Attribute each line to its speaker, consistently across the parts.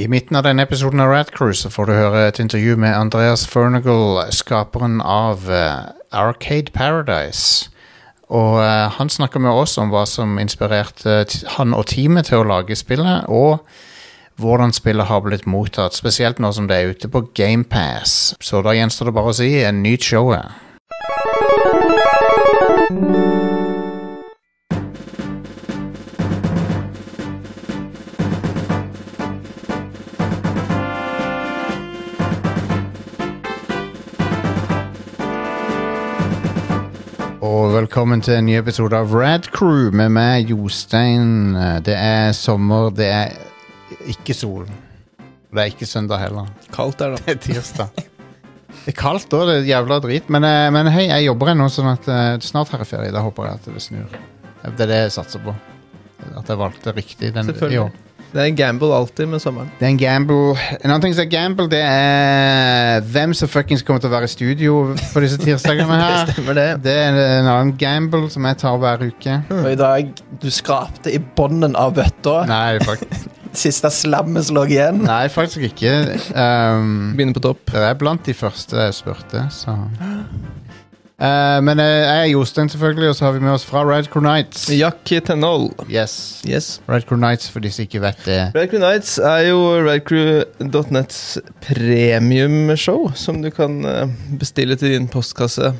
Speaker 1: I midten av denne episoden av Radcruise får du høre et intervju med Andreas Fernagle, skaperen av eh, Arcade Paradise. Og eh, han snakker med oss om hva som inspirerte t- han og teamet til å lage spillet, og hvordan spillet har blitt mottatt, spesielt nå som det er ute på GamePass. Så da gjenstår det bare å si en nyt showet. Og velkommen til en ny episode av Rad Crew med meg, Jostein. Det er sommer, det er ikke sol. Det er ikke søndag heller.
Speaker 2: Kaldt er det.
Speaker 1: Det er tirsdag. Det er kaldt òg, det er jævla drit. Men, eh, men hei, jeg jobber ennå, sånn at eh, snart har jeg ferie. Da håper jeg at det snur. Det er det jeg satser på. At jeg valgte riktig den, i år.
Speaker 2: Selvfølgelig. Det er en gamble alltid med sommeren.
Speaker 1: Det er en gamble. En annen ting som er gamble, det er hvem som fuckings kommer til å være i studio på disse tirsdagene her.
Speaker 2: Stemmer det.
Speaker 1: Det er en annen gamble som jeg tar hver uke.
Speaker 3: Og i dag, du skrapte i bånden av bøtta.
Speaker 1: Nei, fak
Speaker 3: Siste slammet som lå igjen.
Speaker 1: nei faktisk ikke. Um,
Speaker 2: Begynner på topp.
Speaker 1: det er blant de første jeg spurte, så Eh, Men eh, jeg er Jostein, selvfølgelig, og så har vi med oss fra Radcrow Nights.
Speaker 2: Jack Tenhold.
Speaker 1: Yes.
Speaker 2: Yes.
Speaker 1: Radcrow Nights, for de som ikke vet det.
Speaker 2: Red Crew Nights er jo redcrew.nets premiumshow, som du kan eh, bestille til din postkasse.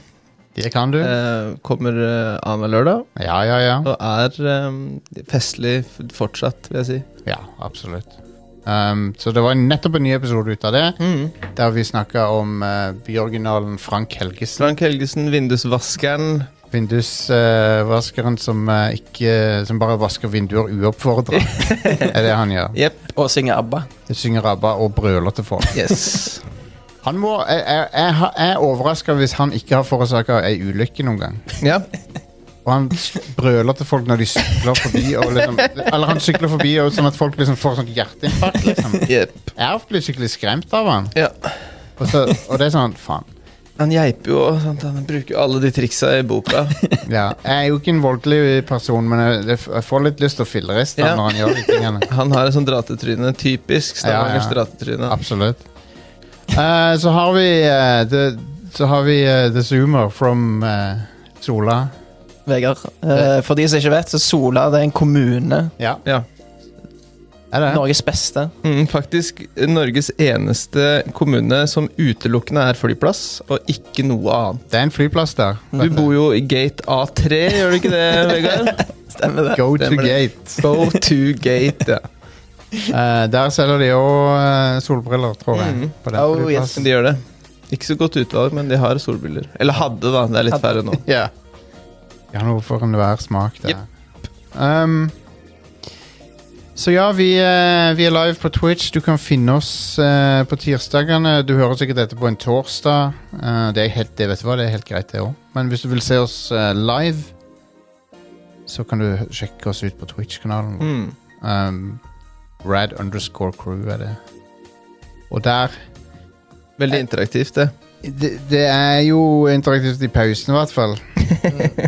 Speaker 1: Det kan du.
Speaker 2: Eh, Kommer eh, annenhver lørdag
Speaker 1: Ja, ja, ja.
Speaker 2: og er eh, festlig f- fortsatt, vil jeg si.
Speaker 1: Ja, absolutt. Um, så det var nettopp en ny episode ut av det.
Speaker 2: Mm.
Speaker 1: Der vi snakka om eh, byoriginalen Frank Helgesen.
Speaker 2: Frank Helgesen, vindusvaskeren.
Speaker 1: Vindusvaskeren som, eh, ikke, som bare vasker vinduer uoppfordra. er det han gjør.
Speaker 2: Jepp.
Speaker 3: Og synge ABBA.
Speaker 1: Synger ABBA og brøler til folk.
Speaker 2: Yes.
Speaker 1: Han må, jeg, jeg, jeg, har- jeg er overraska hvis han ikke har forårsaka ei ulykke noen gang.
Speaker 2: ja.
Speaker 1: Og han s- brøler til folk når de sykler forbi. Og liksom, eller han sykler forbi og sånn at folk liksom får sånn hjerteinfarkt. Liksom.
Speaker 2: Jepp.
Speaker 1: Jeg har blitt skikkelig skremt av han.
Speaker 2: Ja.
Speaker 1: Og, så, og det er sånn, faen.
Speaker 2: Han geiper jo, sant? han bruker jo alle de triksa i boka.
Speaker 1: Ja, jeg er jo ikke en voldelig person, men jeg, jeg f- jeg får litt lyst til å filleriste
Speaker 2: Ja.
Speaker 1: han når han gjør de tingene.
Speaker 2: Han har et sånt dratetryne. Typisk
Speaker 1: Ja,
Speaker 2: Stavangers
Speaker 1: ja.
Speaker 2: dratetryne.
Speaker 1: Absolutt. Eh, så har vi eh, the, Så har vi eh, The Zoomer from eh, Sola.
Speaker 3: Vegard. Eh, for de som ikke vet, så Sola det er en kommune.
Speaker 1: Ja,
Speaker 2: Ja.
Speaker 1: er det?
Speaker 3: Norges beste.
Speaker 2: Mm, faktisk Norges eneste kommune som utelukkende er flyplass, og ikke noe annet.
Speaker 1: Det er en flyplass der.
Speaker 2: Du bor jo i gate A3, gjør du ikke det, Vegard?
Speaker 3: Stemmer det.
Speaker 1: Go to
Speaker 2: Stemmer det.
Speaker 1: gate.
Speaker 2: Go to gate, ja.
Speaker 1: Eh, der selger de òg solbriller, tror jeg.
Speaker 2: Mm.
Speaker 1: På den
Speaker 3: Oh,
Speaker 1: flyplassen.
Speaker 2: Men De gjør det. Ikke så godt utvalg, men de har solbriller. Eller hadde, da. Det er litt færre nå.
Speaker 1: Ja. De har noe for enhver smak der.
Speaker 2: Jep.
Speaker 1: Um, så ja, vi, eh, vi er live på Twitch. Du kan finne oss eh, på tirsdagene. Du hører sikkert dette på en torsdag. Eh, det, er helt, det, vet du hva, det er helt greit, det òg. Men hvis du vil se oss eh, live, så kan du sjekke oss ut på Twitch-kanalen vår.
Speaker 2: Mm.
Speaker 1: Um, rad underscore crew er det. Og der
Speaker 2: Veldig interaktivt, det.
Speaker 1: det, det er jo interaktivt i pausen, i hvert fall.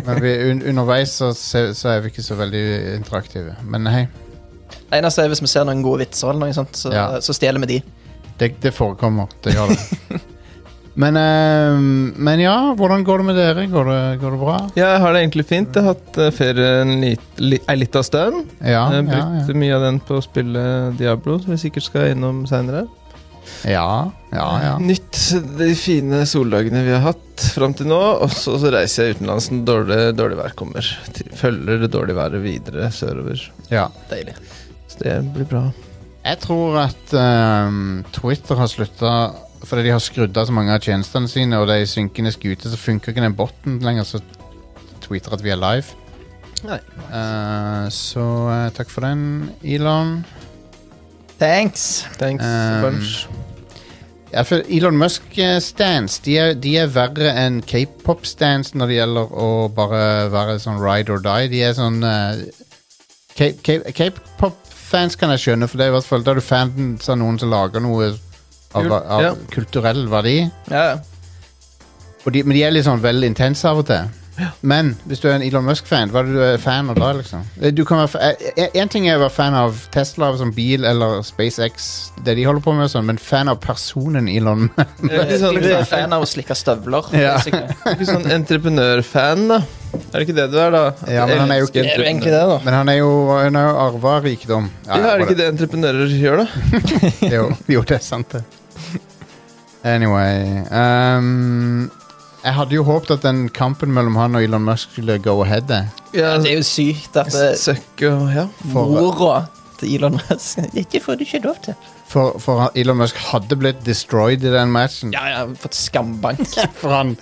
Speaker 1: Men vi, un, underveis så, se- så er vi ikke så veldig interaktive. Men hei,
Speaker 3: Eneste er hvis vi ser noen gode vitser, eller noe sånt, så, eh,
Speaker 1: Ja.
Speaker 3: så stjeler vi de.
Speaker 1: det, det forekommer. Det gjør det. Men, ehm, men ja, hvordan går det med dere? Går det, går det bra?
Speaker 2: Ja, jeg har det egentlig fint. Jeg har hatt eh, ferie en lit, li, ei lita stund.
Speaker 1: Ja,
Speaker 2: jeg
Speaker 1: ja,
Speaker 2: brukte
Speaker 1: ja.
Speaker 2: mye av den på å spille Diablo, som vi sikkert skal innom seinere.
Speaker 1: ja, ja, ja.
Speaker 2: Nytt de fine soldagene vi har hatt fram til nå. Og så, så reiser jeg utenlands når dårlig, dårlig vær kommer. Til- Følger det dårlige været videre sørover.
Speaker 1: ja.
Speaker 3: Deilig.
Speaker 2: Så det blir bra.
Speaker 1: Jeg tror at ehm, Twitter har slutta fordi de har skrudd av så mange av tjenestene sine, og det er i synkende skute, så funker ikke den botten lenger som tweeter at vi er live.
Speaker 2: Nei.
Speaker 1: Eh, så eh, takk for den, Elon.
Speaker 3: Thanks.
Speaker 2: Thanks
Speaker 1: Um,
Speaker 2: a bunch.
Speaker 1: Ja, for Elon Musk-stands de, er- de er verre enn k-pop-stands når det gjelder å bare være sånn ride or die. De er sånn eh, K- K- K-pop-fans kan jeg skjønne, for det er i hvert fall da er du fans av noen som lager noe av,
Speaker 2: Kult,
Speaker 1: av
Speaker 2: ja.
Speaker 1: kulturell verdi.
Speaker 2: Ja, ja.
Speaker 1: Og de, men de er litt sånn veldig intense av og til. Men hvis du er en Elon Musk-fan, hva er det du er fan av da? liksom? Eh, Du kan være fa- eh, eh, en ting er å være fan av Tesla som bil eller SpaceX, det de holder på med, og sånn, men fan av personen Elon
Speaker 2: Ikke
Speaker 3: Du
Speaker 2: sånn,
Speaker 3: Eh, er fan av å slikke støvler.
Speaker 1: Ja.
Speaker 3: basically.
Speaker 2: ikke sånn entreprenørfan, da. Er det ikke det du er, da? At
Speaker 1: Ja,
Speaker 2: du
Speaker 1: men han er jo
Speaker 2: elsker
Speaker 1: ikke-
Speaker 3: Er du
Speaker 2: entreprenør.
Speaker 3: egentlig det, da?
Speaker 1: Men han er jo, han er jo arva rikdom.
Speaker 2: Ja, er det ikke det entreprenører gjør, da?
Speaker 1: jo, jo, det er sant, det. Anyway ehm, Jeg hadde jo håpet at den kampen mellom han og Elon Musk skulle go ahead. jeg.
Speaker 2: Ja,
Speaker 3: Det er jo sykt at eh,
Speaker 2: Søkke og ja.
Speaker 1: For-
Speaker 3: mora til Elon Musk Ikke får du ikke lov til.
Speaker 1: For, for han- Elon Musk hadde blitt destroyed i den matchen.
Speaker 3: Ja, jeg har fått skambank.
Speaker 1: For han,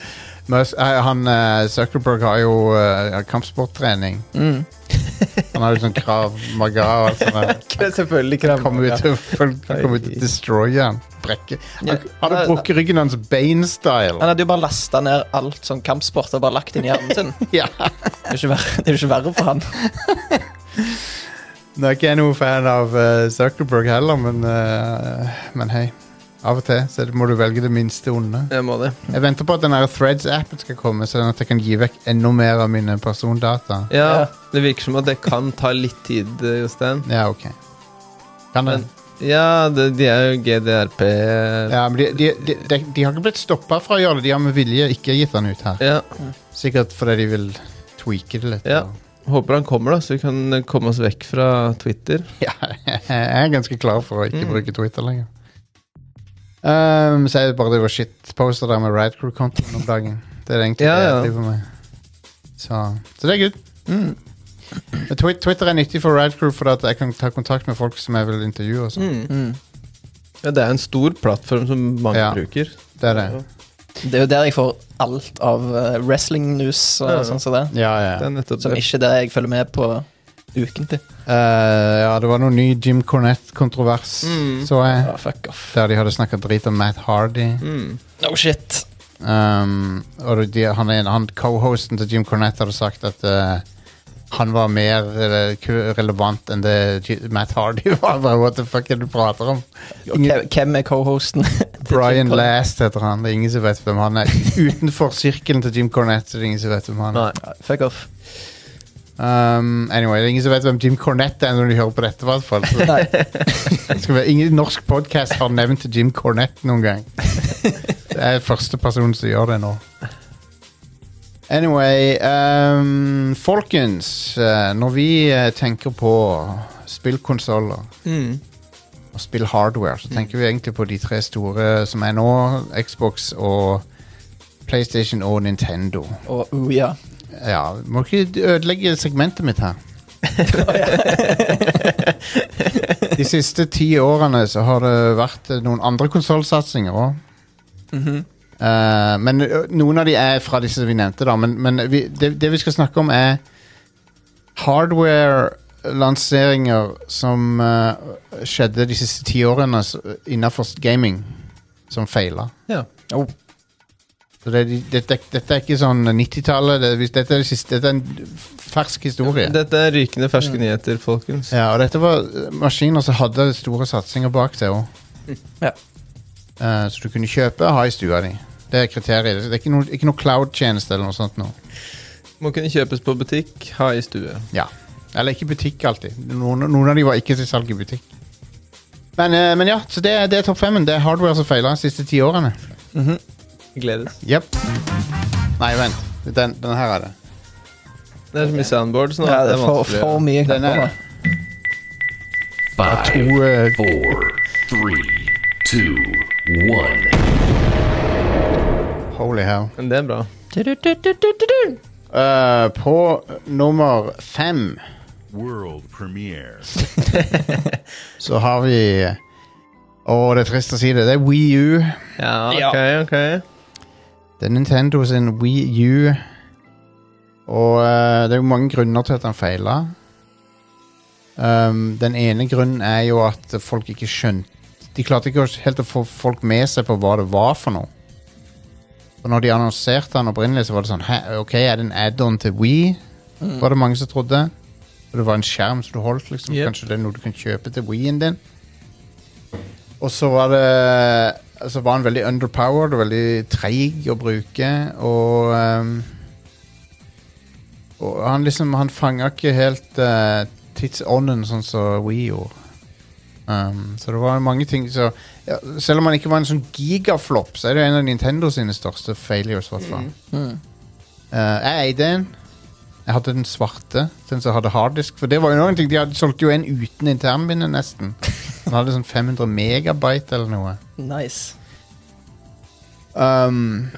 Speaker 1: Musk, eh, han eh, Zuckerberg har jo eh, kampsporttrening.
Speaker 3: Mm.
Speaker 1: Han har jo sånn krav maga og alt sånt. der.
Speaker 2: Selvfølgelig
Speaker 1: Han Kommer ut til å kom ut til å destroye han. Brekke.
Speaker 3: Ja.
Speaker 1: Han hadde brukket ryggen hans Bane-style.
Speaker 3: Han hadde jo bare lasta ned alt som kampsport og bare lagt inn i hjernen sin.
Speaker 1: Ja.
Speaker 3: Det er jo ikke verre, det er jo ikke verre for han.
Speaker 1: Nå er ikke jeg noen fan av eh, Zuckerberg heller, men, eh, men hei. Av og til så må du velge det minste onde.
Speaker 2: Jeg må det.
Speaker 1: Jeg venter på at den her Threads-appen skal komme, sånn at jeg kan gi vekk enda mer av mine persondata.
Speaker 2: Ja,
Speaker 3: Ja.
Speaker 2: Det virker som at det kan ta litt tid, eh, Jostein.
Speaker 1: Ja, ok. Kan det?
Speaker 2: Men- Ja, det, de er jo GDRP Ja.
Speaker 1: Ja, men de, de, de, de, de har ikke blitt stoppa fra å gjøre det. De har med vilje ikke gitt den ut her. Sikkert fordi de vil tweake det litt.
Speaker 2: Ja.
Speaker 1: og-
Speaker 2: Håper han kommer, da, så vi kan eh, komme oss vekk fra Twitter.
Speaker 1: ja jeg er ganske klar for å ikke
Speaker 2: Mm.
Speaker 1: bruke Twitter lenger. Um, så jeg bare driver og shitposter der med Radcrew-kontoen om dagen. Det er egentlig
Speaker 2: Ja,
Speaker 1: det
Speaker 2: ja.
Speaker 1: jeg driver med. Så, så det er good.
Speaker 3: Mm.
Speaker 1: Men Twi- Twitter er nyttig for Radcrew fordi at jeg kan ta kontakt med folk som jeg vil intervjue. Og sånn.
Speaker 3: Mm.
Speaker 2: Ja, det er en stor plattform som mange
Speaker 1: Ja.
Speaker 2: bruker.
Speaker 1: Det er det.
Speaker 3: Det er jo der jeg får alt av eh, wrestling-news og
Speaker 2: Ja.
Speaker 3: sånn som det.
Speaker 1: Ja, ja.
Speaker 2: Det er nettopp
Speaker 3: Som
Speaker 2: det.
Speaker 3: ikke er det jeg følger med på ukentlig.
Speaker 1: Eh, ja, det var noe ny Jim Cornette-kontrovers,
Speaker 2: Mm.
Speaker 1: så jeg.
Speaker 3: Ah, fuck off.
Speaker 1: Der de hadde snakka drit om Matt Hardy.
Speaker 2: Mm.
Speaker 3: No shit.
Speaker 1: Um, og de, han, er en- han co-hosten til Jim Cornette hadde sagt at eh, han var mer eh, ku- relevant enn det J- Matt Hardy var. Bare, What the fuck er det du prater om?
Speaker 3: Og
Speaker 1: Ingen-
Speaker 3: hvem- Hvem er co-hosten?
Speaker 1: Brian
Speaker 3: Cornette.
Speaker 1: Last heter han. Det er ingen som vet hvem han er. Utenfor sirkelen til Jim Cornette så det er ingen som vet hvem han er.
Speaker 2: Nei.
Speaker 3: Ah, Fuck off.
Speaker 1: Um, anyway, det er ingen som vet hvem Jim Cornette er når de hører på dette. i hvert fall. Så
Speaker 3: Nei.
Speaker 1: det skal være- Ingen norsk podkast har nevnt Jim Cornette noen gang. Det er første person som gjør det nå. Anyway, um, folkens. eh, Når vi eh, tenker på spillkonsoller
Speaker 2: Mm.
Speaker 1: og spillhardware, så tenker vi egentlig på de tre store som er nå. Xbox og PlayStation og Nintendo.
Speaker 3: Og oh, ja.
Speaker 1: Ja, Må ikke ødelegge segmentet mitt her. De siste ti årene så har det vært eh, noen andre konsollsatsinger òg. men ø, noen av de er fra disse vi nevnte, da. Men, men vi, det, det vi skal snakke om, er hardware-lanseringer som eh, skjedde de siste ti årene s- innenfor gaming, som feila.
Speaker 2: Ja.
Speaker 3: Oh.
Speaker 1: Så det, er de- dette, dette er ikke sånn 90-tallet. det er- hvis Dette, er det siste- dette er en fersk historie.
Speaker 2: Dette er rykende ferske
Speaker 3: Mm.
Speaker 2: nyheter, folkens.
Speaker 1: Ja, og dette var eh, maskiner som hadde store satsinger bak seg òg.
Speaker 3: Ja.
Speaker 1: så du kunne kjøpe og ha i stua di. Det er kriteriet. Det er ikke noe, ikke noe cloud-tjeneste eller noe sånt nå.
Speaker 2: Må kunne kjøpes på butikk, ha i stue.
Speaker 1: Ja. Eller ikke butikk alltid. Noen, noen av de var ikke til salg i butikk. Men, eh, men ja, så det, er- det er topp femmen. Det er hardware som feiler de siste ti årene.
Speaker 2: Gledes.
Speaker 1: Jepp. Nei, vent. Den, den her er det.
Speaker 2: Det er så mye soundboard, sånn at
Speaker 3: Ja,
Speaker 2: det
Speaker 3: det
Speaker 2: er
Speaker 3: er for,
Speaker 2: vanskelig.
Speaker 3: for mye
Speaker 1: Den
Speaker 3: knapper.
Speaker 1: er-
Speaker 3: nå.
Speaker 1: Jeg
Speaker 4: Five,
Speaker 1: tror eh,
Speaker 4: four, three, two, one.
Speaker 1: Holy hell.
Speaker 2: Men det er bra.
Speaker 1: Eh, på nummer fem
Speaker 5: world premiere.
Speaker 1: så har vi Å, det er trist å si det. Det er Wii U.
Speaker 2: Ja,
Speaker 3: Ja.
Speaker 2: ok, ok.
Speaker 1: Det er Nintendo sin Wii U. Og eh, det er jo mange grunner til at den feila. Um, den ene grunnen er jo at folk ikke skjønte De klarte ikke å- helt å få folk med seg på hva det var for noe. Og når de annonserte den opprinnelig, så var det sånn Hæ, OK, er det en add-on til Wii? Var det mange som trodde. Og det var en skjerm som du holdt, liksom.
Speaker 2: Yep.
Speaker 1: Kanskje det er noe du kan kjøpe til Wii-en din. Og så var det altså, Så var han veldig underpowered og veldig treig å bruke, og ehm, Og han liksom, han fanga ikke helt eh, tidsånden sånn som Wii gjorde. Um, så det var mange ting så, ja, Selv om han ikke var en sånn gigaflopp, så er det en av Nintendo sine største failures. hvertfall. Eh, jeg eide en. Jeg hadde den svarte, den som hadde harddisk. For det var jo noen ting, De hadde solgte jo en uten internbinde, nesten. Den hadde sånn 500 megabyte eller noe.
Speaker 3: Nice.
Speaker 1: Um,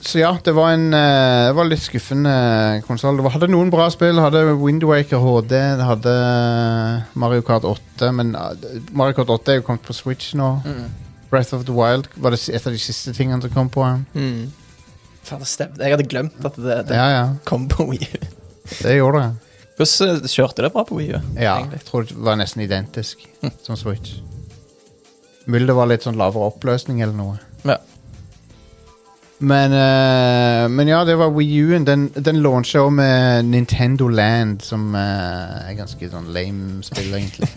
Speaker 1: så ja, det var en eh, Det var litt skuffende konsoll. Det var- hadde noen bra spill. Hadde Windwaker HD, det hadde Mario Kart 8. Men eh, Mario Kart 8 er jo kommet på Switch nå. Breath of the Wild var det si- et av de siste tingene som kom på. Ja,
Speaker 3: Mm. Faen, det stemte. Jeg hadde glemt at det, det
Speaker 1: ja. ja
Speaker 3: kom på Wii U.
Speaker 1: det gjorde det.
Speaker 3: Hvordan eh, kjørte det bra på Wii U?
Speaker 1: Ja,
Speaker 3: egentlig?
Speaker 1: jeg tror det var nesten identisk som Switch. Mulig det var litt sånn lavere oppløsning eller noe.
Speaker 3: Ja.
Speaker 1: Men, eh, men ja, det var Wii U-en. Den, den launcha jo med Nintendo Land, som eh, er ganske sånn lame spill, egentlig.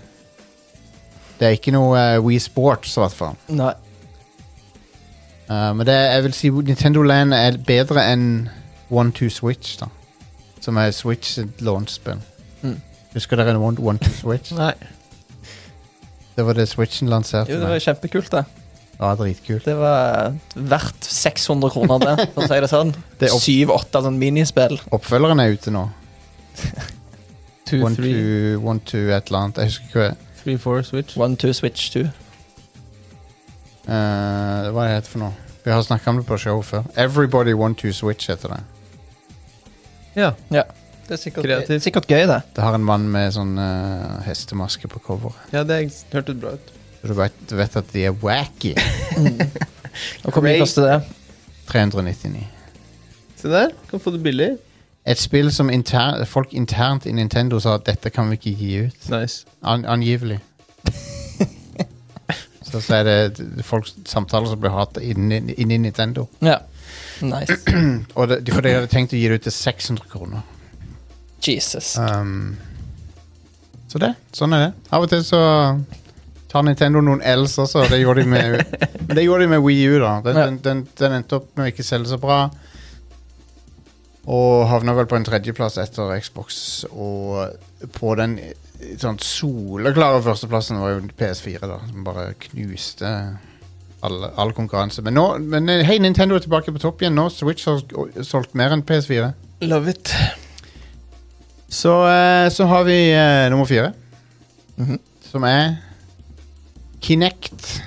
Speaker 1: det er ikke noe eh, Wii Sports, i hvert fall.
Speaker 3: Nei.
Speaker 1: Eh, men det, er- jeg vil si Nintendo Land er bedre enn One Two Switch, da. Som er Switch sitt launchspill.
Speaker 3: Mm.
Speaker 1: Husker dere One, One Two Switch?
Speaker 2: Nei.
Speaker 1: Det var det Switchen lanserte.
Speaker 3: Jo, det
Speaker 1: med.
Speaker 3: var kjempekult, det.
Speaker 1: Ja, dritkult.
Speaker 3: Det var verdt 600 kroner, det, for å si det sånn.
Speaker 1: Det er opp-
Speaker 3: Syv-åtte sånn minispill.
Speaker 1: Oppfølgeren er ute nå.
Speaker 2: Two,
Speaker 1: One
Speaker 2: three,
Speaker 1: two, one two, et eller annet. Jeg husker ikke hva
Speaker 2: three, four, switch.
Speaker 3: One, two, switch, two.
Speaker 1: eh, hva det heter for noe. Vi har snakka om det på showet før. Everybody One Two Switch heter det.
Speaker 2: Ja.
Speaker 3: Ja. Det er sikkert,
Speaker 2: Kreativt.
Speaker 3: sikkert gøy, det.
Speaker 1: Det har en mann med sånn eh, hestemaske på coveret.
Speaker 2: ja, det hørtes bra ut.
Speaker 1: Så Du vet, du vet at de er wacky.
Speaker 3: Og hvor mye
Speaker 2: Great.
Speaker 3: koster det?
Speaker 1: 399.
Speaker 2: Se der. Kan få det billig.
Speaker 1: Et spill som inter folk internt i Nintendo sa at dette kan vi ikke gi ut.
Speaker 2: Nice.
Speaker 1: An angivelig. så, så er det d- folk samtaler som blir hatet inni, inni Nintendo.
Speaker 3: Ja. Nice.
Speaker 1: Og det, for de hadde tenkt å gi det ut til 600 kroner.
Speaker 3: Jesus.
Speaker 1: Um, så det, sånn er det. Av og til så tar Nintendo noen L's også. og Det gjorde de med, men det gjorde de med Wii U. da den,
Speaker 3: Ja.
Speaker 1: den, den, den endte opp med å ikke selge så bra. Og havna vel på en tredjeplass etter Xbox. Og på den eh, sånn soleklare førsteplassen var jo PS4, da som bare knuste all, all konkurranse. Men, nå, men eh, hei, Nintendo er tilbake på topp igjen nå. Switch har sk- solgt mer enn PS4.
Speaker 2: Love it.
Speaker 1: Så, eh, så har vi eh, nummer fire.
Speaker 3: Mhm.
Speaker 1: Som er Kinect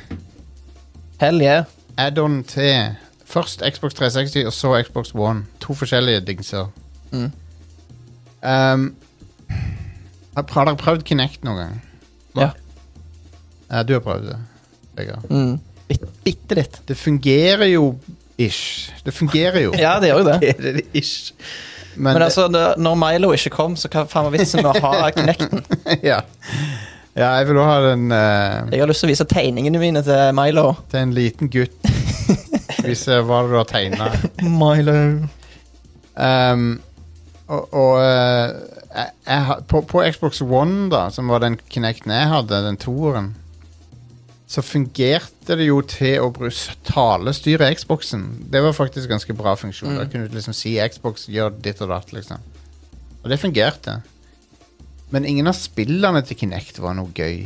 Speaker 3: Hell yeah.
Speaker 1: add-on til først Xbox 360 og så Xbox One. To forskjellige dingser.
Speaker 3: Mhm.
Speaker 1: Um, har har dere prøvd Kinect noen gang?
Speaker 3: Ja.
Speaker 1: Ja, du har prøvd det. Vegard.
Speaker 3: Mm. Bitt, bitte litt.
Speaker 1: Det fungerer jo ish. Det fungerer jo.
Speaker 3: Ja, det gjør jo det.
Speaker 2: Eller ish.
Speaker 1: men
Speaker 3: Men
Speaker 1: det-
Speaker 3: altså, det, når Milo ikke kom, så hva faen var vitsen med å ha Kinecten?
Speaker 1: ja. ja, jeg vil også ha den eh,
Speaker 3: Jeg har lyst til å vise tegningene mine til Milo.
Speaker 1: til en liten gutt. Vise hva du har tegna.
Speaker 3: Milo.
Speaker 1: Um, og og eh, jeg, jeg, har- på, på Xbox One, da, som var den Kinecten jeg hadde, den toeren, så fungerte det jo til å brus- talestyre Xboxen. Det var faktisk ganske bra funksjon. Da kunne du liksom si Xbox, gjør ditt og datt, liksom. Og det fungerte. Men ingen av spillene til Kinect var noe gøy.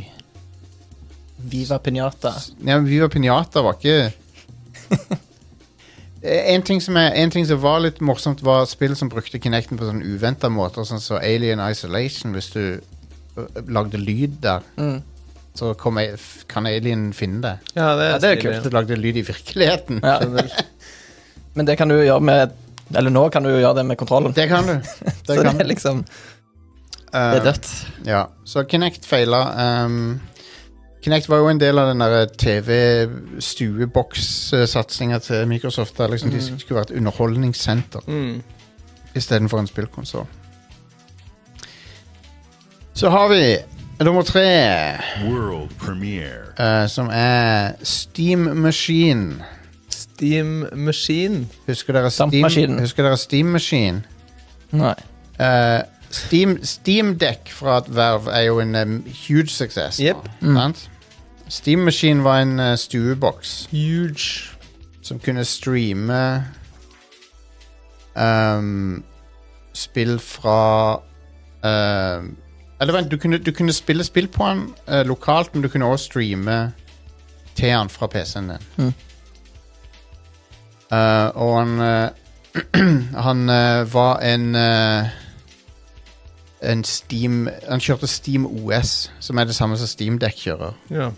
Speaker 3: Viva Pinata.
Speaker 1: Ja, men Viva Pinata var ikke Eh, en ting, som er, en ting som var litt morsomt, var spill som brukte Kinecten på sånn uventa måter, sånn som Alien Isolation. Hvis du ø, lagde lyd der,
Speaker 3: Mm.
Speaker 1: så kom, a- f- kan alien finne deg.
Speaker 2: Ja, det,
Speaker 3: Ja, det er jo
Speaker 1: Hvis du lagde lyd i virkeligheten.
Speaker 3: Ja. Men det kan du jo gjøre med Eller nå kan du jo gjøre det med kontrollen.
Speaker 1: Det kan du. Det
Speaker 3: så
Speaker 1: kan
Speaker 3: det
Speaker 1: du.
Speaker 3: er liksom Det
Speaker 1: Eh,
Speaker 3: er dødt.
Speaker 1: Ja, så Kinect feila. Um, Kinect var jo en del av den der TV-stueboks-satsinga til Microsoft. Der liksom De skulle være et underholdningssenter.
Speaker 2: Mm.
Speaker 1: istedenfor en spillkonsoll. Så har vi nummer tre,
Speaker 5: World premiere.
Speaker 1: eh, som er Steam Machine.
Speaker 2: Steam Machine.
Speaker 1: Husker dere Steam,
Speaker 3: Dampmaskinen.
Speaker 1: husker dere Steam Machine?
Speaker 3: Nei.
Speaker 1: Eh, Steam, Steam Deck fra et verv er jo en em, huge suksess. nå,
Speaker 2: Yep.
Speaker 1: sant? Steam Machine var en eh, stueboks
Speaker 2: Huge.
Speaker 1: som kunne streame um, spill fra eh, Eller vent, du kunne, du kunne spille spill på den eh, lokalt, men du kunne også streame til den fra PC-en din.
Speaker 3: Mhm.
Speaker 1: Eh, og han eh, Han eh, var en eh, en Steam Han kjørte Steam OS, som er det samme som Steam Deck kjører.
Speaker 2: Ja.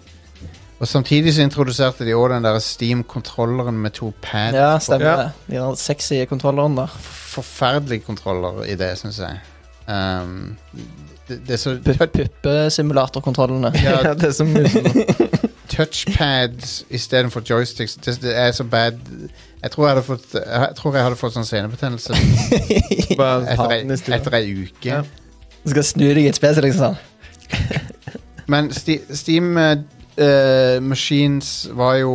Speaker 1: Og samtidig så introduserte de òg den der Steam-kontrolleren med to pads.
Speaker 3: Ja,
Speaker 1: på
Speaker 3: stemmer
Speaker 2: Ja.
Speaker 3: det. De der sexy kontrollerne der.
Speaker 1: forferdelig kontroller i det, syns jeg. Um, det, det er så
Speaker 3: Pu- Puppesimulatorkontrollene.
Speaker 1: Ja.
Speaker 2: ja, det som
Speaker 1: touchpads istedenfor joysticks. Det, det er så bad Jeg tror jeg hadde fått Jeg tror jeg hadde fått sånn senebetennelse
Speaker 2: bare
Speaker 1: etter,
Speaker 2: ha
Speaker 1: ei-
Speaker 2: den i stua.
Speaker 1: etter ei uke.
Speaker 2: Ja.
Speaker 3: Du skal snu deg i et spes, liksom. sånn.
Speaker 1: Men Sti, Steam eh, eh, Machines var jo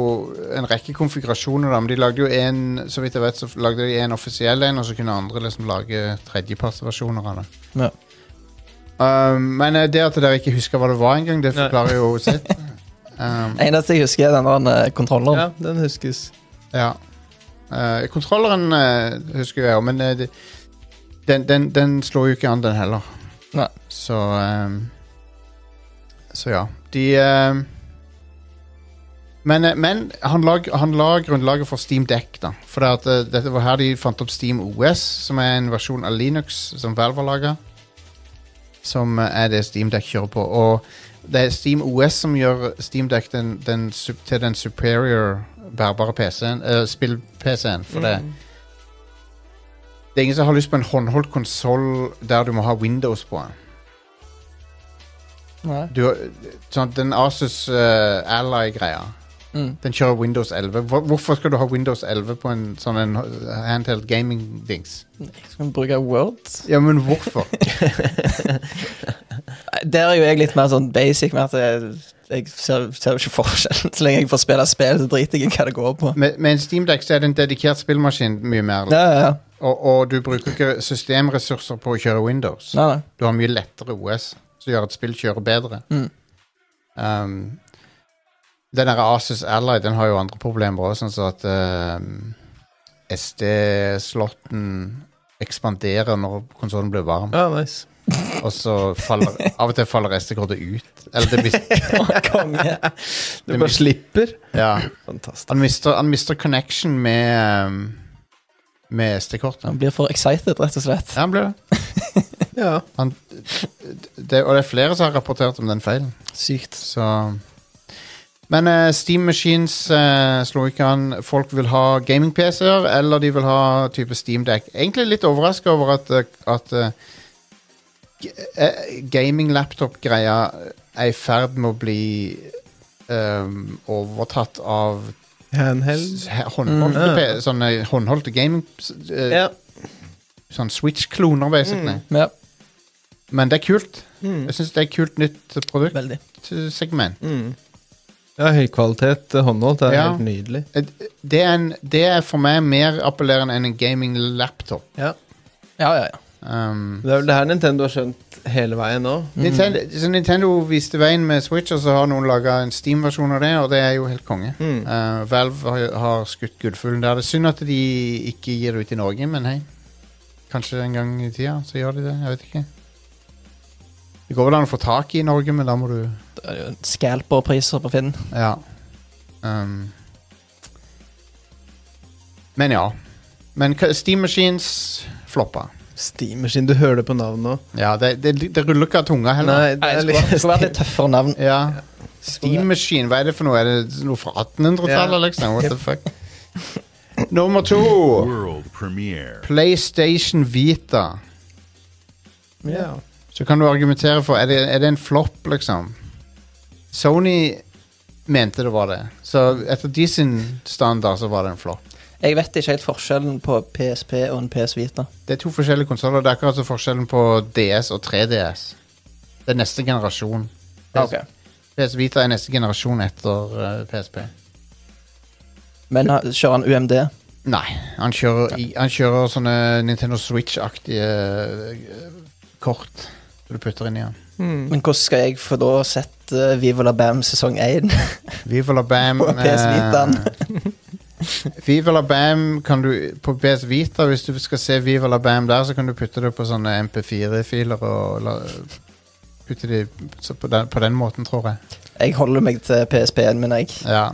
Speaker 1: en rekke konfigurasjoner, da, men de lagde jo en Så vidt jeg vet, så lagde de en offisiell en, og så kunne andre liksom lage tredjepartsversjoner av det.
Speaker 3: Ja.
Speaker 1: Um, men eh, det at dere ikke husker hva det var engang, det
Speaker 2: Nei.
Speaker 1: forklarer jo sitt. Um,
Speaker 3: Eneste jeg husker, er den der eh, kontrolleren.
Speaker 2: Ja, den huskes.
Speaker 1: ja. Eh, kontrolleren eh, husker jo jeg òg, men eh, det, den, den, den slår jo ikke an, den heller.
Speaker 3: Nei.
Speaker 1: Så ehm, Så ja. De ehm, men, eh, men han la, han la grunnlaget for Steam Deck, da. For det at, eh, dette var her de fant opp Steam OS, som er en versjon av Linux som Valve har laga. Som eh, er det Steam Deck kjører på. Og det er Steam OS som gjør Steam Deck den, den, sup- til den superior bærbare PC-en, eh, spill-PC-en. For det
Speaker 3: Mm.
Speaker 1: det er ingen som har lyst på en håndholdt konsoll der du må ha Windows på den.
Speaker 3: Nei.
Speaker 1: Du, har- sånn, den Asus eh, Ally-greia,
Speaker 3: Mm.
Speaker 1: den kjører Windows 11. Hvor, hvorfor skal du ha Windows 11 på en sånn en handheld gaming-dings?
Speaker 3: Skal vi bruke Word?
Speaker 1: Ja, men hvorfor?
Speaker 3: Nei, Der er jo jeg litt mer sånn basic med at jeg, jeg ser, ser jo ikke forskjellen. Så lenge jeg får spille spill, så driter jeg i hva det går på.
Speaker 1: med, med en Steamdeck så er det en dedikert spillmaskin mye mer.
Speaker 3: Ja, ja, ja.
Speaker 1: Og, og du bruker ikke systemressurser på å kjøre Windows.
Speaker 3: Nei, nei.
Speaker 1: Du har mye lettere OS, som gjør at spill kjører bedre.
Speaker 3: Mm.
Speaker 1: Um, den der Asus Ally den har jo andre problemer òg, sånn som at um, SD-slåtten ekspanderer når konsollen blir varm,
Speaker 2: Ja, nice.
Speaker 1: og så faller av og til faller SD-kortet ut. Eller det mis-
Speaker 3: Å, Konge.
Speaker 2: Du bare slipper.
Speaker 1: ja.
Speaker 2: Fantastisk.
Speaker 1: han, mister, han mister connection med, um, med SD-kortet.
Speaker 3: Han blir for excited, rett og slett.
Speaker 1: Ja, han blir det.
Speaker 2: Ja.
Speaker 1: Han, det. Og det er flere som har rapportert om den feilen.
Speaker 3: Sykt.
Speaker 1: Så Men eh, Steam Machines uh, slo ikke an. Folk vil ha gaming-PC-er, eller de vil ha type Steam Deck. Egentlig litt overraska over at, eh, at eh, g- eh, gaming-laptop-greia er i ferd med å bli ehm, overtatt av
Speaker 2: Handheld.
Speaker 1: s- he- håndholdte,
Speaker 2: Mm, ja.
Speaker 1: P- sånne håndholdte gaming... eh,
Speaker 2: Ja. Mm.
Speaker 1: Sånn Switch-kloner, basically.
Speaker 3: Ja,
Speaker 1: Men det er kult. Jeg syns det er et kult nytt
Speaker 3: veldig.
Speaker 1: produktsegment.
Speaker 2: Mm. Ja, høykvalitet eh, håndholdt er
Speaker 1: Ja.
Speaker 2: helt nydelig.
Speaker 1: det er, en, det er for meg mer appellerende enn en gaming laptop.
Speaker 2: Ja.
Speaker 3: Ja, ja, ja.
Speaker 1: Um,
Speaker 2: Det er vel det her Nintendo har skjønt hele veien nå.
Speaker 1: Nintendo, så Nintendo viste veien med Switch, og så har noen laga en Steam-versjon av det, og det er jo helt konge.
Speaker 2: Mm.
Speaker 1: Uh, Valve har, har skutt gullfuglen der. Det er synd at de ikke gir det ut i Norge, men hei. Kanskje en gang i tida så gjør de det. Jeg vet ikke. Det går vel an å få tak i i Norge, men da må du
Speaker 3: Det er jo Scalper-priser på Finn.
Speaker 1: Ja. Um. Men ja. Men hva- Steam Machines floppa.
Speaker 2: Steamerskin, du hører det på navnet òg.
Speaker 1: Ja, det, det, det ruller ikke av tunga heller.
Speaker 2: Nei, det
Speaker 3: Nei,
Speaker 2: er
Speaker 3: det skulle, skulle vært litt tøffere navn.
Speaker 1: Ja. Steam Machine, hva er det for noe? Er det noe fra 1800-tallet,
Speaker 2: Ja.
Speaker 1: liksom? What the fuck? Nummer to.
Speaker 5: World premiere.
Speaker 1: PlayStation Vita.
Speaker 2: Ja.
Speaker 1: Så kan du argumentere for Er det, er det en flopp, liksom? Sony mente det var det. Så etter de sin standard så var det en flopp.
Speaker 3: Jeg vet ikke helt forskjellen på PSP og en PS Vita.
Speaker 1: Det er to forskjellige konsoller. Det er akkurat som forskjellen på DS og 3DS. Det er neste generasjon.
Speaker 3: Ok.
Speaker 1: PS Vita er neste generasjon etter eh, PSP.
Speaker 3: Men ha- kjører han UMD?
Speaker 1: Nei, han kjører, i, han kjører sånne Nintendo Switch-aktige eh, kort du putter inn i han.
Speaker 3: Men hvordan skal jeg få da sett eh, Viva la Bam sesong 1?
Speaker 1: Viva la bam.
Speaker 3: På PS
Speaker 1: eh,
Speaker 3: Vitaen.
Speaker 1: Viva la Bam kan du På BS Vita, hvis du skal se Viva la Bam der, så kan du putte det på sånne MP4-filer og la, putte det så på, den, på den måten, tror jeg.
Speaker 3: Jeg holder meg til PSP-en min, jeg.
Speaker 1: Ja.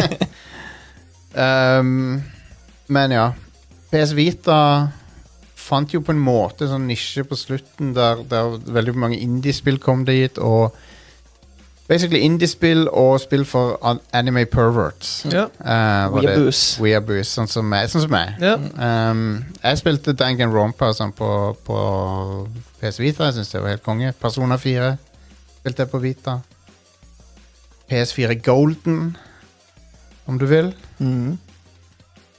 Speaker 1: um, men ja. PS Vita fant jo på en måte sånn nisje på slutten der, der veldig mange indiespill kom dit, og basically indiespill og spill for an anime perverts.
Speaker 2: Ja.
Speaker 1: Uh, var det-
Speaker 3: Weeaboos.
Speaker 1: Weeaboos, sånn som meg. Sånn som meg.
Speaker 2: ja.
Speaker 1: Um, jeg spilte Dangan Rompa sånn, på, på PS Vita. Jeg syns det var helt konge. Persona 4 spilte jeg på Vita. PS4 Golden, om du vil.
Speaker 3: Mhm.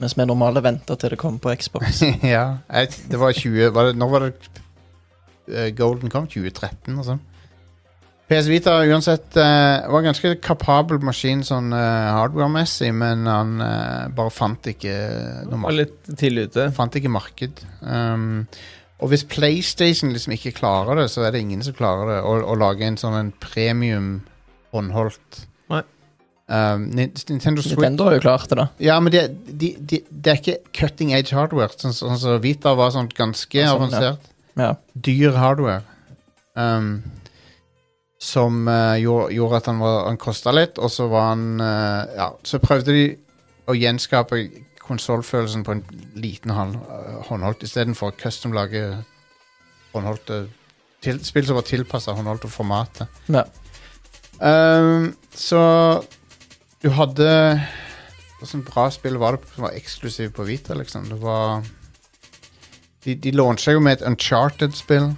Speaker 3: Mens vi normale venter til det kommer på Xbox.
Speaker 1: ja. Jeg, det var 20 var det, Når var det eh, Golden kom? 2013 og sånn? PS Vita uansett eh, var en ganske kapabel maskin sånn eh, hardware-messig, men han eh, bare fant ikke
Speaker 2: Var
Speaker 1: normalt.
Speaker 2: litt tidlig ute.
Speaker 1: Jeg fant ikke marked. Um, og hvis PlayStation liksom ikke klarer det, så er det ingen som klarer det. Å, å lage en sånn en premium håndholdt
Speaker 2: Nei.
Speaker 1: Um, Nin- Nintendo Switch
Speaker 3: Nintendo har jo klart det, da.
Speaker 1: Ja, men det, de, de, det er ikke cutting edge hardware. Sånn som sånn, som Vita var sånn ganske
Speaker 3: Ja, sånn, ja.
Speaker 1: avansert.
Speaker 3: Ja.
Speaker 1: Dyr hardware. Um, som eh, gjorde, gjorde at han, var- han kosta litt, og så var han eh, Ja, så prøvde de å gjenskape konsollfølelsen på en liten hånd, eh, håndholdt istedenfor å custom-lage håndholdte til, spill som var tilpassa håndholdte formatet.
Speaker 3: Ja.
Speaker 1: Ehm, så du hadde Hvordan bra spill var det som var eksklusivt på Vita, liksom? Det var De, de launcha jo med et Uncharted-spill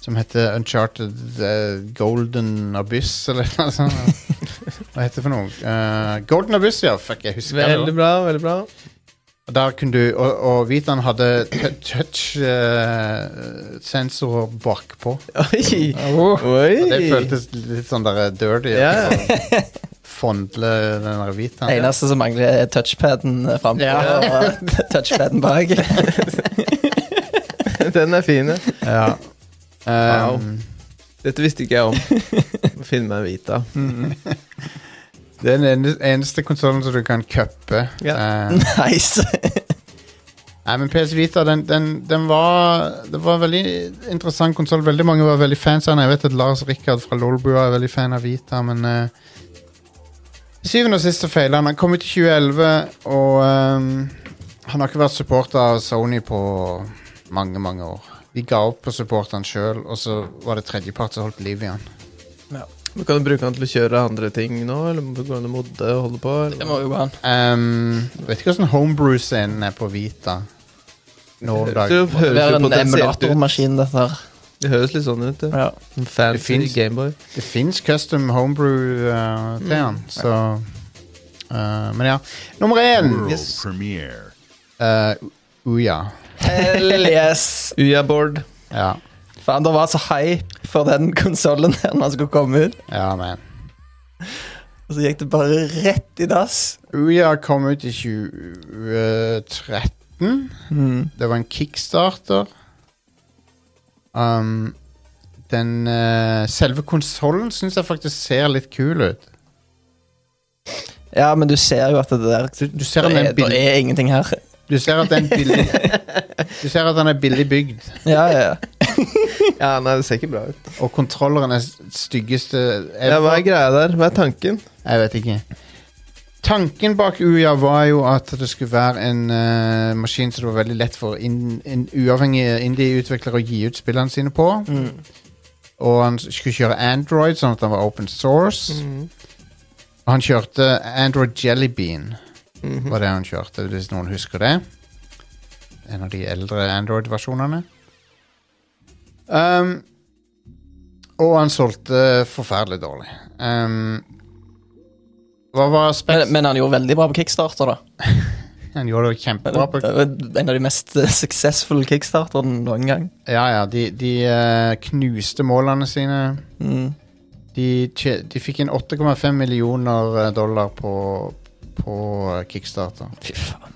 Speaker 1: som heter Uncharted eh, Golden Abyss, eller noe sånt. Hva heter det for noe? Eh, Golden Abyss, ja. Fuck, jeg husker det.
Speaker 2: Veldig bra, veldig bra.
Speaker 1: Og Der kunne du, og, og Vitaen hadde touch-sensorer bakpå.
Speaker 2: Oi!
Speaker 1: Og
Speaker 2: Oi.
Speaker 1: det føltes litt sånn der dirty.
Speaker 2: ja.
Speaker 1: fondle den der Vitaen.
Speaker 3: Det eneste som mangler, er touchpaden frampå
Speaker 1: Ja.
Speaker 3: og touchpaden bak.
Speaker 2: Den er fin. ja.
Speaker 1: Ja.
Speaker 2: Wow.
Speaker 1: Um,
Speaker 2: Dette visste ikke jeg om. Må Finne meg en Vita.
Speaker 1: det er den ene- eneste konsollen som du kan cuppe.
Speaker 2: Ja.
Speaker 1: Eh,
Speaker 3: Nice.
Speaker 1: nei, men PS Vita, den, den, den var Det var en veldig interessant konsoll. Veldig mange var veldig fans av den. Jeg vet at Lars Rikard fra Lolbua er veldig fan av Vita, men eh, Syvende og sist så feila han. Han kom ut i 2011, og ehm, han har ikke vært supporter av Sony på mange, mange år. Vi ga opp på supporteren sjøl, og så var det tredjepart som holdt liv i han.
Speaker 2: Men Kan du bruke den til å kjøre andre ting nå, eller må- går den å modde og holde på?
Speaker 3: Det
Speaker 2: Eller?
Speaker 3: må jo gå an.
Speaker 1: Um, vet ikke hvordan homebrew-scenen er på Vita. Nå om
Speaker 2: Det
Speaker 1: dagen.
Speaker 3: Det
Speaker 2: høres jo
Speaker 3: er en
Speaker 2: potensielt ut.
Speaker 3: emulatormaskin, dette her.
Speaker 2: Det høres litt sånn ut. Det.
Speaker 3: Ja.
Speaker 2: En Fancy
Speaker 1: finnes-
Speaker 2: Gameboy.
Speaker 1: Det fins custom homebrew uh,
Speaker 3: Mm,
Speaker 1: til den, så uh, Men ja. Nummer én!
Speaker 5: World
Speaker 1: Yes.
Speaker 5: premiere.
Speaker 1: Uh, Uja.
Speaker 3: Hell yes!
Speaker 2: Uya-board.
Speaker 1: Ja.
Speaker 3: Faen, det var så hype for den konsollen her når den skulle komme ut.
Speaker 1: ja, man.
Speaker 3: Og så gikk det bare rett i dass.
Speaker 1: Uja kom ut i 2013.
Speaker 3: Mm.
Speaker 1: Det var en kickstarter. Um, den uh, Selve konsollen syns jeg faktisk ser litt kul ut.
Speaker 3: Ja, men du ser jo at det der
Speaker 1: Du, du ser den
Speaker 3: det
Speaker 1: er
Speaker 3: er,
Speaker 1: en bil-
Speaker 3: det er ingenting her.
Speaker 1: Du ser at den er billig Du ser at den er billig bygd,
Speaker 3: Ja, ja, ja.
Speaker 2: Ja, nei, det ser ikke bra ut.
Speaker 1: og kontrolleren er s- styggeste
Speaker 2: Ja, hva
Speaker 1: ever.
Speaker 2: er greia der? Hva er tanken?
Speaker 1: Jeg vet ikke. Tanken bak Uja var jo at det skulle være en eh, maskin som det var veldig lett for inn- en uavhengige indie-utviklere å gi ut spillene sine på.
Speaker 2: Mm.
Speaker 1: Og han skulle kjøre Android, sånn at han var open source. Og han kjørte Android Jellybean. Var det han kjørte, hvis noen husker det. En av de eldre Android-versjonene. Um, og han solgte forferdelig dårlig. Um, hva var
Speaker 3: Men,
Speaker 1: speks?
Speaker 3: men han gjorde veldig bra på kickstarter, da.
Speaker 1: Han gjorde det kjempebra på
Speaker 3: Det var en av de mest eh, successful kickstarterne noen gang.
Speaker 1: Ja, ja, de, de eh, knuste målene sine.
Speaker 3: Mm.
Speaker 1: De, tje- de fikk inn 8,5 millioner eh, dollar på, på eh, Kickstarter.
Speaker 3: Fy faen.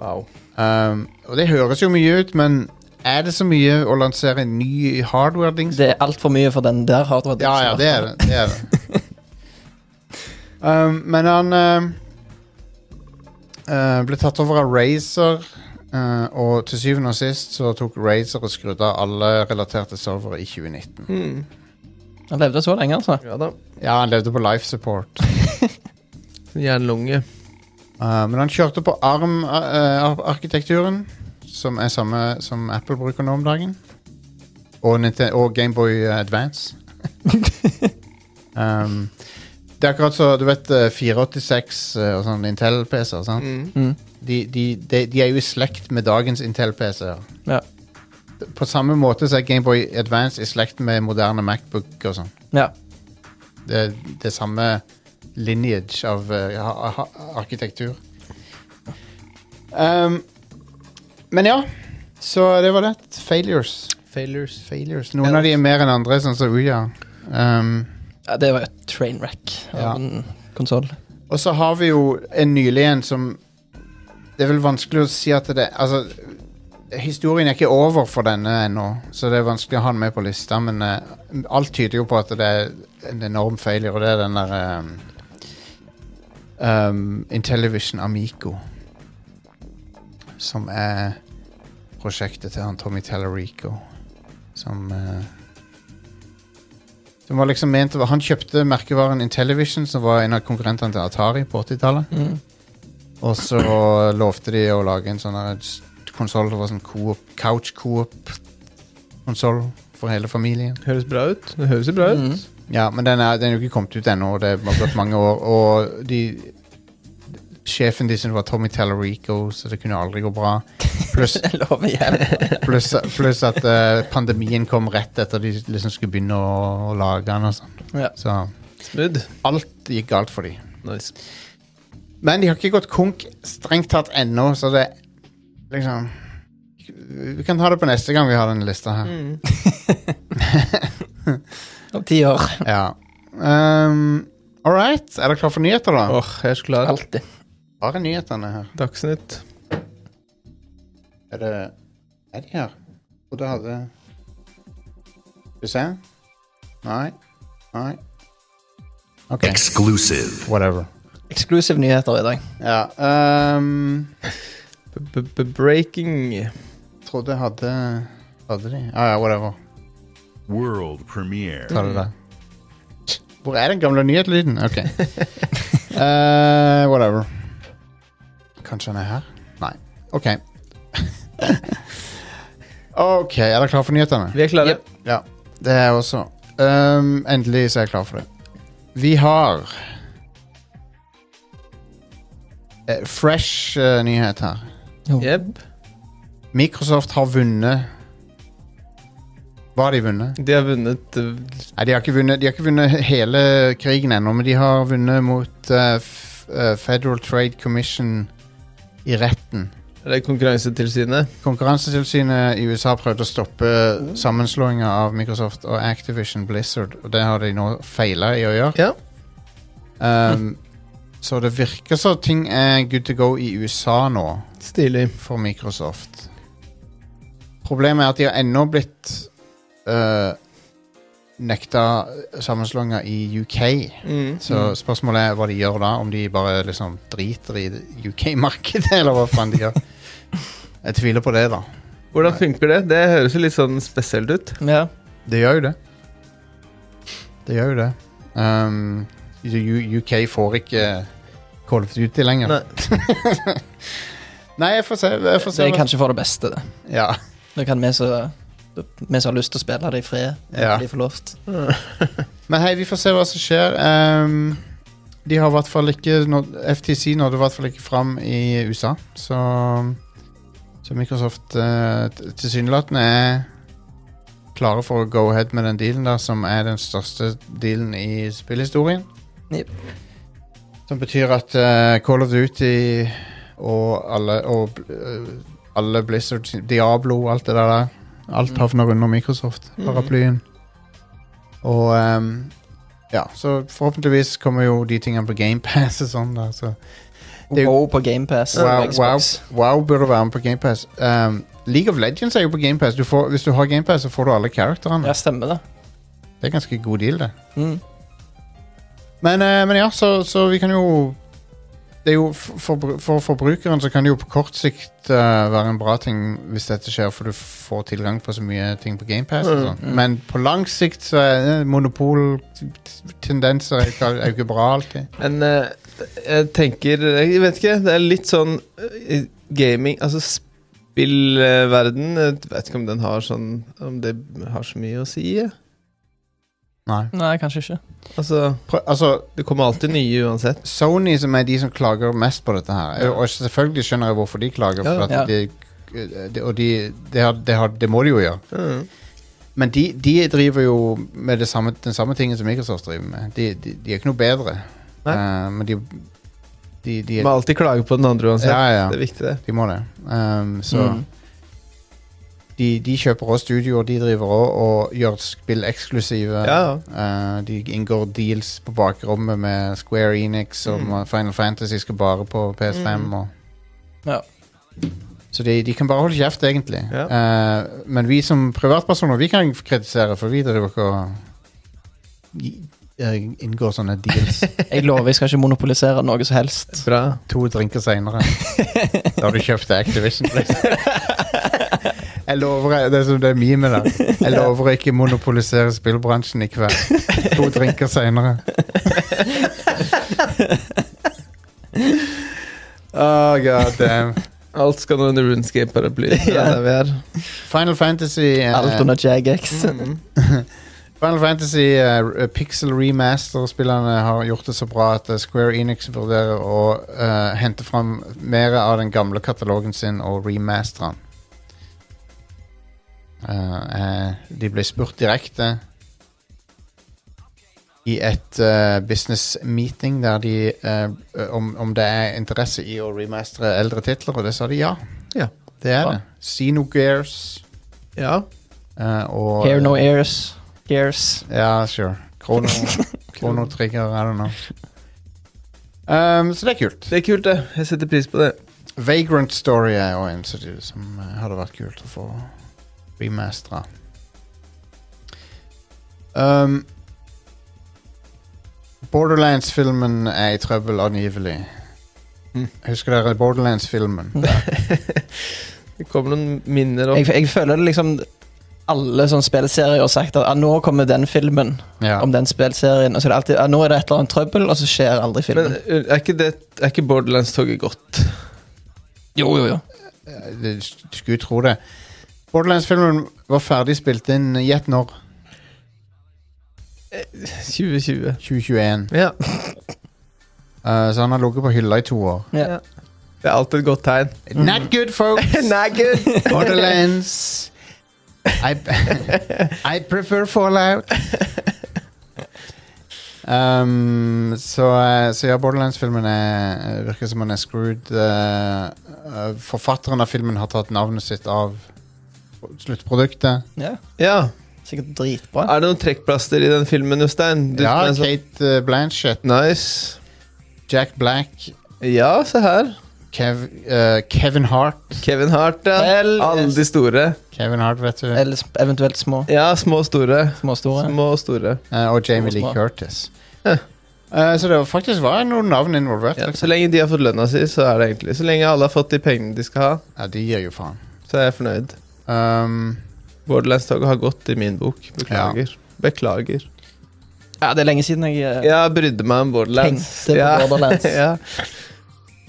Speaker 2: Wow.
Speaker 1: Um, og det høres jo mye ut, men er det så mye å lansere en ny hardware-dings?
Speaker 3: Det er altfor mye for den der hardware.
Speaker 1: Ja, ja, det er det. det, er det. um, men han um, Eh, ble tatt over av Razer, eh, og til syvende og sist så tok Razer og skrudde av alle relaterte servere i 2019.
Speaker 3: Han levde så lenge, altså.
Speaker 2: Hmm. Ja da.
Speaker 1: Ja, han levde på life support.
Speaker 2: Jernlunge.
Speaker 1: Eh, men han kjørte på ARM-arkitekturen, som er samme som Apple bruker nå om dagen. Og, Ninte- og Gameboy Advance. um, det er akkurat så Du vet eh, 486 eh, og sånn Intel-PC-er, sant? De, de, de, de er jo i slekt med dagens Intel-PC-er.
Speaker 3: Ja.
Speaker 1: På samme måte så er Gameboy Advance i slekt med moderne Macbook og sånn.
Speaker 3: ja.
Speaker 1: Det, det er samme lineage av eh, ha- ha- arkitektur. Ehm, men ja, så det var det. Failures.
Speaker 2: Failures.
Speaker 1: Failures. Noen av de er mer enn andre, sånn som Ouya. Ehm,
Speaker 3: ja det var jo et train wreck av
Speaker 1: Ja.
Speaker 3: en konsoll.
Speaker 1: og så har vi jo en nylig en som Det er vel vanskelig å si at det Altså, historien er ikke over for denne ennå, så det er vanskelig å ha den med på lista, men eh, alt tyder jo på at det er en enorm failure, og det er den der eh, um, Intellivision Amico. Som er prosjektet til han Tommy Tellerico. Som eh, Som var liksom ment å være Han kjøpte merkevaren Intellivision, som var en av konkurrentene til Atari på 80-tallet. Og så lovte de å lage en sånn konsoll som var sånn coop, couch coop-konsoll for hele familien.
Speaker 2: Høres bra ut. Det høres jo bra ut.
Speaker 1: Ja, men den er, den er jo ikke kommet ut ennå. og Det har gått mange år. Og de Sjefen de syntes var Tommy Tallarico, så det kunne aldri gå bra. Pluss
Speaker 3: Jeg lover igjen.
Speaker 1: pluss- pluss at eh, pandemien kom rett etter de liksom skulle begynne å, å lage den. og sånn.
Speaker 3: Ja.
Speaker 1: Så
Speaker 2: Smooth.
Speaker 1: alt gikk galt for de.
Speaker 2: Nice.
Speaker 1: Men de har ikke gått konk strengt tatt ennå, så det liksom Vi kan ta det på neste gang vi har denne lista her.
Speaker 3: Om ti år.
Speaker 1: Ja. Um, All right. Er dere klar for nyheter,
Speaker 2: Åh,
Speaker 1: da?
Speaker 2: jeg er så klar.
Speaker 3: Alltid.
Speaker 1: Bare nyhetene her.
Speaker 2: Dagsnytt.
Speaker 1: Er det Er de her? Og det hadde Skal vi se Nei. Nei. OK.
Speaker 4: Exclusive.
Speaker 1: Whatever.
Speaker 3: Exclusive nyheter i dag.
Speaker 1: Ja. ehm,
Speaker 2: B -b -b Breaking.
Speaker 1: trodde jeg hadde Hadde de? Ja, ja, whatever.
Speaker 5: World premiere.
Speaker 1: Ta det der. Hvor er den gamle nyhetslyden? OK. Eh, whatever. Kanskje han er her? Nei. OK. OK, er dere klare for nyhetene?
Speaker 2: Vi er klare.
Speaker 3: Yep.
Speaker 1: Ja, det er jeg også. Ehm, endelig så er jeg klar for det. Vi har eh, Fresh eh, nyhet her.
Speaker 2: Jep.
Speaker 1: Microsoft har vunnet Hva har de vunnet?
Speaker 2: De har vunnet eh,
Speaker 1: Nei, de har ikke vunnet, de har ikke vunnet hele krigen ennå, men de har vunnet mot eh, f eh, Federal Trade Commission i retten.
Speaker 2: Er det Konkurransetilsynet.
Speaker 1: Konkurransetilsynet i USA prøvde å stoppe sammenslåinga av Microsoft og Activision Blizzard, og det har de nå feila i å gjøre.
Speaker 2: Ja.
Speaker 1: Um, så det virker som ting er good to go i USA nå
Speaker 2: Stilig.
Speaker 1: for Microsoft. Problemet er at de har ennå blitt uh, nekta sammenslåinger i UK.
Speaker 2: Mm.
Speaker 1: Så spørsmålet er hva de gjør da. Om de bare liksom driter i UK-markedet, eller hva faen de gjør. Jeg tviler på det, da.
Speaker 2: Hvordan funker det? Det høres jo litt sånn spesielt ut.
Speaker 3: Ja.
Speaker 1: Det gjør jo det. Det gjør jo det. Um, U- UK får ikke Call of Duty lenger.
Speaker 2: Nei.
Speaker 1: Nei, jeg får se. Jeg får
Speaker 3: Det
Speaker 1: se
Speaker 3: er
Speaker 1: hva-
Speaker 3: kanskje for det beste, det.
Speaker 1: ja.
Speaker 3: Da kan vi som vi som har lyst til å spille det i fred,
Speaker 1: Ja.
Speaker 3: bli forlovt.
Speaker 1: Men hei, vi får se hva som skjer. Um, de har i hvert fall ikke nådd, FTC nådde i hvert fall ikke fram i USA, så Så Microsoft eh, t- tilsynelatende er klare for å go ahead med den dealen der, som er den største dealen i spillhistorien.
Speaker 3: Jep.
Speaker 1: Som betyr at eh, Call of Duty og alle, og, eh, alle Blizzard, Diablo, alt det der der Alt havner under Microsoft-paraplyen. Og ehm, ja, så forhåpentligvis kommer jo de tingene på GamePass og sånn. der, så Det er jo-
Speaker 3: Wow på GamePass.
Speaker 1: Wow, wow, wow burde være med på GamePass. Um, League of Legends er jo på GamePass. Hvis du har GamePass, så får du alle karakterene.
Speaker 3: Ja, stemmer det.
Speaker 1: Det er ganske god deal, det.
Speaker 3: Mm.
Speaker 1: Men, eh, men ja, så, så vi kan jo det er jo for, for, for forbrukeren så kan det jo på kort sikt eh, være en bra ting hvis dette skjer, for du får tilgang på så mye ting på GamePass. og sånn. Men på lang sikt så er eh, monopoltendenser er ikke, er jo ikke bra alltid.
Speaker 2: Men eh, jeg tenker Jeg vet ikke. Det er litt sånn eh, gaming Altså spillverden eh, Jeg vet ikke om den har sånn Om det har så mye å si. jeg.
Speaker 1: Nei.
Speaker 3: Nei, kanskje ikke.
Speaker 2: Altså,
Speaker 1: Prø altså,
Speaker 2: det kommer alltid nye uansett.
Speaker 1: Sony, som er de som klager mest på dette her, og selvfølgelig skjønner jeg hvorfor de klager, for
Speaker 2: Ja,
Speaker 1: at
Speaker 3: ja.
Speaker 1: de, eh, de, og de, det har, det har, det må de jo gjøre.
Speaker 2: Mm.
Speaker 1: Men de, de driver jo med det samme, den samme tingen som Microsoft driver med. De, de, de er ikke noe bedre.
Speaker 2: Nei.
Speaker 1: Eh, men de, de, de,
Speaker 2: Må alltid klage på den andre uansett.
Speaker 1: Ja, ja.
Speaker 2: Det er viktig, det.
Speaker 1: de må det. Um, så
Speaker 3: Mm.
Speaker 1: de, de kjøper også studioer, de driver også og gjør spill eksklusive.
Speaker 2: Ja,
Speaker 1: Eh, de inngår deals på bakrommet med Square Enix, og
Speaker 2: Mm.
Speaker 1: med Final Fantasy skal bare på PS5.
Speaker 2: Mm.
Speaker 1: Og
Speaker 3: Ja.
Speaker 1: Så de, de kan bare holde kjeft, egentlig.
Speaker 2: Ja.
Speaker 1: Eh, men vi som privatpersoner Vi kan kritisere, for vi driver ikke og i- eh, inngår sånne deals
Speaker 3: Jeg lover jeg skal ikke monopolisere noe som helst.
Speaker 2: Bra.
Speaker 1: to drinker seinere. Da har du kjøpt deg Activision. Blizzard. Jeg lover deg- Det er som det memet der. Jeg lover å ikke monopolisere spillbransjen i kveld. To drinker seinere. Oh, god damn.
Speaker 2: Alt skal nå under Runescape-paraply. Det er der vi er.
Speaker 1: Final Fantasy eh,
Speaker 3: Alt under Jagex.
Speaker 2: Mm.
Speaker 1: Final Fantasy eh, Pixel Remaster-spillerne har gjort det så bra at eh, Square Enix vurderer å eh, hente fram mer av den gamle katalogen sin og remastere den. Eh, eh, de ble spurt direkte i et eh, business meeting der de eh, om, om det er interesse i å remastere eldre titler, og det sa de ja.
Speaker 2: Ja.
Speaker 1: Det er
Speaker 3: Bra.
Speaker 1: det. Xenogears
Speaker 2: Ja.
Speaker 1: eh, og
Speaker 3: Hair no ears. Gears.
Speaker 1: ja, sure. Krono, kronotrigger, I don't know. Um, så det er kult.
Speaker 2: Det er kult, det. Jeg setter pris på det.
Speaker 1: Vagrant Story er jo en som du- som eh, hadde vært kult å få remastera. Um, Borderlands-filmen er i trøbbel, angivelig.
Speaker 2: Mm.
Speaker 1: Husker dere Borderlands-filmen?
Speaker 2: Det kommer noen minner opp.
Speaker 3: Jeg, jeg føler det liksom alle sånne spillserier har sagt at ah, nå kommer den filmen
Speaker 1: Ja.
Speaker 3: om den spillserien. Og så er det alltid ah, nå er det et eller annet trøbbel, og så skjer
Speaker 2: Men
Speaker 3: aldri filmen.
Speaker 2: uh, er ikke, det, er ikke Borderlands-toget godt?
Speaker 3: jo, jo, jo.
Speaker 1: Du skulle tro det. Borderlands-filmen var ferdig spilt inn gjett når?
Speaker 2: 2020.
Speaker 1: 2021.
Speaker 2: Ja.
Speaker 1: Eh, så han har ligget på hylla i to år.
Speaker 3: Ja.
Speaker 2: Det er alltid et godt tegn.
Speaker 1: Not good, folks. Borderlands. I, I prefer Fallout. Um, så, eh, så ja, Borderlands-filmen er- virker som han er screwed. Eh, eh, forfatteren av filmen har tatt navnet sitt av sluttproduktet.
Speaker 3: ja.
Speaker 2: Ja.
Speaker 3: Sikkert dritbra.
Speaker 2: Er det noen trekkplaster i den filmen, Jostein? Du
Speaker 1: Ja,
Speaker 2: som er
Speaker 1: Kate eh, Blanchett,
Speaker 2: så- Nice.
Speaker 1: Jack Black,
Speaker 2: Ja, se her.
Speaker 1: Kev, eh, Kevin Hart.
Speaker 2: Kevin Hart, ja.
Speaker 3: Vel,
Speaker 2: Alle
Speaker 3: yes.
Speaker 2: de store.
Speaker 1: Kevin Hart, vet du.
Speaker 3: Eller sp- eventuelt små.
Speaker 2: Ja, små og store.
Speaker 3: Små og store.
Speaker 2: Små og store.
Speaker 1: Eh, og Jamie Lee
Speaker 3: Smart.
Speaker 1: Curtis.
Speaker 2: Ja.
Speaker 1: Eh, så det var faktisk var noen navn involvert.
Speaker 2: Ja,
Speaker 1: liksom.
Speaker 2: så lenge de har fått lønna si, så er det egentlig Så lenge alle har fått de pengene de skal ha,
Speaker 1: Ja, de gir jo faen.
Speaker 2: så er jeg fornøyd.
Speaker 1: Um,
Speaker 2: Borderlands-toget har gått i min bok. Beklager. Beklager.
Speaker 3: Ja, det er lenge siden jeg eh,
Speaker 2: Jeg brydde meg om Borderlands.
Speaker 3: Tenkte på
Speaker 2: ja.
Speaker 3: Borderlands.
Speaker 2: ja.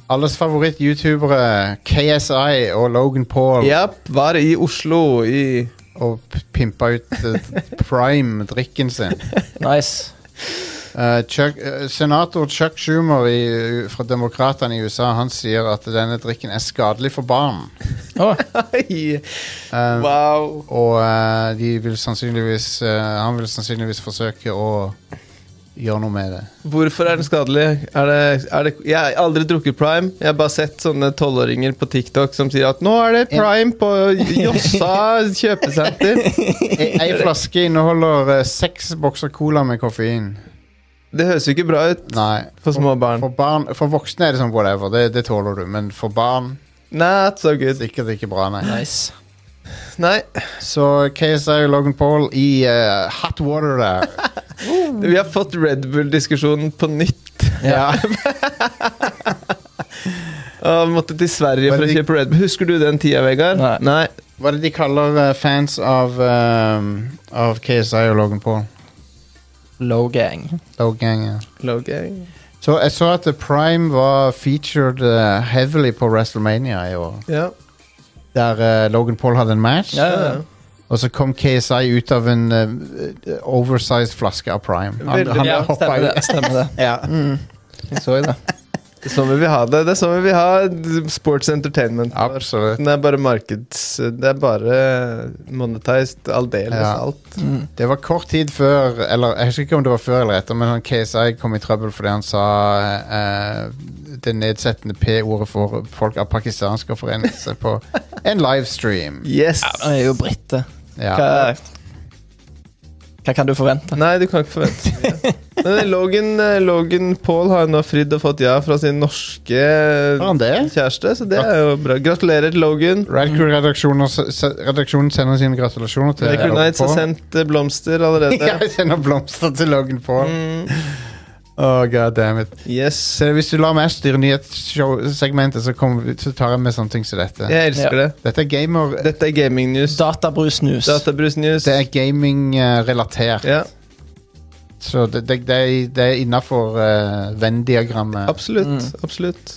Speaker 1: alles favoritt-youtubere, KSI og Logan Paul,
Speaker 2: Japp, var i Oslo i
Speaker 1: og p- pimpa ut eh, prime-drikken sin.
Speaker 3: Nice.
Speaker 1: Eh, Chuck, eh, senator Chuck Schumer i, eh, fra Demokratene i USA Han sier at denne drikken er skadelig for barn.
Speaker 3: Å,
Speaker 2: Oi,
Speaker 1: Eh,
Speaker 2: Wow.
Speaker 1: Og eh, de vil sannsynligvis eh, han vil sannsynligvis forsøke å gjøre noe med det.
Speaker 2: Hvorfor er den skadelig? Er det, er det, jeg har aldri drukket Prime. Jeg har bare sett sånne tolvåringer på TikTok som sier at 'nå er det Prime på Jossa kjøpesenter'.
Speaker 1: Ei, ei E, flaske inneholder eh, seks bokser cola med koffein.
Speaker 2: Det høres jo ikke bra ut
Speaker 1: Nei.
Speaker 2: for små barn.
Speaker 1: For, barn, for voksne er det sånn whatever, det, det tåler du. Men for barn
Speaker 2: Not so good.
Speaker 1: sikkert ikke bra, nei.
Speaker 3: nice.
Speaker 2: Nei.
Speaker 1: Så KSI og Logan Paul i eh, hot water der.
Speaker 2: Vi har fått Red Bull-diskusjonen på nytt.
Speaker 1: ja.
Speaker 2: Og måtte til Sverige
Speaker 1: Men
Speaker 2: for å
Speaker 1: de-
Speaker 2: kjøpe Red Bull. Husker du den tida, Vegard?
Speaker 3: Nei.
Speaker 1: Hva er det de kaller eh, fans av, eh, av KSI og Logan Paul?
Speaker 3: Low gang.
Speaker 1: Logan, ja.
Speaker 2: Low gang.
Speaker 1: Så jeg så at eh, Prime var featured eh, heavily på WrestleMania i år.
Speaker 2: Ja.
Speaker 1: Der eh, Logan Paul hadde en match,
Speaker 3: Ja, ja, ja.
Speaker 1: og så kom KSI ut av en eh, oversized flaske av Prime. Han,
Speaker 2: Veldig
Speaker 1: han
Speaker 2: bra.
Speaker 1: hoppa
Speaker 3: Stemmer
Speaker 1: ut.
Speaker 3: det. Stemmer det.
Speaker 1: Ja.
Speaker 3: Mm. Jeg så jo det.
Speaker 2: Det er sånn vi vil ha det. Det er sånn vi vil ha sports entertainment.
Speaker 1: Absolutt.
Speaker 2: Det er bare markeds... Det er bare monetized aldeles
Speaker 1: Ja.
Speaker 2: alt.
Speaker 3: Mm.
Speaker 1: Det var kort tid før, eller jeg husker ikke om det var før eller etter, men han KSI kom i trøbbel fordi han sa eh, det nedsettende P-ordet for folk av pakistansk opprinnelse på en livestream.
Speaker 2: Yes!
Speaker 3: Ja, Han er jo brite. Hva,
Speaker 1: Ja.
Speaker 3: hva kan du forvente?
Speaker 2: Nei, du kan ikke forvente så mye. Men eh, Logan, Logan Paul har jo nå fridd og fått ja fra sin norske
Speaker 1: Var han det?
Speaker 2: kjæreste, så det er jo bra. Gratulerer til Logan.
Speaker 1: Radcool-redaksjonen sender sine gratulasjoner til
Speaker 2: Nicker
Speaker 1: Logan
Speaker 2: Knights har
Speaker 1: Paul.
Speaker 2: sendt eh, blomster allerede.
Speaker 1: Ja, jeg sender blomster til Logan Paul.
Speaker 2: Mm,
Speaker 1: Oh, God damn it.
Speaker 2: yes.
Speaker 1: Så hvis du lar meg styre nyhetssegmentet, så, kommer vi- så tar jeg med sånne ting som dette.
Speaker 2: Jeg elsker det.
Speaker 1: Dette er gamer...
Speaker 2: Dette er gaming news.
Speaker 3: Databrus snus.
Speaker 2: Databrus news.
Speaker 1: Det er eh, gaming-relatert.
Speaker 2: Ja,
Speaker 1: Så det, det, det, er- det er innafor eh, Venn-diagrammet.
Speaker 2: absolutt.
Speaker 1: Mm.
Speaker 2: Absolutt.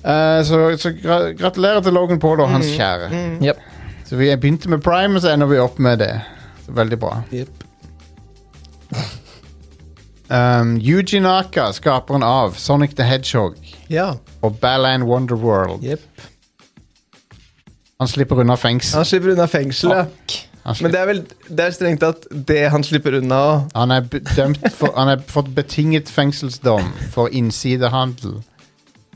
Speaker 1: Eh, så så gra gratulerer til Logan Paul og hans kjære.
Speaker 3: Jep.
Speaker 1: Så Vi begynte med Prime, og så ender vi opp med det. Så Veldig bra. Um, Yuji Naka, skaperen av Sonic the Hedgehog
Speaker 2: Ja.
Speaker 1: og Balland Wonderworld.
Speaker 2: Jepp.
Speaker 1: Han slipper unna fengsel.
Speaker 2: Han slipper unna fengselet.
Speaker 1: Han,
Speaker 2: Men
Speaker 1: slipper,
Speaker 2: det er vel det er strengt tatt det han slipper unna òg.
Speaker 1: han er be- dømt for Han har fått betinget fengselsdom for innsidehandel.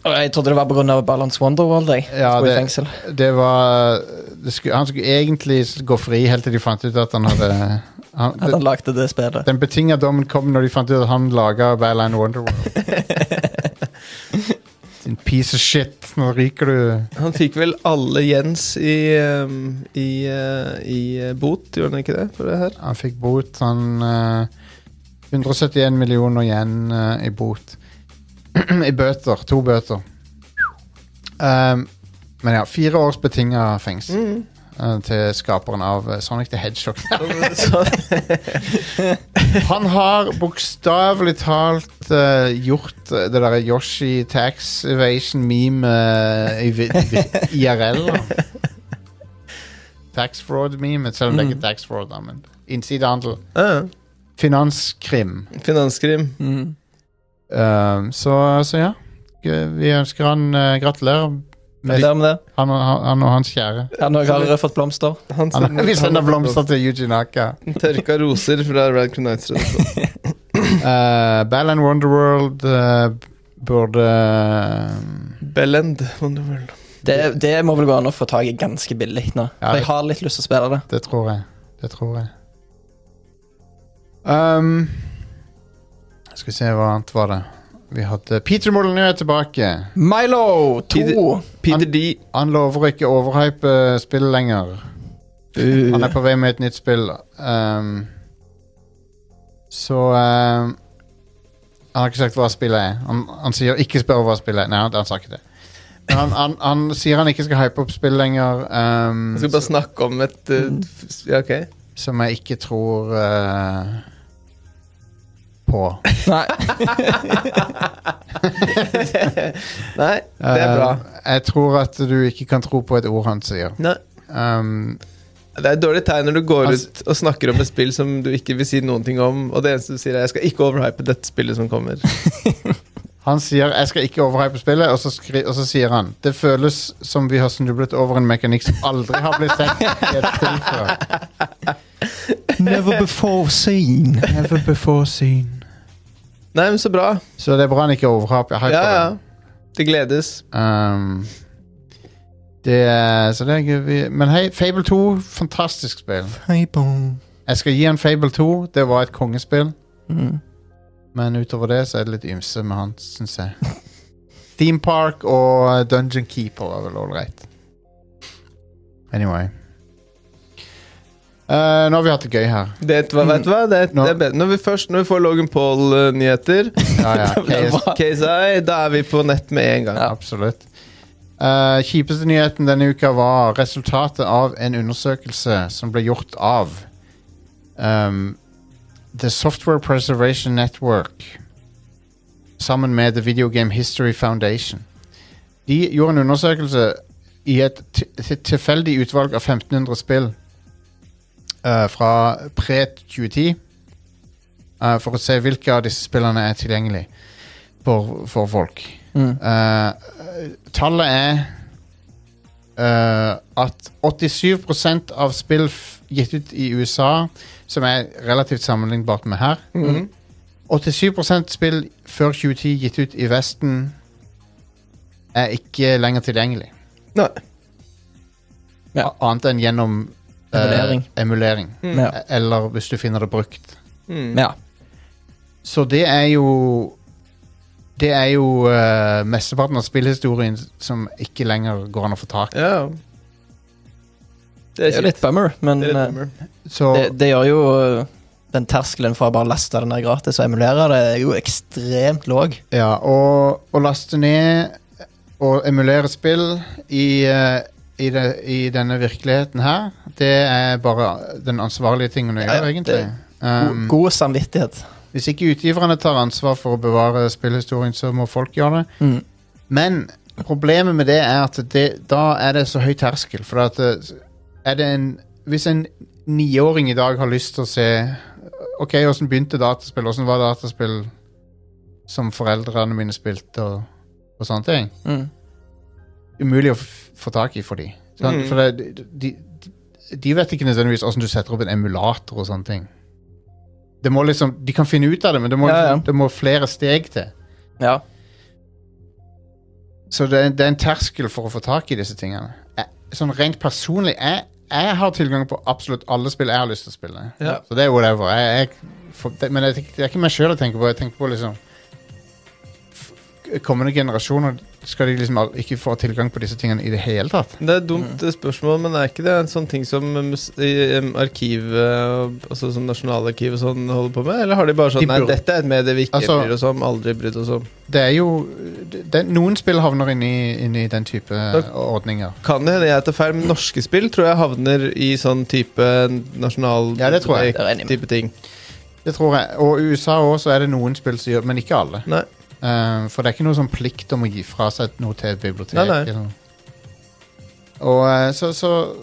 Speaker 3: Å, Jeg trodde det var pga. Balance Wonderworld. Jeg.
Speaker 1: Ja,
Speaker 3: Skulle i
Speaker 1: det-
Speaker 3: fengsel.
Speaker 1: Det var det skulle, Han skulle egentlig gå fri helt til de fant ut at han hadde han,
Speaker 3: At han lagde det spillet.
Speaker 1: Den betinga dommen kom når de fant ut at han laga Batland Wonderworld. Din piece of shit. Nå ryker du.
Speaker 2: Han fikk vel alle Jens i, um, i, uh, i uh, bot, gjorde han ikke det? For det her?
Speaker 1: Han fikk bot. Han eh, 171 millioner igjen eh, i bot. I bøter. To bøter. Um, men ja, fire års betinga fengsel eh, til skaperen av eh, Sonic the Hedgehog.
Speaker 2: Så,
Speaker 1: Han har bokstavelig talt eh, gjort eh, det derre Yoshi Tax Evasion-meme eh, i vi- vi- IRL. da. Tax fraud-meme, selv om det ikke er tax fraud. da, men Innsidehandel.
Speaker 2: ja.
Speaker 1: Finanskrim.
Speaker 2: ah, finanskrim.
Speaker 3: Mm.
Speaker 1: Um, så, så ja. G- Vi ønsker han eh, gratulerer, Men-
Speaker 3: Der med det.
Speaker 1: han og, han og hans kjære.
Speaker 3: Han også har fått blomster.
Speaker 2: Han
Speaker 1: Han, vi sender Mm. blomster til Yuji Naka.
Speaker 2: Tørka roser fra Radcrow Nights.
Speaker 1: Uh, Ball and Wonderworld eh, burde eh,
Speaker 2: Bellend. Wonderworld.
Speaker 3: Det, det må vel gå an å få tak i ganske billig nå.
Speaker 1: Ja,
Speaker 3: For jeg har litt lyst til å spille det.
Speaker 1: Det tror jeg. Det tror jeg. Um, skal vi se hva annet var det Vi hadde Peter Molyneux er tilbake.
Speaker 3: Milo 2!
Speaker 2: Peter D.
Speaker 1: Han lover ikke å overhype spillet lenger. Han er på vei med et nytt spill. Um, så um, Han har ikke sagt hva spillet er. Han, han sier 'ikke spør hva spillet er'. Nei, han, han sa ikke det. Men han, han, han sier han ikke skal hype opp spill lenger. Um,
Speaker 2: Jeg skal bare snakke om et uh,
Speaker 1: Mm.
Speaker 2: f- Ja, ok.
Speaker 1: som jeg ikke tror eh, på.
Speaker 3: Nei,
Speaker 2: Nei, det er bra.
Speaker 1: Eh, jeg tror at du ikke kan tro på et ord han sier.
Speaker 2: Nei.
Speaker 1: Um,
Speaker 2: Det er et dårlig tegn når du går
Speaker 1: Altså-
Speaker 2: ut og snakker om et spill som du ikke vil si noen ting om, og det eneste du sier, er 'jeg skal ikke overhype dette spillet som kommer'.
Speaker 1: han sier 'jeg skal ikke overhype spillet', og så, skri og så sier han 'det føles som vi har snublet over en mekanikk som aldri har blitt sett i et spill før'.
Speaker 3: Never before seen.
Speaker 1: Never before seen.
Speaker 2: Nei, men så bra.
Speaker 1: Så det er bra han ikke overhyper hyper
Speaker 2: Ja, ja.
Speaker 1: det.
Speaker 2: Det gledes.
Speaker 1: Um, det er, så det er gøy. vi- Men hei, Fable 2, fantastisk spill. Jeg skal gi han Fable 2. Det var et kongespill.
Speaker 3: Mm.
Speaker 1: Men utover det så er det litt ymse med han, syns jeg. Theme Park og eh, Dungeon Keeper er vel ålreit. Anyway. Eh, nå har vi hatt det gøy her.
Speaker 2: Det, hva- vet du hva? Det,
Speaker 1: Nå-
Speaker 2: det er bedre. Når vi først når vi får Logan eh, Paul-nyheter,
Speaker 1: Ja, ja, KS,
Speaker 2: KSI, da er vi på nett med en gang.
Speaker 3: Ja.
Speaker 1: absolutt. Eh, kjipeste nyheten denne uka var resultatet av en undersøkelse som ble gjort av ehm, The Software Preservation Network sammen med The Video Game History Foundation. De gjorde en undersøkelse i et ti- ti- tilfeldig utvalg av 1500 spill eh, fra pre-2010 eh, for å se hvilke av disse spillene er tilgjengelig for, for folk.
Speaker 3: Mm.
Speaker 1: Eh, tallet er eh, at 87 av spill f gitt ut i USA, som er relativt sammenlignbart med her,
Speaker 2: Mhm.
Speaker 1: 87 spill før 2010 gitt ut i Vesten er ikke lenger tilgjengelig.
Speaker 2: Nei.
Speaker 3: Ja.
Speaker 1: A- Annet enn gjennom eh,
Speaker 3: Emulering.
Speaker 1: emulering. E-,
Speaker 2: Mm.
Speaker 3: Ja.
Speaker 1: Eller hvis du finner det brukt.
Speaker 2: Mm.
Speaker 3: Ja.
Speaker 1: Så det er jo Det er jo eh, mesteparten av spillhistorien som ikke lenger går an å få tak i.
Speaker 2: ja. Det
Speaker 3: Det er
Speaker 2: er
Speaker 3: jo
Speaker 2: kjipt.
Speaker 3: litt bummer, men
Speaker 2: Det er litt
Speaker 3: eh,
Speaker 2: bummer.
Speaker 1: Så
Speaker 3: det, det gjør jo eh, den terskelen for å bare laste den der gratis og emulere det, er jo ekstremt låg.
Speaker 1: Ja, og å laste ned og emulere spill i, eh, i, det, i denne virkeligheten her, det er bare den ansvarlige tingen å
Speaker 3: Ja, ja,
Speaker 1: gjøre, egentlig.
Speaker 3: det-
Speaker 1: Um,
Speaker 3: God samvittighet.
Speaker 1: hvis ikke utgiverne tar ansvar for å bevare spillhistorien, så må folk gjøre det.
Speaker 3: Mm.
Speaker 1: Men problemet med det er at det, da er det så høy terskel. For at eh, er det en Hvis en niåring i dag har lyst til å se OK, åssen begynte dataspill? Åssen var dataspill som foreldrene mine spilte, og, og sånne ting?
Speaker 3: Mm.
Speaker 1: Umulig å f få tak i for de. Sånn,
Speaker 2: Mm.
Speaker 1: For det, de, de, de vet ikke nødvendigvis åssen du setter opp en emulator og sånne ting. Det må liksom, De kan finne ut av det, men det må,
Speaker 3: Ja, ja.
Speaker 1: Det må flere steg til.
Speaker 3: Ja.
Speaker 1: Så det er, det er en terskel for å få tak i disse tingene. Jeg, sånn rent personlig, jeg, jeg har tilgang på absolutt alle spill jeg har lyst til å spille.
Speaker 2: Ja.
Speaker 1: Så det er whatever. Jeg, jeg, for, det, men jeg, tenker- det er ikke meg sjøl jeg tenker på. Jeg tenker på liksom f- Kommende generasjoner skal de liksom al- ikke få tilgang på disse tingene i det hele tatt.
Speaker 2: Det er et dumt eh, spørsmål, men er ikke det en sånn ting som mus i, em, arkivet, altså som Nasjonalarkivet og sånn holder på med? Eller har de bare sånn
Speaker 1: De
Speaker 2: Nei,
Speaker 1: burde-
Speaker 2: dette er et medie vi ikke
Speaker 1: Altså-
Speaker 2: bryr oss om, aldri sånn. brydd oss om.
Speaker 1: Det er jo det, det- Noen spill havner inni, inni den type
Speaker 2: Da-
Speaker 1: ordninger.
Speaker 2: Kan det hende jeg tar feil, men norske spill tror jeg havner i sånn type nasjonal
Speaker 1: Ja, det tror jeg.
Speaker 3: Det regner jeg med.
Speaker 2: type ting.
Speaker 1: Det tror jeg. Og i USA òg så er det noen spill som gjør Men ikke alle.
Speaker 2: Nei.
Speaker 1: Eh, for det er ikke noe sånn plikt om å gi fra seg noe til et bibliotek.
Speaker 2: Nei, nei.
Speaker 1: eller noe. Og eh, så, så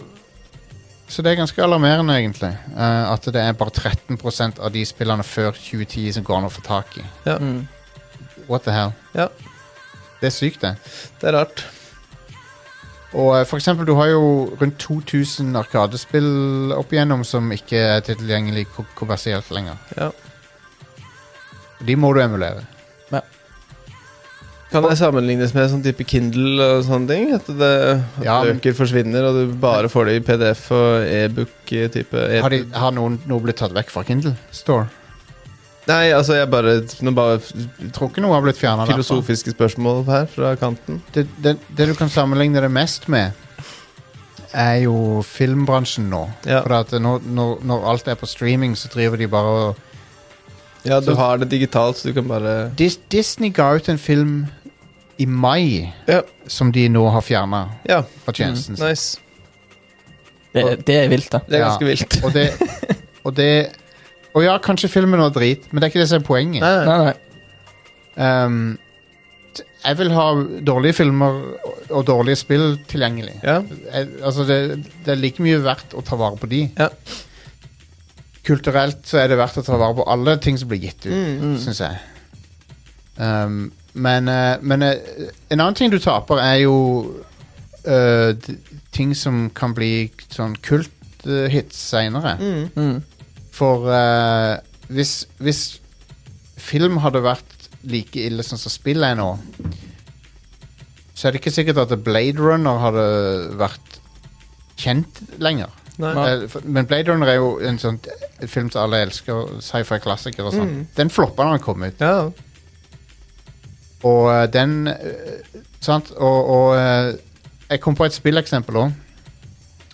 Speaker 1: Så det er ganske alarmerende, egentlig. eh, at det er bare 13 av de spillene før 2010 som går an å få tak i.
Speaker 3: Mm.
Speaker 1: What the hell?
Speaker 2: Ja.
Speaker 1: Det er sykt, det.
Speaker 2: Det er rart.
Speaker 1: Og eh, for eksempel, du har jo rundt 2000 arkadespill opp igjennom som ikke er tilgjengelig ko- kommersielt lenger.
Speaker 2: Ja.
Speaker 1: De må du emulere.
Speaker 2: Kan det sammenlignes med sånn type Kindle og sånne ting? At det at
Speaker 1: Ja, men-
Speaker 2: bøker forsvinner, og du bare får det i PDF og e-book-type? E
Speaker 1: Har, de, har noen noe blitt tatt vekk fra Kindle Store?
Speaker 2: Nei, altså, jeg bare Nå bare f-
Speaker 1: Jeg tror ikke noe har blitt fjerna derfra.
Speaker 2: filosofiske spørsmål her fra kanten.
Speaker 1: det, det, det du kan sammenligne det mest med, er jo filmbransjen nå.
Speaker 2: Ja.
Speaker 1: For at når, når, når alt er på streaming, så driver de bare og
Speaker 2: Ja, du
Speaker 1: Så-
Speaker 2: har det digitalt, så du kan bare
Speaker 1: Dis, Disney ga ut en film i mai
Speaker 2: Ja.
Speaker 1: som de nå har fjerna
Speaker 2: Ja, Mm,
Speaker 1: fra tjenesten sin.
Speaker 2: nice.
Speaker 3: Det, det er vilt, da.
Speaker 2: Det er
Speaker 1: Ja.
Speaker 2: ganske vilt.
Speaker 1: Og det Og det Og ja, kanskje filmen var drit, men det er ikke det som er poenget.
Speaker 2: Nei, nei.
Speaker 3: Nei, nei.
Speaker 1: Ehm, t- jeg vil ha dårlige filmer og, og dårlige spill tilgjengelig.
Speaker 2: Ja.
Speaker 1: jeg, altså det, det er like mye verdt å ta vare på de.
Speaker 2: Ja.
Speaker 1: Kulturelt så er det verdt å ta vare på alle ting som blir gitt ut,
Speaker 2: Mm.
Speaker 1: syns jeg. Um, men eh, men eh, en annen ting du taper, er jo eh, d- ting som kan bli sånn kulthits seinere.
Speaker 2: Mm.
Speaker 3: Mm.
Speaker 1: For eh, hvis, hvis film hadde vært like ille sånn som spill er nå, så er det ikke sikkert at Blade Runner hadde vært kjent lenger.
Speaker 2: Nei.
Speaker 3: Ja.
Speaker 1: Eh, for- Men Blade Runner er jo en sånn eh, film som alle elsker, sci-fi-klassiker og sånn.
Speaker 2: Mm.
Speaker 1: Den floppa når den kom ut.
Speaker 2: Ja.
Speaker 1: Og eh, den eh, Sant? Og, og eh, eh, jeg kom på et spilleksempel òg,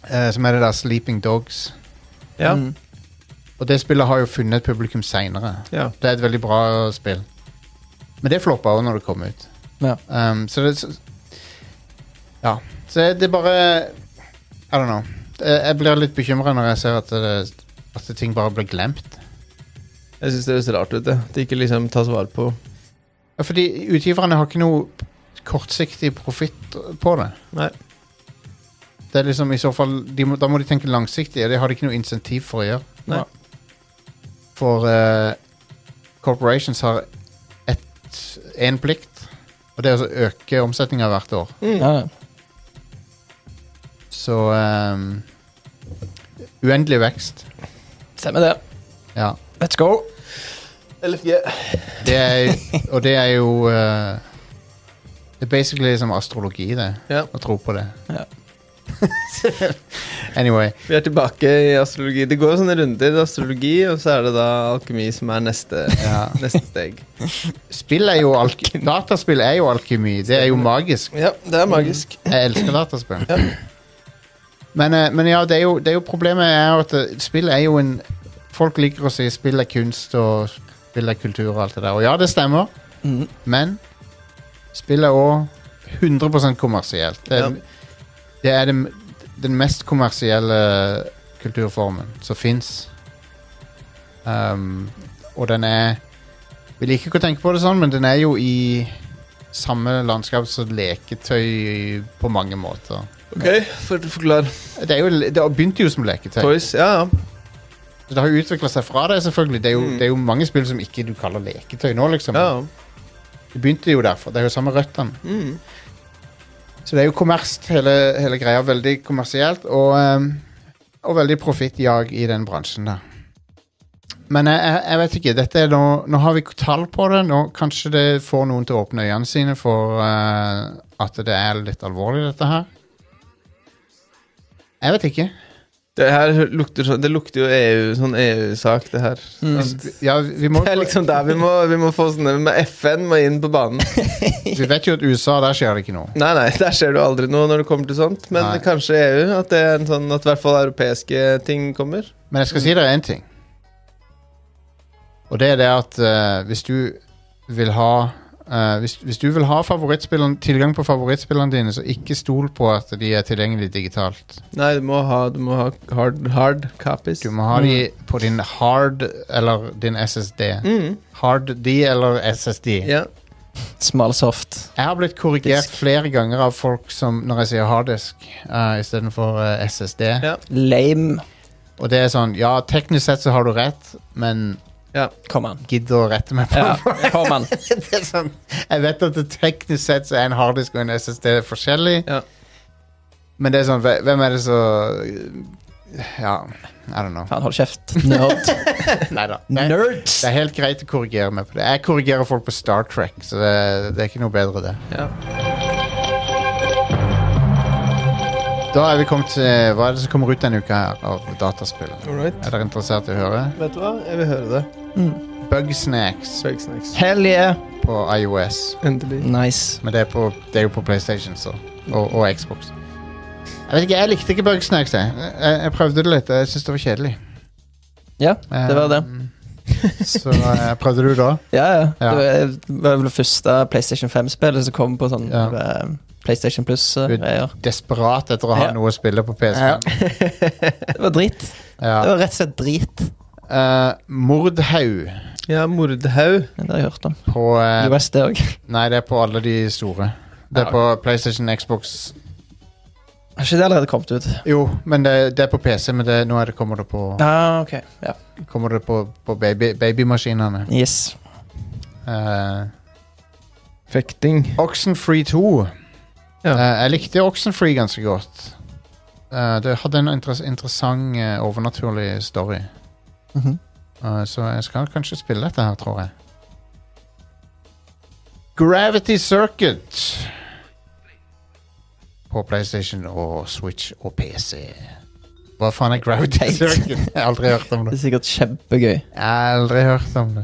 Speaker 1: som er det der Sleeping Dogs.
Speaker 2: Ja.
Speaker 3: Mm.
Speaker 1: Og det spillet har jo funnet et publikum seinere.
Speaker 2: ja.
Speaker 1: Det er et veldig bra spill. Men det floppa òg når det kom ut.
Speaker 3: Ja.
Speaker 1: Um, så det så- Ja. Så det er bare I don't know. Eh, Jeg jeg blir litt bekymra når jeg ser at, det, at ting bare blir glemt.
Speaker 2: Jeg syns det høres rart ut, det. At det ikke liksom tas vare på.
Speaker 1: Ja, Fordi utgiverne har ikke noe kortsiktig profitt på det.
Speaker 2: Nei.
Speaker 1: Det er liksom i så fall de må, Da må de tenke langsiktig, og det har de ikke noe insentiv for å gjøre.
Speaker 2: Nei.
Speaker 1: For eh, corporations har én plikt, og det er å øke omsetninga hvert år.
Speaker 3: Ja, ja.
Speaker 1: Så ehm, Uendelig vekst.
Speaker 3: Stemmer det.
Speaker 1: Ja.
Speaker 3: Let's go.
Speaker 2: LFG.
Speaker 1: Det er, og det er jo eh, Det er basically som astrologi, det.
Speaker 2: Ja.
Speaker 1: Å tro på det.
Speaker 3: Ja.
Speaker 1: anyway.
Speaker 2: Vi er tilbake i astrologi. Det går sånne runder. Astrologi, og så er det da alkemi som er neste,
Speaker 1: Ja.
Speaker 2: neste steg.
Speaker 1: Spill er jo alk dataspill er jo alkemi. Det er jo magisk.
Speaker 2: Ja, det er magisk.
Speaker 1: Jeg elsker dataspill. Men, eh, men ja, det er, jo, det er jo problemet er jo at eh, spill er jo en Folk liker å si spill er kunst og spill er kultur og alt det der. Og ja, det stemmer,
Speaker 3: Mm.
Speaker 1: men spill er òg 100 kommersielt. Det, er-
Speaker 2: Ja.
Speaker 1: det er den, den mest kommersielle kulturformen som fins. Um, og den er Vi liker ikke å tenke på det sånn, men den er jo i samme landskap som leketøy på mange måter.
Speaker 2: Mm. Ok, for, forklar.
Speaker 1: Det, er jo, det begynte jo som leketøy.
Speaker 2: Toys, ja, ja.
Speaker 1: Det har jo utvikla seg fra det, selvfølgelig. Det er, jo,
Speaker 2: Mm.
Speaker 1: det er jo mange spill som ikke du kaller leketøy nå, liksom.
Speaker 2: ja.
Speaker 1: Det begynte jo derfor. Det er jo samme røttene.
Speaker 2: Mm.
Speaker 1: Så det er jo kommersielt, hele, hele greia. Veldig kommersielt. Og, ehm, og veldig profittjag i den bransjen der. Men jeg, jeg, jeg vet ikke. Dette er nå, nå har vi tall på det. Nå Kanskje det får noen til å åpne øynene sine for eh, at det er litt alvorlig, dette her. Jeg vet ikke.
Speaker 2: Det her lukter, så, det lukter jo EU, sånn EU-sak, det her.
Speaker 1: Mm. Ja, vi, må,
Speaker 2: Mm. Det er liksom der vi må, vi må få sånne med FN må inn på banen.
Speaker 1: vi vet jo at USA, der skjer det ikke noe.
Speaker 2: Nei, nei, der skjer det jo aldri noe når det kommer til sånt. Men
Speaker 1: Nei.
Speaker 2: kanskje EU. At det er en sånn, at i hvert fall europeiske ting kommer.
Speaker 1: Men jeg skal si deg én ting. Og det er det at eh, hvis du vil ha eh, hvis, hvis du vil ha favorittspillene- tilgang på favorittspillene dine, så ikke stol på at de er tilgjengelige digitalt.
Speaker 2: Nei, du må ha, du må ha hard, hard copies.
Speaker 1: Du må ha de på din hard eller din SSD.
Speaker 2: Mm.
Speaker 1: Hard D eller SSD.
Speaker 2: Ja.
Speaker 3: Smal soft.
Speaker 1: Jeg har blitt korrigert
Speaker 3: Disk.
Speaker 1: flere ganger av folk som, når jeg sier harddisk uh, istedenfor uh, SSD.
Speaker 2: Ja.
Speaker 3: Lame.
Speaker 1: Og det er sånn Ja, teknisk sett så har du rett, men
Speaker 3: Kom an.
Speaker 1: gidd å rette meg på
Speaker 3: Ja, kom an.
Speaker 1: det er sånn, jeg vet at det teknisk sett så er en harddisk og en SSD forskjellig.
Speaker 2: Ja.
Speaker 1: Men det er sånn, hve- hvem er det som Ja, I don't know.
Speaker 3: Faen, hold kjeft. Nerd.
Speaker 1: Neida. Det,
Speaker 3: Nerd.
Speaker 1: det er helt greit å korrigere meg på det. Jeg korrigerer folk på Star Trek, så det, det er ikke noe bedre, det.
Speaker 2: ja.
Speaker 1: Da er vi kommet til Hva er det som kommer ut denne uka her av dataspill?
Speaker 2: Alright.
Speaker 1: Er dere interessert i å høre?
Speaker 2: Vet du hva? Jeg vil høre det.
Speaker 1: Bugsnacks
Speaker 2: Swag snacks.
Speaker 3: Mm. Hell yeah.
Speaker 1: på IOS.
Speaker 2: Endelig.
Speaker 3: Nice.
Speaker 1: Men det er, på, det er jo på PlayStation så. Og, og Xbox. Jeg vet ikke, jeg likte ikke Bugsnacks. Jeg. Jeg, jeg prøvde det litt, og jeg syntes det var kjedelig. Ehm,
Speaker 3: Ja, det var det.
Speaker 1: så eh, prøvde du da?
Speaker 3: Ja, ja.
Speaker 1: Ja.
Speaker 3: Det var- var vel det første PlayStation 5-spillet som kom på sånn
Speaker 1: Ja.
Speaker 3: eh, PlayStation eh, Plus-greier.
Speaker 1: Desperat etter å ha
Speaker 3: Ja.
Speaker 1: noe å spille på PS5.
Speaker 3: Det var drit.
Speaker 1: Ja.
Speaker 3: Det var rett og slett drit.
Speaker 1: Eh, Mordhaug
Speaker 2: Ja, mordhaug.
Speaker 3: Det har jeg hørt om.
Speaker 1: på eh,
Speaker 3: US, det òg.
Speaker 1: Nei, det er på alle de store. Det er
Speaker 3: Ja,
Speaker 1: på PlayStation, Xbox
Speaker 3: Har ikke det allerede kommet ut?
Speaker 1: Jo, men det, det er på PC, men det, nå er det, kommer det på,
Speaker 3: Ah, ok. Ja.
Speaker 1: kommer det på, på baby, babymaskinene.
Speaker 3: Yes.
Speaker 1: Eh,
Speaker 2: Fekting.
Speaker 1: Oxenfree 2.
Speaker 2: Ja.
Speaker 1: Eh, jeg likte Oxenfree ganske godt. Eh, det hadde en interes- interessant eh, overnaturlig story.
Speaker 3: Mhm.
Speaker 1: Eh, så jeg skal kanskje spille dette her, tror jeg. Gravity Circuit. På PlayStation og Switch og PC. Hva faen er Gravity
Speaker 3: Teit.
Speaker 1: Circuit? Jeg har aldri hørt om det.
Speaker 3: Det er sikkert kjempegøy.
Speaker 1: Jeg har aldri hørt om det.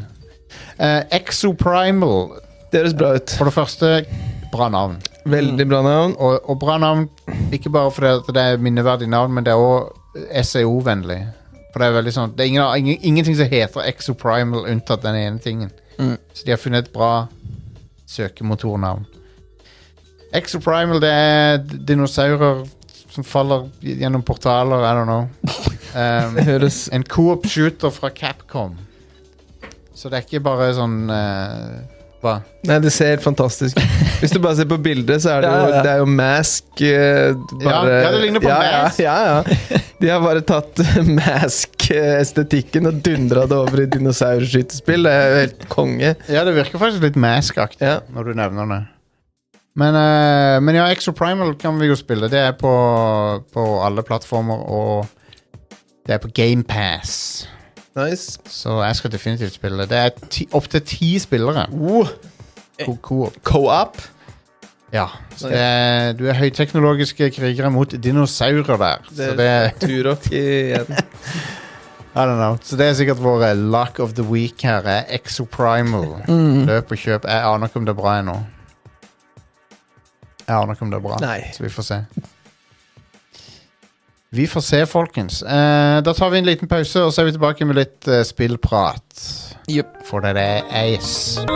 Speaker 1: Eh, Exoprimal.
Speaker 2: Det høres bra ut.
Speaker 1: For det første, bra navn.
Speaker 2: Veldig bra navn.
Speaker 1: og, og bra navn, ikke bare fordi at det er minneverdig navn, men det er òg SEO-vennlig. E For det er veldig sånn Det er ingen, ingen, ingenting som heter Exoprimal unntatt den ene tingen.
Speaker 3: Mm.
Speaker 1: Så de har funnet et bra søkemotornavn. Exoprimal, det er d- dinosaurer som faller gjennom portaler, I don't know. Um,
Speaker 2: Det høres
Speaker 1: en coop shooter fra Capcom. Så det er ikke bare sånn eh, Hva?
Speaker 2: Nei, det ser helt fantastisk ut. Hvis du bare ser på bildet, så er det jo,
Speaker 3: Ja, ja, ja.
Speaker 2: Det er jo mask eh, bare,
Speaker 1: ja, det ligner på
Speaker 2: ja,
Speaker 1: Mask.
Speaker 2: Ja, ja, ja. De har bare tatt eh, mask-estetikken og dundra det over i dinosaurskytespill. Det er jo helt konge.
Speaker 1: Ja, det virker faktisk litt mask-aktig
Speaker 2: Ja.
Speaker 1: når du nevner det. Men, eh, men ja, Exoprimal kan vi jo spille. Det er på, på alle plattformer, og det er på GamePass.
Speaker 2: Nice.
Speaker 1: Så jeg skal definitivt spille. Det er ti, opptil ti spillere.
Speaker 2: Oh,
Speaker 1: Co- Co-op.
Speaker 2: Co-op.
Speaker 1: Ja. Så det er, du er høyteknologiske krigere mot dinosaurer der. Så
Speaker 2: Det
Speaker 1: det,
Speaker 2: er Turok igjen.
Speaker 1: I don't know. Så det er sikkert vår eh, lock of the week her. er Exoprimal. Løp og kjøp. Jeg aner ikke om det er bra ennå. Jeg aner ikke om det er bra.
Speaker 2: Nei.
Speaker 1: Så vi får se. Vi får se, folkens. Eh, da tar vi en liten pause, og så er vi tilbake med litt eh, spillprat.
Speaker 3: Jupp.
Speaker 1: For det er ace.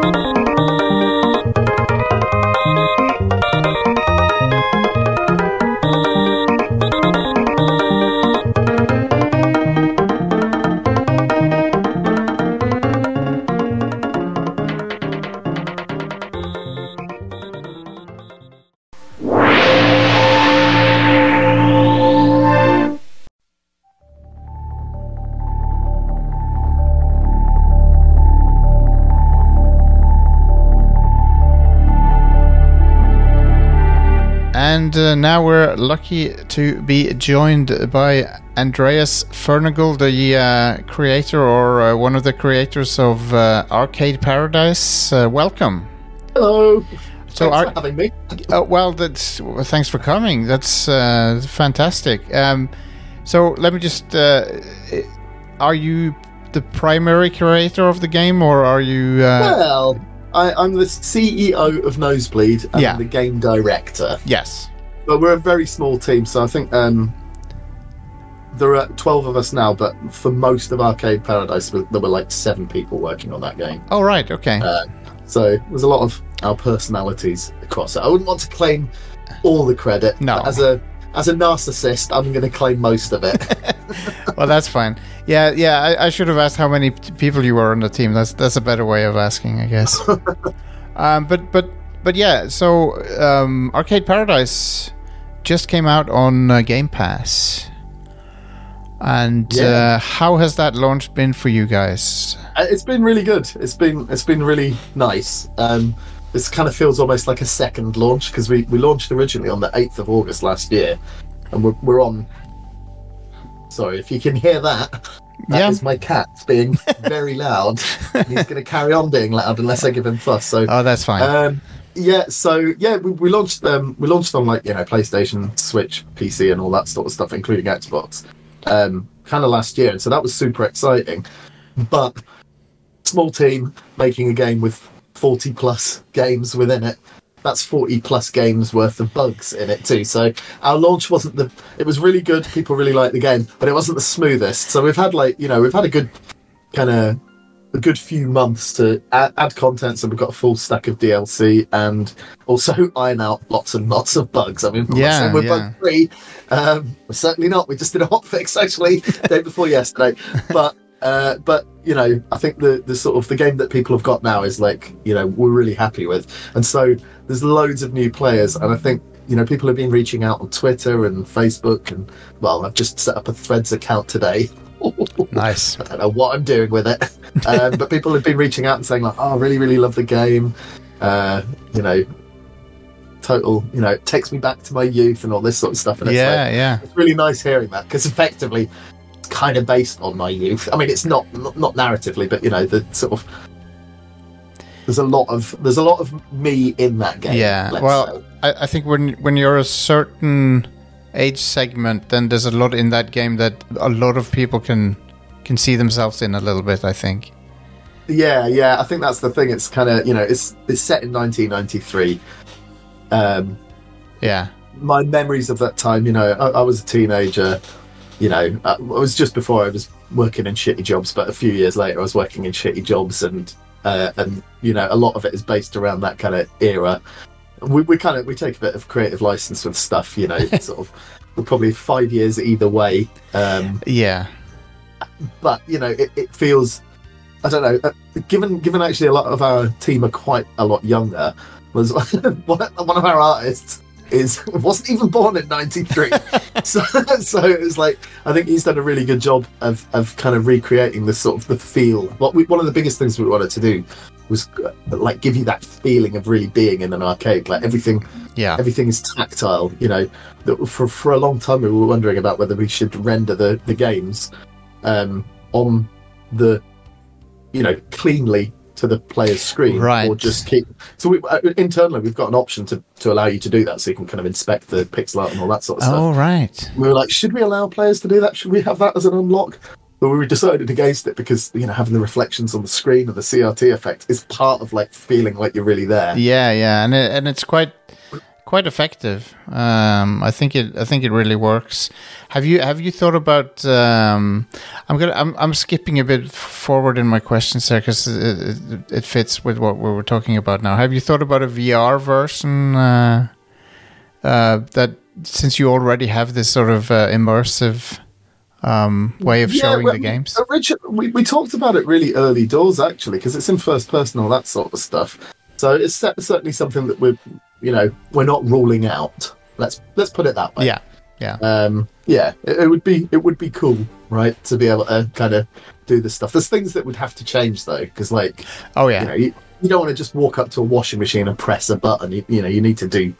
Speaker 1: And uh, now we're lucky to be joined by Andreas Fernagel, the uh, creator or uh, one of the creators of uh, Arcade Paradise. Uh, welcome.
Speaker 6: Hello.
Speaker 1: So,
Speaker 6: Thanks
Speaker 1: Ar-
Speaker 6: for having me.
Speaker 1: uh, well, that's well, thanks for coming. That's uh, fantastic. Um, so, let me just: uh, are you the primary creator of the game, or are you? Uh,
Speaker 6: Well, I, I'm the CEO of Nosebleed and
Speaker 1: Yeah.
Speaker 6: the game director.
Speaker 1: Yes.
Speaker 6: But we're a very small team, so I think um, there are 12 of us now, but for most of Arcade Paradise, we- there were like seven people working on that game.
Speaker 1: Oh, right. Okay.
Speaker 6: Uh, so there's a lot of our personalities across it. I wouldn't want to claim all the credit.
Speaker 1: No.
Speaker 6: but As a as a narcissist, I'm going to claim most of it.
Speaker 1: well, that's fine. Yeah, yeah. I, I should have asked how many p- people you were on the team. That's that's a better way of asking, I guess. um, but but but yeah. So um, Arcade Paradise just came out on uh, Game Pass, and
Speaker 6: Yeah.
Speaker 1: uh, how has that launch been for you guys?
Speaker 6: Uh, it's been really good. It's been it's been really nice. Um, this kind of feels almost like a second launch because we, we launched originally on the eighth of August last year, and we're, we're on. Sorry, if you can hear that, that is
Speaker 1: Yeah.
Speaker 6: my cat being very loud. and he's going to carry on being loud unless I give him fuss. So
Speaker 1: Oh, that's fine.
Speaker 6: um, yeah, so yeah, we, we launched um, we launched on like you know PlayStation, Switch, PC, and all that sort of stuff, including Xbox, um, kind of last year. So that was super exciting. But small team making a game with forty plus games within it. That's forty plus games worth of bugs in it too. So our launch wasn't the. It was really good. People really liked the game, but it wasn't the smoothest. So we've had like you know we've had a good kind of a good few months to add, add content, so we've got a full stack of DLC and also iron out lots and lots of bugs. I mean, I'm not
Speaker 1: Yeah,
Speaker 6: saying we're
Speaker 1: yeah.
Speaker 6: bug free. Um, we're certainly not. We just did a hot fix actually day before yesterday, but. Uh, but you know, I think the, the sort of the game that people have got now is like you know we're really happy with, and so there's loads of new players, and I think you know people have been reaching out on Twitter and Facebook, and well, I've just set up a Threads account today.
Speaker 1: nice.
Speaker 6: I don't know what I'm doing with it. Um, but people have been reaching out and saying like, "Oh, I really, really love the game." Uh, you know, total. You know, it takes me back to my youth and all this sort of stuff. And it's
Speaker 1: Yeah,
Speaker 6: like,
Speaker 1: yeah.
Speaker 6: it's really nice hearing that because effectively, it's kind of based on my youth. I mean, it's not not not narratively, but you know, the sort of there's a lot of there's a lot of me in that game.
Speaker 1: Yeah.
Speaker 6: let's
Speaker 1: Well,
Speaker 6: say.
Speaker 1: I, I think when when you're a certain age segment, then there's a lot in that game that a lot of people can can see themselves in a little bit. I think.
Speaker 6: Yeah, yeah. I think that's the thing. It's kind of you know, it's it's set in 1993. Um,
Speaker 1: Yeah.
Speaker 6: my memories of that time, you know, I, I was a teenager. you know, uh, it was just before I was working in shitty jobs, but a few years later I was working in shitty jobs, and uh, and you know, a lot of it is based around that kind of era. We we kind of we take a bit of creative license with stuff, you know, sort of. We're probably five years either way. Um,
Speaker 1: Yeah.
Speaker 6: but you know it, it feels i don't know uh, given given actually a lot of our team are quite a lot younger was one one of our artists is wasn't even born in 93 so so it was like i think he's done a really good job of of kind of recreating the sort of the feel what we, one of the biggest things we wanted to do was uh, like give you that feeling of really being in an arcade like everything
Speaker 1: Yeah.
Speaker 6: everything is tactile. You know, That- for for a long time we were wondering about whether we should render the the games um, on the you know cleanly to the player's screen,
Speaker 1: Right.
Speaker 6: or just keep. So we, uh, internally we've got an option to to allow you to do that, so you can kind of inspect the pixel art and all that sort of stuff
Speaker 1: Oh, right.
Speaker 6: we were like, should we allow players to do that? Should we have that as an unlock? But we decided against it because you know having the reflections on the screen and the CRT effect is part of like feeling like you're really there.
Speaker 1: Yeah, yeah, and it, and it's quite quite effective. Um, I think it I think it really works. Have you have you thought about? Um, I'm gonna I'm, I'm skipping a bit forward in my questions there because it, it, it fits with what we were talking about now. Have you thought about a VR version uh, uh, that since you already have this sort of uh, immersive um, way of showing
Speaker 6: well, oh,
Speaker 1: the games?
Speaker 6: origi- we, we talked about it really early doors actually because it's in first person, all that sort of stuff. So it's cer- certainly something that we're you know we're not ruling out. Let's let's put it that way.
Speaker 1: Yeah, yeah.
Speaker 6: um, yeah, it, it would be it would be cool, right, to be able to kind of do this stuff. There's things that would have to change though, because like
Speaker 1: Oh
Speaker 6: you know
Speaker 1: yeah,
Speaker 6: you, you don't want to just walk up to a washing machine and press a button. You, you know you need to do.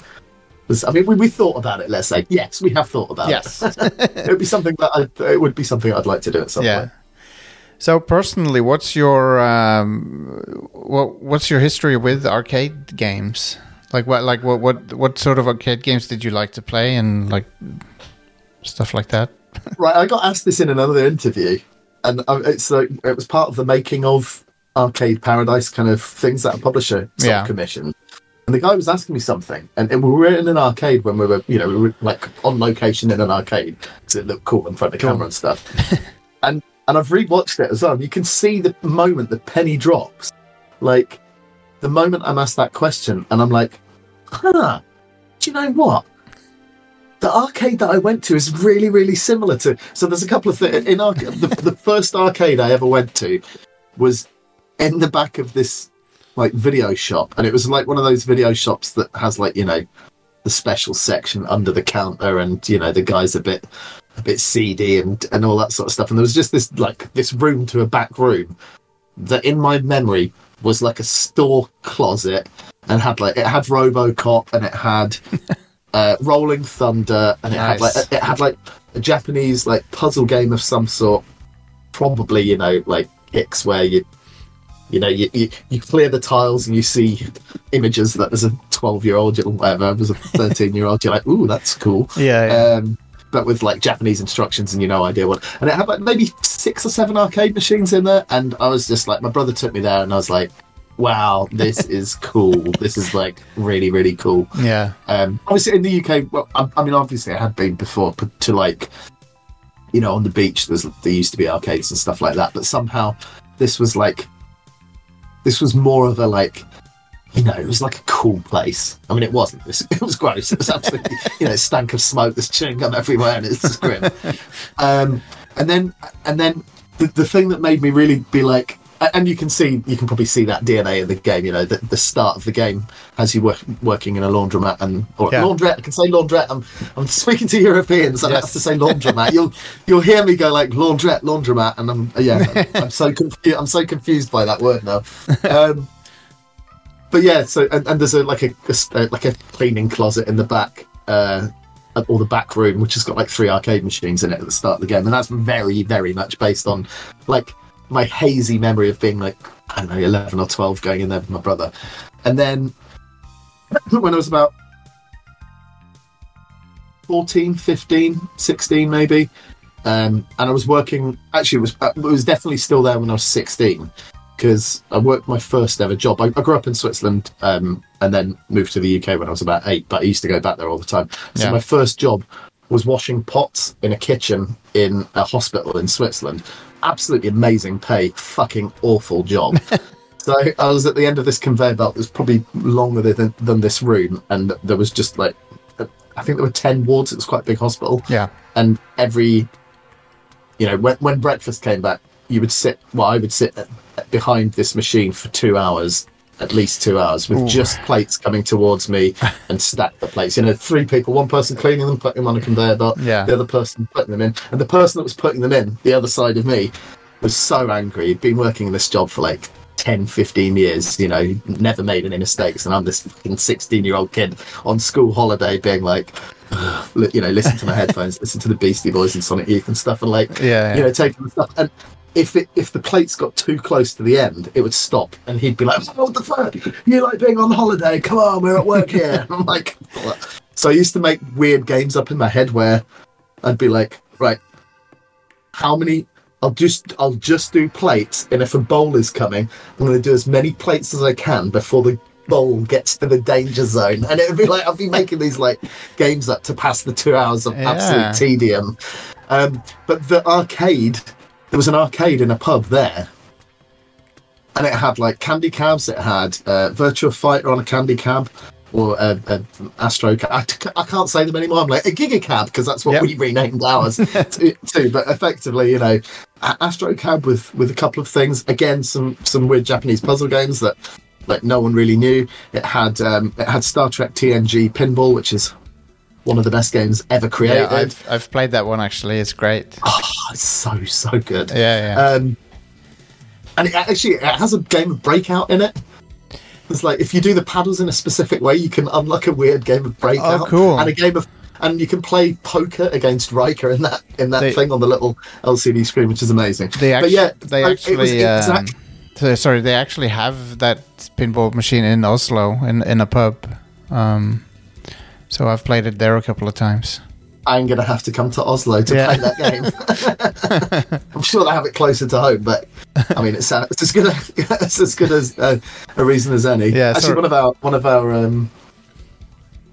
Speaker 6: this- I mean, we, we thought about it. Let's say yes, we have thought about
Speaker 1: yes.
Speaker 6: it. It would be something that I, it would be something I'd like to do at some
Speaker 1: yeah.
Speaker 6: point.
Speaker 1: So personally, what's your um, what what's your history with arcade games? Like what like what what what sort of arcade games did you like to play and like stuff like that?
Speaker 6: Right, I got asked this in another interview, and uh, it's like it was part of the making of Arcade Paradise kind of things that a publisher sort
Speaker 1: Yeah.
Speaker 6: of commissioned. And the guy was asking me something, and, and we were in an arcade when we were, you know, we were like on location in an arcade because it looked cool in front of the camera and stuff. and and I've rewatched it as well. And you can see the moment the penny drops, like the moment I'm asked that question, and I'm like, huh, do you know what? the arcade that I went to is really, really similar to. So there's a couple of things in our the, the first arcade I ever went to was in the back of this like video shop, and it was like one of those video shops that has like you know the special section under the counter, and you know the guys a bit a bit seedy and and all that sort of stuff. And there was just this like this room to a back room that in my memory was like a store closet and had like it had RoboCop and it had uh, Rolling Thunder and it had
Speaker 1: Nice.
Speaker 6: like it had like a Japanese like puzzle game of some sort, probably you know like X where you you know you, you, you clear the tiles and you see images that as a twelve year old or whatever as a thirteen year old you're like ooh that's cool
Speaker 1: Yeah,
Speaker 6: um, but with like Japanese instructions and you no idea what. And it had like maybe six or seven arcade machines in there, and I was just like, my brother took me there, and I was like, wow, this is cool. This is like really really cool.
Speaker 1: yeah,
Speaker 6: Um, obviously in the UK, well, I, I mean obviously it had been before, but to like, you know, on the beach there's there used to be arcades and stuff like that, but somehow this was like, this was more of a like. You know, it was like a cool place. I mean, it wasn't. It was, it was gross. It was absolutely, you know, stank of smoke. There's chewing gum everywhere, and it's just grim. Um, and then, and then, the, the thing that made me really be like, a- and you can see, you can probably see that DNA in the game. You know, the, the start of the game has you work, working in a laundromat and or
Speaker 1: Yeah.
Speaker 6: laundrette. I can say laundrette. I'm, I'm speaking to Europeans. I have to say laundromat. you'll you'll hear me go like laundrette, laundromat, and I'm yeah, I'm so confused. I'm so confused by that word now. Um, but yeah, so and, and there's a like a, a s- uh, like a cleaning closet in the back, uh, or the back room, which has got like three arcade machines in it at the start of the game, and that's very very much based on like my hazy memory of being like I don't know eleven or twelve, going in there with my brother, and then when I was about 14, 15, 16 maybe. Um, and I was working, actually, it was, uh, it was definitely still there when I was 16 because I worked my first ever job. I, I grew up in Switzerland um, and then moved to the UK when I was about eight, but I used to go back there all the time. So
Speaker 1: Yeah.
Speaker 6: my first job was washing pots in a kitchen in a hospital in Switzerland. Absolutely amazing pay, fucking awful job. so I was at the end of this conveyor belt that was probably longer than, than this room, and there was just like, I think there were 10 wards. It was quite a big hospital
Speaker 1: Yeah.
Speaker 6: and every you know when, when breakfast came back you would sit well i would sit at- at- behind this machine for two hours at least two hours with just plates coming towards me and stack the plates you know three people one person cleaning them putting them on a conveyor belt
Speaker 1: Yeah.
Speaker 6: the other person putting them in and the person that was putting them in the other side of me was so angry he'd been working in this job for like 10 15 years you know he'd never made any mistakes and i'm this fucking 16 year old kid on school holiday being like li- you know, listen to my headphones, listen to the Beastie Boys and Sonic Youth and stuff, and like,
Speaker 1: Yeah,
Speaker 6: you
Speaker 1: yeah.
Speaker 6: know, taking the stuff. And if it, if the plates got too close to the end, it would stop, and he'd be like, "What the fuck? You like being on holiday? Come on, we're at work here." I'm like, "What?" so I used to make weird games up in my head where I'd be like, "Right, how many?" I'll just I'll just do plates, and if a bowl is coming, I'm going to do as many plates as I can before the bowl gets to the danger zone. And it would be like I'll be making these like games up to pass the two hours of
Speaker 1: Yeah.
Speaker 6: absolute tedium. Um, but the arcade, there was an arcade in a pub there, and it had like candy cabs. It had uh, Virtual Fighter on a candy cab. Or uh, uh, Astro Cab. I, t- I can't say them anymore. I'm like a Giga Cab because that's what
Speaker 1: Yep.
Speaker 6: we renamed ours to, to. But effectively, you know, a- Astro Cab with with a couple of things. Again, some some weird Japanese puzzle games that like no one really knew. It had um, it had Star Trek TNG Pinball, which is one of the best games ever
Speaker 1: Yeah,
Speaker 6: created.
Speaker 1: I've, I've played that one actually. It's great.
Speaker 6: Oh, it's so so good.
Speaker 1: Yeah, yeah.
Speaker 6: Um, and it actually it has a game of breakout in it. It's like if you do the paddles in a specific way, you can unlock a weird game of breakout.
Speaker 1: Oh, cool.
Speaker 6: And a game of and you can play poker against Riker in that in that
Speaker 1: They-
Speaker 6: thing on the little LCD screen, which is amazing.
Speaker 1: They
Speaker 6: but
Speaker 1: actually,
Speaker 6: yeah,
Speaker 1: they
Speaker 6: like,
Speaker 1: actually,
Speaker 6: it was
Speaker 1: um,
Speaker 6: exact-
Speaker 1: so- sorry, they actually have that pinball machine in Oslo in in a pub. Um, so I've played it there a couple of times.
Speaker 6: I'm gonna have to come to Oslo to
Speaker 1: Yeah.
Speaker 6: play that game. I'm sure they have it closer to home, but I mean, it's, uh, it's as good as it's as good as uh, a reason as any.
Speaker 1: Yeah,
Speaker 6: actually,
Speaker 1: sorry.
Speaker 6: one of our one of our um,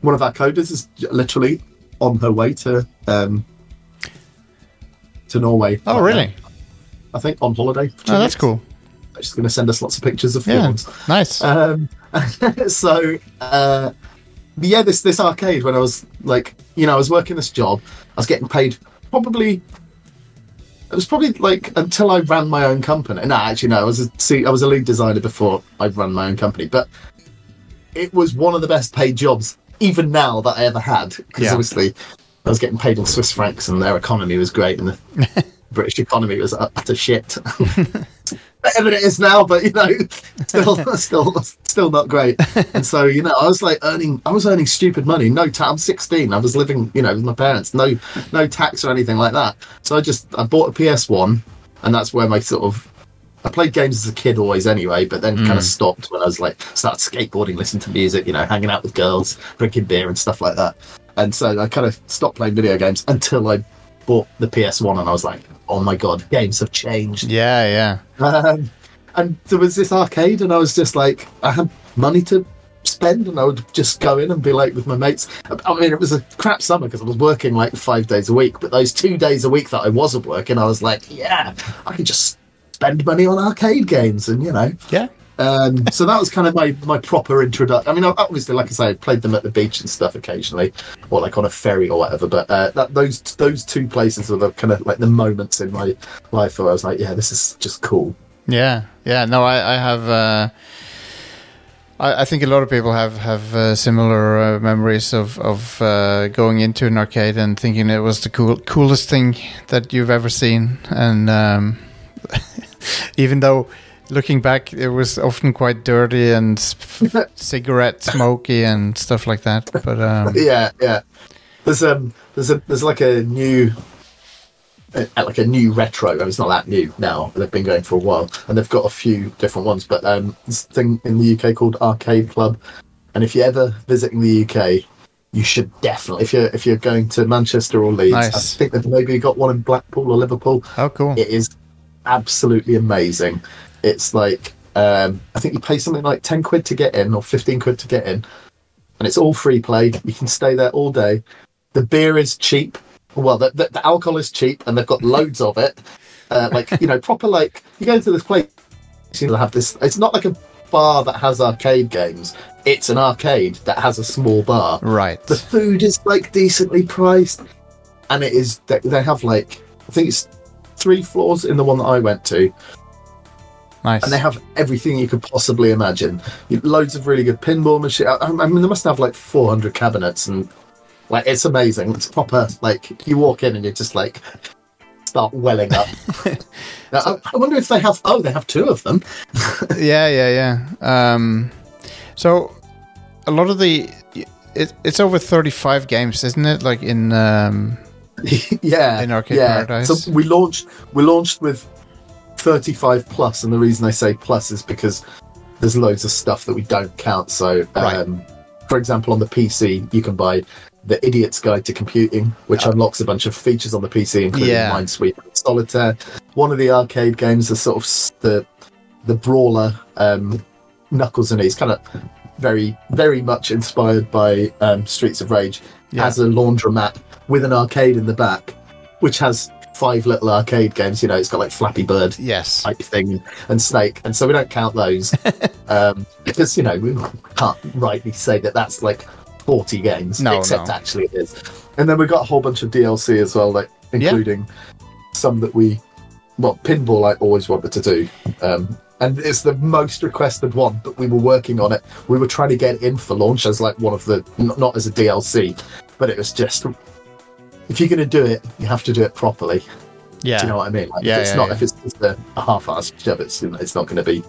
Speaker 6: one of our coders is j- literally on her way to um, to Norway.
Speaker 1: Oh,
Speaker 6: right
Speaker 1: really?
Speaker 6: now. I think on holiday. for two
Speaker 1: Oh, that's
Speaker 6: weeks.
Speaker 1: cool.
Speaker 6: She's gonna send us lots of pictures of
Speaker 1: Yeah,
Speaker 6: fields.
Speaker 1: nice.
Speaker 6: Um, so, uh, but yeah, this this arcade when I was like, you know, I was working this job, I was getting paid probably. It was probably like until I ran my own company. No, actually, no. I was a, see, I was a lead designer before I ran my own company, but it was one of the best paid jobs even now that I ever had because
Speaker 1: Yeah.
Speaker 6: obviously I was getting paid in Swiss francs and their economy was great and the British economy was utter shit. Better than it is now, but you know, still, still, still not great. And so, you know, I was like earning, I was earning stupid money. No tax. I'm 16. I was living, you know, with my parents. No, no tax or anything like that. So I just, I bought a PS One, and that's where my sort of I played games as a kid always anyway, but then kind of stopped when I was like started skateboarding, listening to music, you know, hanging out with girls, drinking beer and stuff like that. And so I kind of stopped playing video games until I bought the PS1 and I was like, oh my god, games have changed.
Speaker 1: yeah, yeah.
Speaker 6: Um, and there was this arcade, and I was just like, I had money to spend, and I would just go in and be like with my mates. I- I mean, it was a crap summer because I was working like five days a week, but those two days a week that I wasn't working, I was like, yeah, I could just spend money on arcade games, and you know.
Speaker 1: Yeah.
Speaker 6: Um, so that was kind of my, my proper introduction. I mean, I- obviously, like I say, I played them at the beach and stuff occasionally, or like on a ferry or whatever. But uh, that, those those two places were the kind of like the moments in my life where I was like, yeah, this is just cool.
Speaker 1: Yeah, yeah. No, I, I have. Uh, I, I think a lot of people have have uh, similar uh, memories of of uh, going into an arcade and thinking it was the cool, coolest thing that you've ever seen, and um, even though. Looking back, it was often quite dirty and s- cigarette smoky and stuff like that. But um,
Speaker 6: yeah, yeah. There's um, there's a there's like a new, uh, like a new retro. I mean, it's not that new now. They've been going for a while, and they've got a few different ones. But um, this thing in the UK called Arcade Club, and if you're ever visiting the UK, you should definitely if you're if you're going to Manchester or Leeds,
Speaker 1: Nice.
Speaker 6: I think they've maybe got one in Blackpool or Liverpool.
Speaker 1: oh, cool!
Speaker 6: It is absolutely amazing. It's like um, I think you pay something like ten quid to get in or fifteen quid to get in, and it's all free play. You can stay there all day. The beer is cheap, well, the, the, the alcohol is cheap and they've got loads of it. Uh, like, you know, proper, like, you go into this place, you have this. It's not like a bar that has arcade games, it's an arcade that has a small bar.
Speaker 1: Right.
Speaker 6: The food is like decently priced, and it is they, they have like I think it's three floors in the one that I went to,
Speaker 1: Nice.
Speaker 6: and they have everything you could possibly imagine. You- Loads of really good pinball machine. I, I mean, they must have like 400 cabinets, and like it's amazing. It's proper. Like you walk in and you just like start welling up. Now, I, I wonder if they have. Oh, they have two of them.
Speaker 1: yeah, yeah, yeah. Um, so a lot of the it, it's over thirty five games, isn't it? Like in um,
Speaker 6: yeah,
Speaker 1: In Arcade
Speaker 6: yeah.
Speaker 1: Paradise.
Speaker 6: So we launched we launched with 35 plus, and the reason I say plus is because there's loads of stuff that we don't count. So,
Speaker 1: Right.
Speaker 6: um, for example, on the PC, you can buy the Idiot's Guide to Computing, which unlocks a bunch of features on the PC, including
Speaker 1: Yeah.
Speaker 6: Minesweeper, and Solitaire. One of the arcade games, the sort of s- the the brawler um, Knuckles and he's kind of very very much inspired by um, Streets of Rage,
Speaker 1: Yeah.
Speaker 6: has a laundromat with an arcade in the back, which has five little arcade games. You know, it's got like Flappy Bird
Speaker 1: yes,
Speaker 6: type thing and Snake, and so we don't count those um, because you know we can't rightly say that that's like forty games,
Speaker 1: No,
Speaker 6: except
Speaker 1: no.
Speaker 6: actually it is. And then we got a whole bunch of DLC as well, like
Speaker 1: Yeah.
Speaker 6: including some that we well pinball I always wanted to do. Um, and it's the most requested one, but we were working on it. We were trying to get it in for launch as like one of the n- not as a DLC, but it was just if you're going to do it, you have to do it properly.
Speaker 1: yeah,
Speaker 6: Do you know what I mean? Like,
Speaker 1: Yeah,
Speaker 6: if it's
Speaker 1: yeah,
Speaker 6: not
Speaker 1: yeah.
Speaker 6: if it's just a, a half-assed job, it's you know, it's not going to be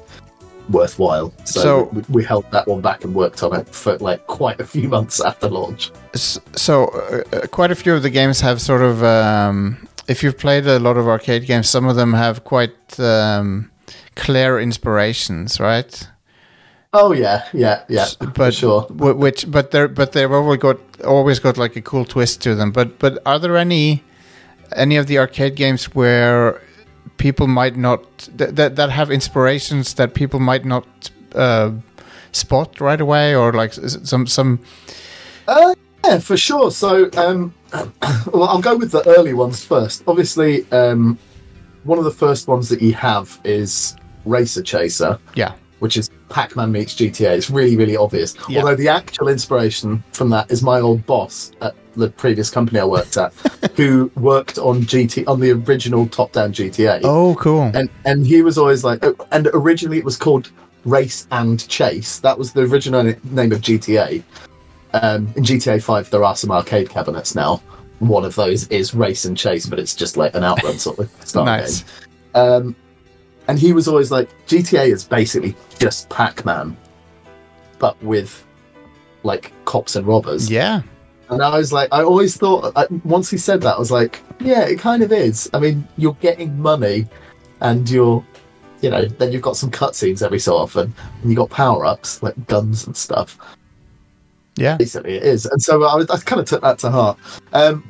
Speaker 6: worthwhile. So,
Speaker 1: So-
Speaker 6: we, we held that one back and worked on it for like quite a few months after launch.
Speaker 1: S- so uh, uh, quite a few of the games have sort of um, if you've played a lot of arcade games some of them have quite um, clear inspirations right
Speaker 6: Oh yeah, yeah, yeah,
Speaker 1: S-
Speaker 6: for
Speaker 1: but
Speaker 6: sure.
Speaker 1: wh- which but they're but they've always got always got like a cool twist to them but but are there any any of the arcade games where people might not that that, that have inspirations that people might not uh, spot right away or like s- s- some some
Speaker 6: Yeah, for sure. So, um, well, I'll go with the early ones first. Obviously, um, one of the first ones that you have is Racer Chaser.
Speaker 1: yeah
Speaker 6: which is Pac-Man meets GTA. It's really, really obvious.
Speaker 1: Yeah.
Speaker 6: Although the actual inspiration from that is my old boss at the previous company I worked at, who worked on GT on the original top-down GTA.
Speaker 1: oh cool
Speaker 6: And and he was always like, oh, and originally it was called Race and Chase. That was the original na- name of GTA. Um, in GTA Five, there are some arcade cabinets now. One of those is Race and Chase, but it's just like an outrun sort of style
Speaker 1: Nice.
Speaker 6: game. Um, and he was always like, GTA is basically just Pac-Man, but with like cops and robbers.
Speaker 1: yeah
Speaker 6: And I was like, I always thought, I, once he said that, I was like, yeah, it kind of is. I mean, you're getting money and you're, you know, then you've got some cutscenes every so often and you've got power ups like guns and stuff.
Speaker 1: yeah
Speaker 6: Basically, it is. And so I, was- I kind of took that to heart. Um,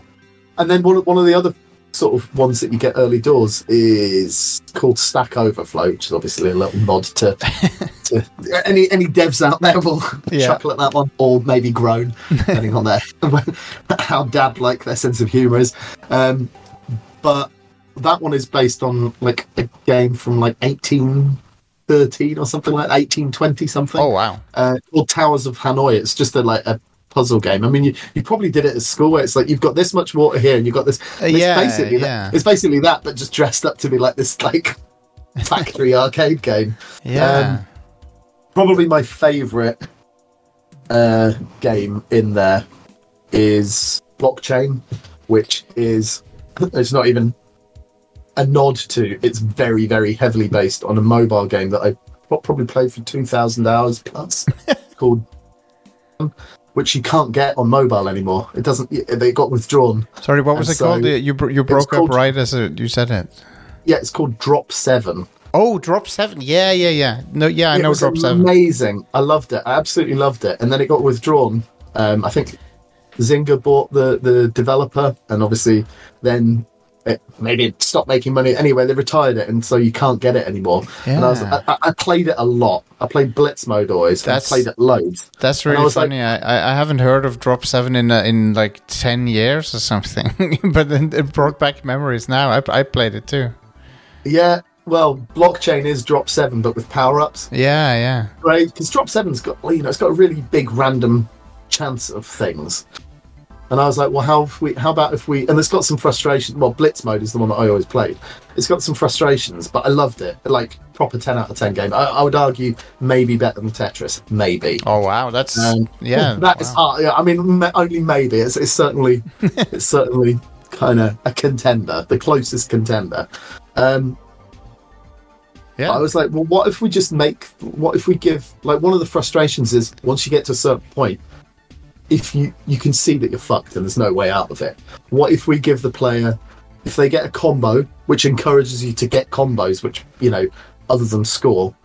Speaker 6: and then one, of- one of the other sort of ones that you get early doors is called Stack Overflow, which is obviously a little nod to, to any any devs out there will
Speaker 1: Yeah.
Speaker 6: chuckle at that one or maybe groan, depending on their how dad like their sense of humour is. Um, but that one is based on like a game from like 1813 or something like 1820 something
Speaker 1: oh wow
Speaker 6: uh, called Towers of Hanoi. It's just a, like a puzzle game. I mean, you, you probably did it at school where it's like you've got this much water here and you've got this. and it's
Speaker 1: Uh, yeah,
Speaker 6: basically
Speaker 1: yeah.
Speaker 6: That, it's basically that, but just dressed up to be like this like factory arcade game. Um,
Speaker 1: yeah
Speaker 6: Probably my favourite uh, game in there is Blockchain, which is it's not even a nod to. It's very very heavily based on a mobile game that I pro- probably played for two thousand hours plus called. Which you can't get on mobile anymore. It doesn't. They got withdrawn.
Speaker 1: Sorry, what was
Speaker 6: And
Speaker 1: it called?
Speaker 6: so
Speaker 1: You you bro- you broke up
Speaker 6: called-
Speaker 1: right as uh you said it.
Speaker 6: Yeah, it's called Drop Seven.
Speaker 1: Oh, drop seven. Yeah, yeah, yeah. No, yeah, I
Speaker 6: it
Speaker 1: know
Speaker 6: was
Speaker 1: drop seven.
Speaker 6: amazing. I loved it. I absolutely loved it. And then it got withdrawn. Um, I think Zynga bought the the developer, and obviously then it, maybe it stopped making money. Anyway, they retired it, and so you can't get it anymore. And I, was,
Speaker 1: Yeah.
Speaker 6: I, I- I played it a lot. I played Blitz mode always. and I
Speaker 1: That's-
Speaker 6: played it loads.
Speaker 1: That's
Speaker 6: And I
Speaker 1: really
Speaker 6: was like-
Speaker 1: funny. I I, I haven't heard of Drop Seven in uh, in like ten years or something, but then it brought back memories. Now I I played it too.
Speaker 6: Yeah. Well, blockchain is Drop Seven, but with power ups,
Speaker 1: Yeah, yeah,
Speaker 6: right? Because Drop Seven's got well, you know it's got a really big random chance of things. And I was like, well, how if we? How about if we? And it's got some frustration. Well, Blitz mode is the one that I always played. It's got some frustrations, but I loved it. Like proper ten out of ten game. I, I would argue maybe better than Tetris, maybe.
Speaker 1: Oh wow, that's
Speaker 6: Um,
Speaker 1: yeah.
Speaker 6: That is
Speaker 1: wow.
Speaker 6: hard. Yeah, I mean, ma- only maybe. It's, it's certainly, it's certainly kind of a contender, the closest contender. Um,
Speaker 1: Yeah.
Speaker 6: I was like, well, what if we just make? What if we give? Like, one of the frustrations is once you get to a certain point, if you you can see that you're fucked and there's no way out of it. What if we give the player, if they get a combo, which encourages you to get combos, which you know, other than score,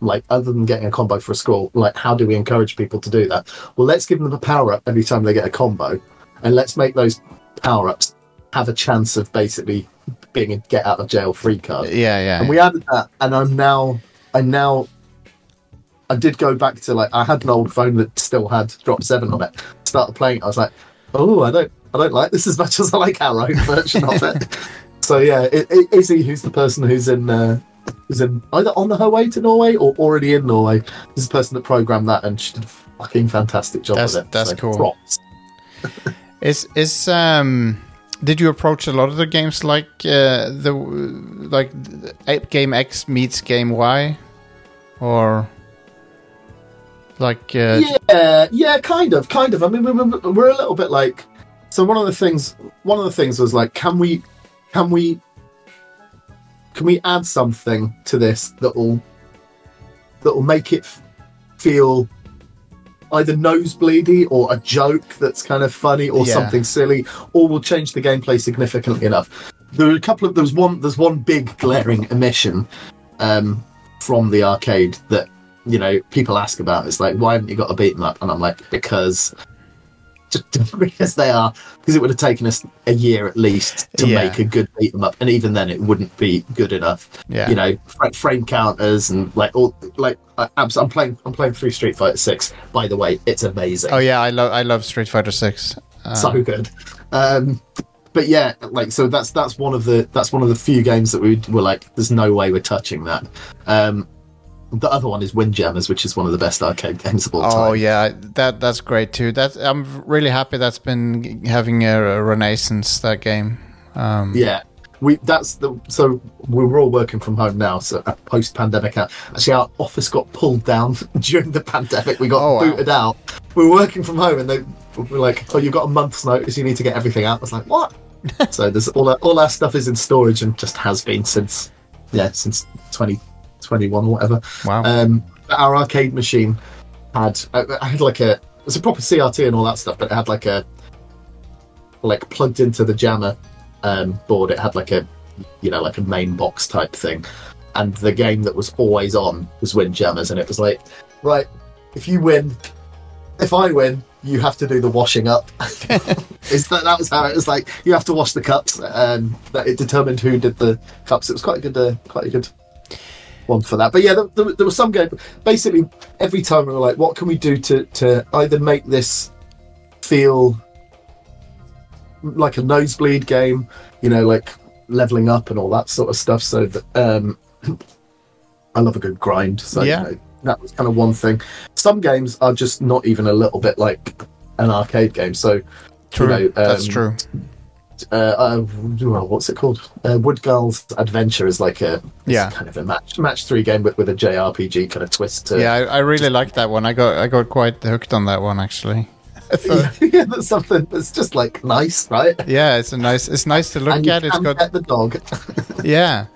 Speaker 6: like other than getting a combo for a score, like how do we encourage people to do that? Well, let's give them a power up every time they get a combo, and let's make those power ups have a chance of basically being a get out of jail free card.
Speaker 1: yeah, yeah.
Speaker 6: And we added that, and I'm now, I now, I did go back to like I had an old phone that still had Drop Seven on it. Started playing, it, I was like, oh, I don't, I don't like this as much as I like our own version of it. So yeah, I- I- Izzy, who's the person who's in, uh, who's in either on her way to Norway or already in Norway, is the person that programmed that, and she did a fucking fantastic job
Speaker 1: That's-
Speaker 6: with it.
Speaker 1: that's cool.
Speaker 6: props.
Speaker 1: Is is um did you approach a lot of the games like uh, the like uh, game X meets game Y or like uh,
Speaker 6: yeah, yeah, kind of, kind of. I mean, we- we- we're, a little bit like. So one of the things, one of the things was like, can we, can we, can we add something to this that will, that will make it f- feel either nosebleedy or a joke that's kind of funny or
Speaker 1: Yeah.
Speaker 6: something silly, or will change the gameplay significantly enough. There were a couple of there's one there's one big glaring omission um, from the arcade that you know people ask about. It's like why haven't you got a beat 'em up? And I'm like because just because they are because it would have taken us a year at least to
Speaker 1: Yeah.
Speaker 6: make a good beat 'em up, and even then it wouldn't be good enough.
Speaker 1: Yeah.
Speaker 6: You know, fr- frame counters and like all like I, I'm, I'm playing I'm playing through Street Fighter Six. By the way, it's amazing
Speaker 1: oh yeah, I love I love Street Fighter 6. Uh,
Speaker 6: so good. Um, but yeah, like so that's that's one of the that's one of the few games that we were like, there's no way we're touching that. Um, the other one is Windjammers, which is one of the best arcade games of all
Speaker 1: Oh
Speaker 6: time.
Speaker 1: yeah, that that's great too. That I'm really happy that's been g- having a, a renaissance that game. Um,
Speaker 6: Yeah, we that's the so we were all working from home now. So post pandemic, actually our office got pulled down during the pandemic. We got
Speaker 1: Oh, wow.
Speaker 6: booted out. We were working from home, and they were like, "Oh, you've got a month's notice. You need to get everything out." I was like, "What?" so there's all our, all our stuff is in storage and just has been since yeah since 2021 or whatever.
Speaker 1: Wow.
Speaker 6: Um, but our arcade machine had I, I had like a it was a proper CRT and all that stuff, but it had like a like plugged into the jammer um, board. It had like a you know like a main box type thing, and the game that was always on was Windjammers, and it was like right if you win, if I win. You have to do the washing up. Is that that was how it was like? You have to wash the cups, and that it determined who did the cups. It was quite a good, uh, quite a good one for that. But yeah, there, there, there was some game. Basically, every time we were like, what can we do to to either make this feel like a nosebleed game, you know, like leveling up and all that sort of stuff. So that um, I love a good grind. So
Speaker 1: Yeah.
Speaker 6: yeah. that was kind of one thing. Some games are just not even a little bit like an arcade game. So
Speaker 1: true.
Speaker 6: you know,
Speaker 1: that's
Speaker 6: um,
Speaker 1: true.
Speaker 6: uh, uh, well, what's it called? Uh, Woodgull's Adventure is like a it's
Speaker 1: Yeah.
Speaker 6: kind of a match match three game, but with a JRPG kind of twist to
Speaker 1: Yeah, I, I really liked that one. I got I got quite hooked on that one actually. I thought-
Speaker 6: yeah, that's something that's just like nice, right?
Speaker 1: yeah, it's a nice it's nice to look
Speaker 6: and you
Speaker 1: at. It's
Speaker 6: can
Speaker 1: got
Speaker 6: pet the dog.
Speaker 1: Yeah.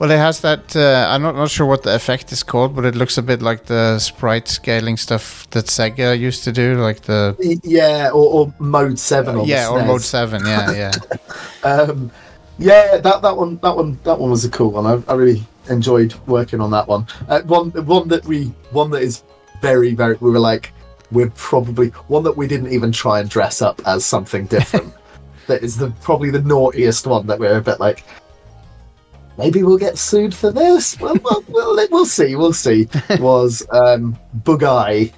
Speaker 1: Well, it has that. Uh, I'm not, not sure what the effect is called, but it looks a bit like the sprite scaling stuff that Sega used to do, like the
Speaker 6: yeah, or, or mode seven. on the
Speaker 1: Uh, yeah or
Speaker 6: SNES.
Speaker 1: mode seven. Yeah, yeah,
Speaker 6: Um, yeah, that, that one, that one, that one was a cool one. I, I really enjoyed working on that one. Uh, one, one that we, one that is very, very. We were like, we're probably one that we didn't even try and dress up as something different. that is the probably the naughtiest one that we're a bit like. Maybe we'll get sued for this. Well, well, we'll, we'll see. We'll see. Was um, Bugai,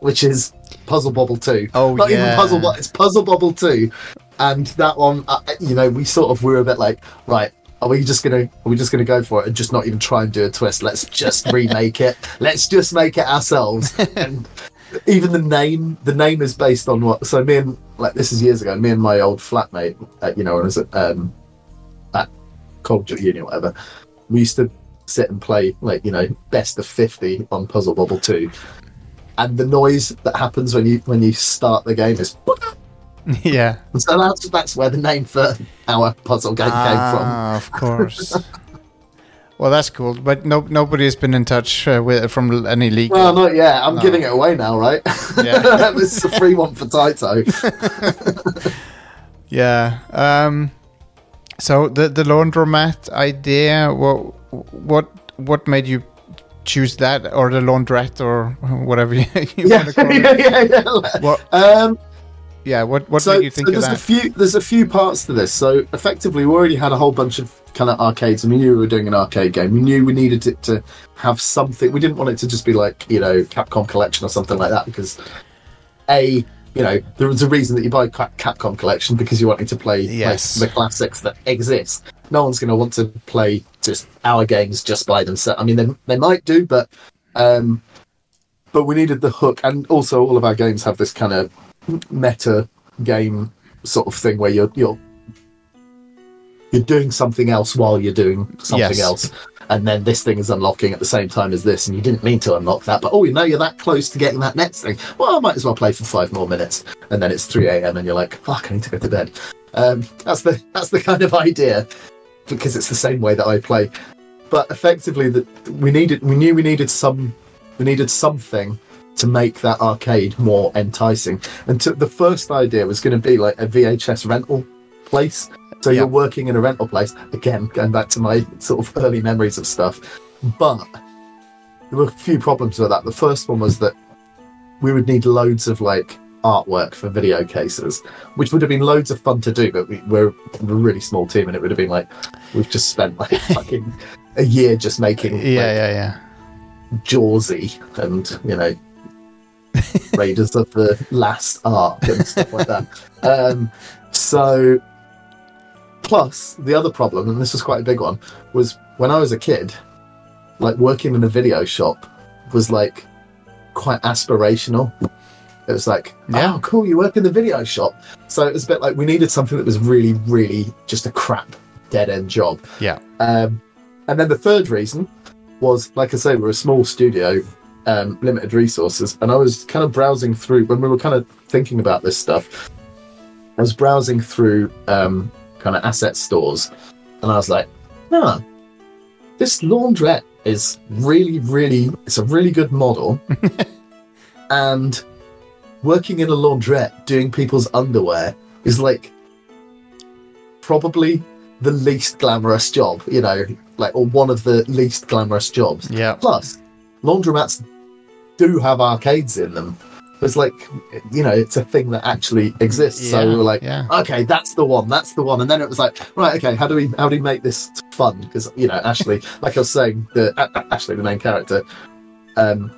Speaker 6: which is Puzzle Bobble Two.
Speaker 1: Oh,
Speaker 6: not even
Speaker 1: yeah.
Speaker 6: Puzzle Bobble. It's Puzzle Bobble Two, and that one. Uh, you know, we sort of were a bit like, right, are we just gonna are we just gonna go for it and just not even try and do a twist? Let's just remake it. Let's just make it ourselves. And even the name, the name is based on what. So me and like this is years ago. Me and my old flatmate, uh, you know, when I was at, um, at college or uni or whatever, we used to sit and play like you know best of fifty on Puzzle Bobble Two. And the noise that happens when you when you start the game is,
Speaker 1: yeah.
Speaker 6: so that's that's where the name for our puzzle game came from.
Speaker 1: Ah, of course. well, that's cool, but no, nobody's been in touch uh, with from l- any league.
Speaker 6: Well, not yet. I'm giving it away now, right?
Speaker 1: Yeah.
Speaker 6: this is a free one for Taito.
Speaker 1: yeah. Um, so the the laundromat idea. What what what made you choose that, or the laundrette, or whatever you, you
Speaker 6: yeah,
Speaker 1: want to call
Speaker 6: yeah,
Speaker 1: it?
Speaker 6: yeah, yeah.
Speaker 1: What,
Speaker 6: Um,
Speaker 1: yeah. What what
Speaker 6: so,
Speaker 1: made you think
Speaker 6: so
Speaker 1: of
Speaker 6: there's
Speaker 1: that?
Speaker 6: a few there's a few parts to this. So effectively, we already had a whole bunch of kind of arcades, and we knew we were doing an arcade game. We knew we needed it to have something. We didn't want it to just be like you know Capcom Collection or something like that because a you know there was a reason that you buy Cap- Capcom Collection because you wanted to play like,
Speaker 1: Yes.
Speaker 6: the classics that exist. No one's going to want to play just our games just by themselves. I mean, they they might do, but um, but we needed the hook, and also all of our games have this kind of meta game sort of thing where you're you're you're doing something else while you're doing something
Speaker 1: Yes.
Speaker 6: else, and then this thing is unlocking at the same time as this, and you didn't mean to unlock that, but oh, you know you're that close to getting that next thing. Well, I might as well play for five more minutes, and then it's three a.m. and you're like, fuck, I need to go to bed. Um, that's the that's the kind of idea because it's the same way that I play. But effectively, that we needed we knew we needed some we needed something to make that arcade more enticing. And to, the first idea was going to be like a VHS rental place. So
Speaker 1: Yeah.
Speaker 6: you're working in a rental place again, going back to my sort of early memories of stuff. But there were a few problems with that. The first one was that we would need loads of like artwork for video cases, which would have been loads of fun to do, but we, we're, we're a really small team, and it would have been like we've just spent like fucking a year just making like,
Speaker 1: yeah, yeah, yeah.
Speaker 6: Jawsy and you know Raiders of the Last Ark and stuff like that. Um, so, plus the other problem, and this was quite a big one, was when I was a kid, like working in a video shop was like quite aspirational. It was like,
Speaker 1: Yeah.
Speaker 6: oh, cool, you work in the video shop. So it was a bit like we needed something that was really, really just a crap dead end job.
Speaker 1: Yeah.
Speaker 6: Um, and then the third reason was, like I say, we're a small studio, um, limited resources, and I was kind of browsing through when we were kind of thinking about this stuff. I was browsing through um, kind of asset stores, and I was like, huh, this laundrette is really, really, it's a really good model, and working in a laundrette doing people's underwear is like probably the least glamorous job, you know, like or one of the least glamorous jobs.
Speaker 1: Yeah.
Speaker 6: Plus, laundromats do have arcades in them. It's like, you know, it's a thing that actually exists. so
Speaker 1: Yeah,
Speaker 6: we were like,
Speaker 1: yeah.
Speaker 6: okay, that's the one, that's the one. And then it was like, right, okay, how do we how do we make this fun? Because you know, Ashley, like I was saying, the A- A- Ashley, the main character, um,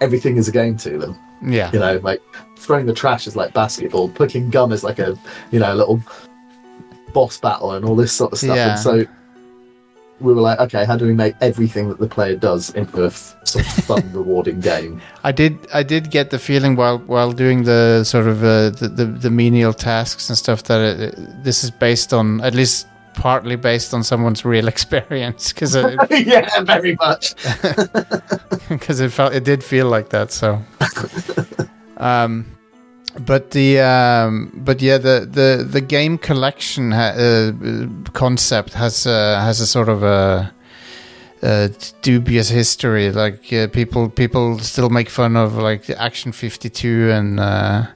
Speaker 6: everything is a game to them.
Speaker 1: Yeah.
Speaker 6: You know, like throwing the trash is like basketball, picking gum is like a you know little boss battle and all this sort of stuff.
Speaker 1: Yeah.
Speaker 6: And so we were like, okay, how do we make everything that the player does into a f- sort of fun, rewarding game?
Speaker 1: I did. I did get the feeling while while doing the sort of uh, the, the the menial tasks and stuff that uh this is based on at least partly based on someone's real experience because
Speaker 6: yeah, very much.
Speaker 1: because it felt it did feel like that. So, um, but the um, but yeah, the the the game collection ha- uh, concept has uh, has a sort of a. Uh, dubious history, like uh, people people still make fun of like the Action Fifty Two and uh,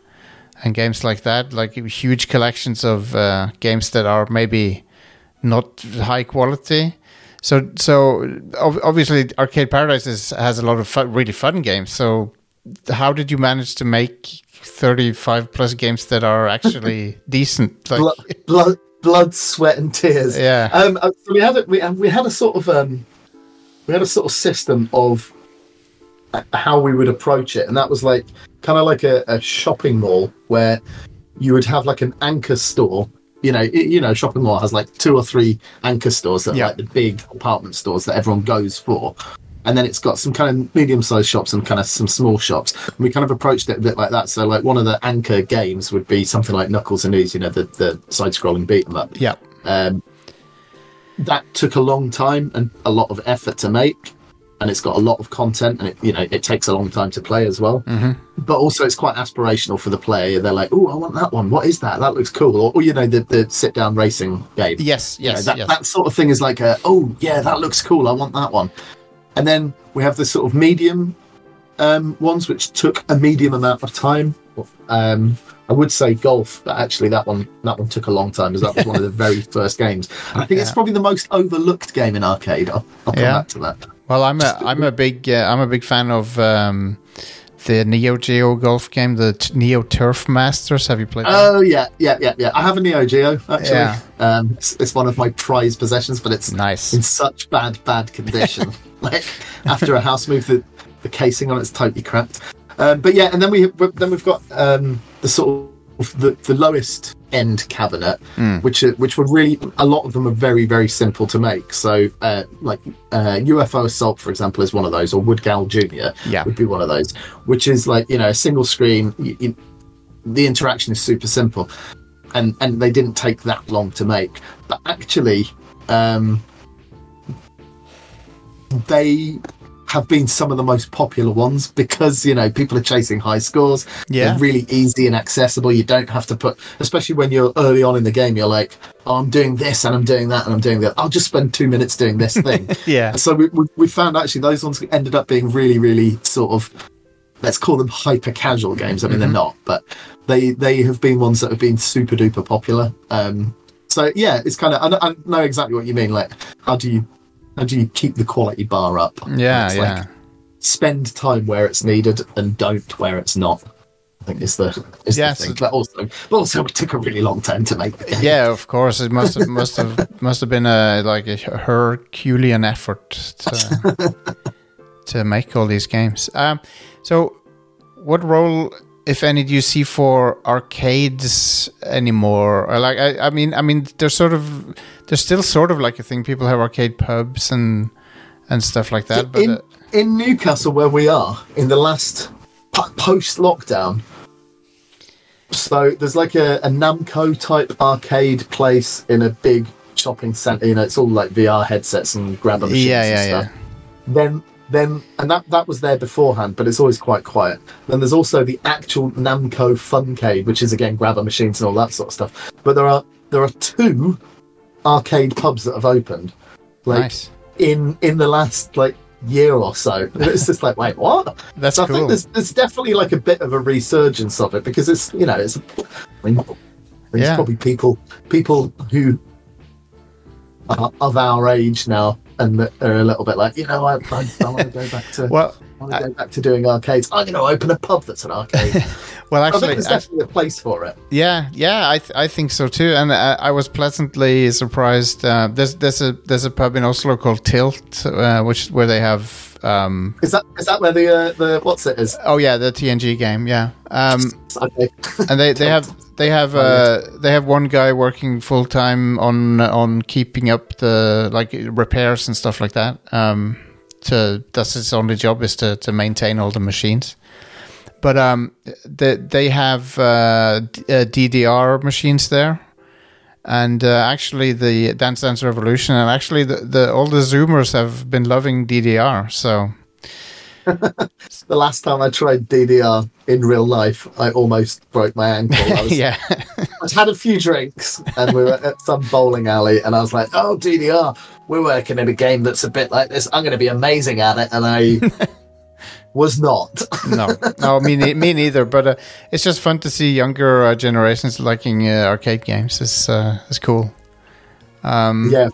Speaker 1: and games like that, like huge collections of uh, games that are maybe not high quality. So so ob- obviously, Arcade Paradise is, has a lot of fu- really fun games. So how did you manage to make 35 plus games that are actually decent? Like,
Speaker 6: blood, blood, blood, sweat, and tears.
Speaker 1: Yeah.
Speaker 6: Um, uh, so we had a, we, uh, we had a sort of um, we had a sort of system of uh, how we would approach it, and that was like kind of like a, a shopping mall where you would have like an anchor store. You know, i you know, shopping mall has like two or three anchor stores that
Speaker 1: Yeah.
Speaker 6: are like the big apartment stores that everyone goes for. And then it's got some kind of medium-sized shops and kind of some small shops. And we kind of approached it a bit like that. So, like one of the anchor games would be something like Knuckles and Knees, you know, the, the side-scrolling beat 'em up
Speaker 1: yeah.
Speaker 6: um, that took a long time and a lot of effort to make and it's got a lot of content and it you know it takes a long time to play as well but also it's quite aspirational for the player they're like oh i want that one what is that that looks cool or, or you know the, the sit down racing game
Speaker 1: Yes,
Speaker 6: You know,
Speaker 1: yes,
Speaker 6: that,
Speaker 1: yes.
Speaker 6: that sort of thing is like a, oh yeah that looks cool i want that one and then we have the sort of medium um, ones which took a medium amount of time um, I would say golf, but actually that one that one took a long time, as that was one of the very first games. And I think it's probably the most overlooked game in arcade. I'll, I'll come
Speaker 1: Yeah.
Speaker 6: back to that.
Speaker 1: Well, I'm a I'm a big uh, I'm a big fan of um, the Neo Geo golf game, the t- Neo Turf Masters. Have you played? that?
Speaker 6: Oh yeah, yeah, yeah, yeah. I have a Neo Geo actually.
Speaker 1: Yeah.
Speaker 6: Um, it's, it's one of my prized possessions, but it's
Speaker 1: Nice.
Speaker 6: in such bad, bad condition. like after a house move, the, the casing on it's totally cracked. Um, but yeah, and then we but then we've got um, the sort of the, the lowest end cabinet,
Speaker 1: Hmm.
Speaker 6: which are, which were really a lot of them are very very simple to make. So uh, like uh, UFO Assault, for example, is one of those, or Woodgal Junior
Speaker 1: Yeah.
Speaker 6: would be one of those, which is like you know a single screen. You, you, the interaction is super simple, and and they didn't take that long to make. But actually, um, they have been some of the most popular ones because you know people are chasing high scores.
Speaker 1: Yeah.
Speaker 6: They're really easy and accessible. You don't have to put, especially when you're early on in the game. You're like, oh, I'm doing this and I'm doing that and I'm doing that. I'll just spend two minutes doing this thing.
Speaker 1: Yeah.
Speaker 6: So we, we we found actually those ones ended up being really really sort of let's call them hyper casual games. I mean, they're
Speaker 1: Mm-hmm.
Speaker 6: not, but they they have been ones that have been super duper popular. Um, so yeah, it's kind of I, kn- I know exactly what you mean. Like, how do you how do you keep the quality bar up?
Speaker 1: Yeah,
Speaker 6: It's
Speaker 1: yeah.
Speaker 6: Oh, Like, spend time where it's needed and don't where it's not. I think is the is
Speaker 1: Yes.
Speaker 6: the thing. But also, but also, it took a really long time to make. The game.
Speaker 1: yeah, of course. It must have must have must have been a like a Herculean effort to to make all these games. Um, so, what role, if any, do you see for arcades anymore? Or like, I, I mean, I mean, there's sort of there's still sort of like a thing. People have arcade pubs and and stuff like that. But
Speaker 6: in,
Speaker 1: uh,
Speaker 6: in Newcastle, where we are, in the last post lockdown, so there's like a, a Namco type arcade place in a big shopping centre. You know, it's all like VR headsets and grab machines
Speaker 1: Yeah,
Speaker 6: and
Speaker 1: yeah,
Speaker 6: stuff. Then, then, and that that was there beforehand, but it's always quite quiet. Then there's also the actual Namco Funcade, which is again grabber machines and all that sort of stuff. But there are there are two arcade pubs that have opened. Like,
Speaker 1: nice.
Speaker 6: in in the last like year or so. And it's just like, wait, what?
Speaker 1: That's
Speaker 6: so I
Speaker 1: cool.
Speaker 6: think there's there's definitely like a bit of a resurgence of it because it's you know it's I mean, there's
Speaker 1: Yeah.
Speaker 6: probably people people who are of our age now and that are a little bit like you know I, I, I want to go back to
Speaker 1: Well,
Speaker 6: I want to go back to doing arcades. I'm going to open a pub that's an arcade.
Speaker 1: well,
Speaker 6: I think
Speaker 1: actually,
Speaker 6: there's definitely a place for it.
Speaker 1: Yeah, yeah, I th- I think so too, and uh, I, I was pleasantly surprised. Uh, there's there's a there's a pub in Oslo called Tilt, uh, which where they have um,
Speaker 6: Is that is that where the uh, the what's it is?
Speaker 1: oh yeah the TNG game yeah, um,
Speaker 6: Okay.
Speaker 1: and they, they have they have uh, they have one guy working full time on on keeping up the like repairs and stuff like that. Um, to that's his only job is to to maintain all the machines. But um, they they have uh, d- uh, DDR machines there, and uh, actually the Dance Dance Revolution, and actually the, the all the Zoomers have been loving DDR. So
Speaker 6: The last time I tried DDR in real life, I almost broke my ankle. I was,
Speaker 1: yeah,
Speaker 6: I'd had a few drinks and we were at some bowling alley, and I was like, "Oh, DDR, we're working in a game that's a bit like this. I'm going to be amazing at it," and I was not.
Speaker 1: no, no, me, ne- me neither. But uh, it's just fun to see younger uh, generations liking uh, arcade games. It's uh, it's cool.
Speaker 6: yeah,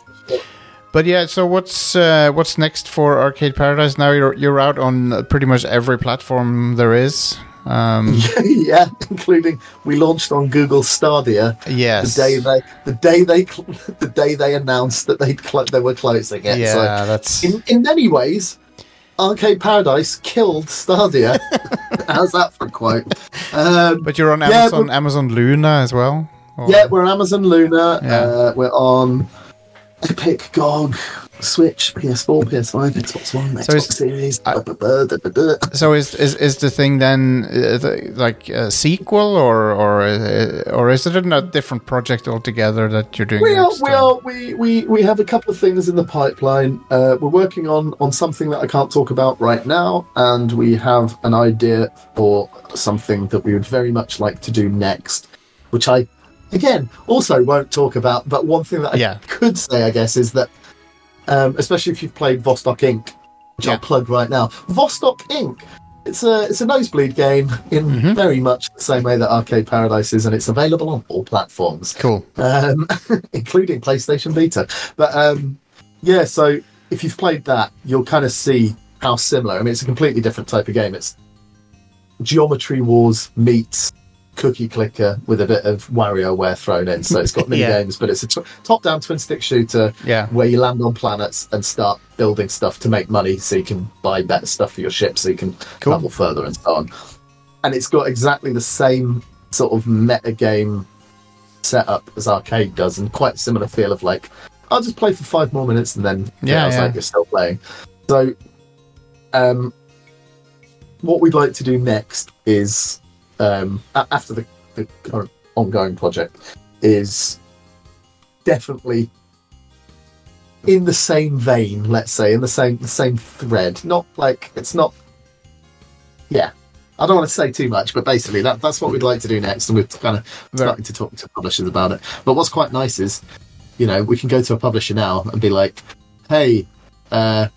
Speaker 1: But yeah, so what's uh, what's next for Arcade Paradise? Now you're you're out on uh, pretty much every platform there is. Um,
Speaker 6: yeah, including we launched on Google Stadia
Speaker 1: yes.
Speaker 6: the day they the day they cl- the day they announced that they cl- they were closing it.
Speaker 1: yeah,
Speaker 6: So
Speaker 1: that's
Speaker 6: in in many ways, Arcade Paradise killed Stadia. How's that for a quote? Um,
Speaker 1: But you're on
Speaker 6: Yeah,
Speaker 1: Amazon, Amazon Luna as well. Or-
Speaker 6: yeah, we're Amazon Luna.
Speaker 1: Yeah.
Speaker 6: Uh, we're on Epic, GOG, Switch, PS4, PS5, Xbox One,
Speaker 1: So
Speaker 6: Xbox
Speaker 1: it's-
Speaker 6: Series.
Speaker 1: I-
Speaker 6: blah, blah, blah, blah, blah, blah.
Speaker 1: So is is, is the thing then uh, the, like a sequel or or uh, or is it a different project altogether that you're doing?
Speaker 6: We are,
Speaker 1: next
Speaker 6: we
Speaker 1: time?
Speaker 6: are, we, we, we have a couple of things in the pipeline. Uh, we're working on, on something that I can't talk about right now, and we have an idea for something that we would very much like to do next, which I, again, also won't talk about. But one thing that I
Speaker 1: Yeah.
Speaker 6: could say, I guess, is that, um, especially if you've played Vostok Inc., which
Speaker 1: Yeah.
Speaker 6: I'll plug right now, Vostok Inc. It's a it's a nosebleed game in
Speaker 1: Mm-hmm.
Speaker 6: very much the same way that Arcade Paradise is, and it's available on all platforms
Speaker 1: cool.
Speaker 6: um, including PlayStation Vita. But um, yeah, so if you've played that, you'll kind of see how similar. I mean, it's a completely different type of game. It's Geometry Wars meets Cookie Clicker with a bit of WarioWare thrown in. So it's got mini games, but it's a t- top-down twin-stick shooter
Speaker 1: Yeah.
Speaker 6: where you land on planets and start building stuff to make money, so you can buy better stuff for your ship, so you can
Speaker 1: Cool.
Speaker 6: travel further and so on. And it's got exactly the same sort of meta game setup as arcade does, and quite similar feel of like, I'll just play for five more minutes and then
Speaker 1: Yeah,
Speaker 6: yeah, it's
Speaker 1: yeah.
Speaker 6: like you're still playing. So, um, what we'd like to do next is um, a- after the, the current ongoing project is definitely in the same vein, let's say, in the same the same thread. Not like it's not. Yeah, I don't want to say too much, but basically that that's what we'd like to do next, and we're kind of starting to talk to publishers about it. But what's quite nice is, you know, we can go to a publisher now and be like, "Hey, uh,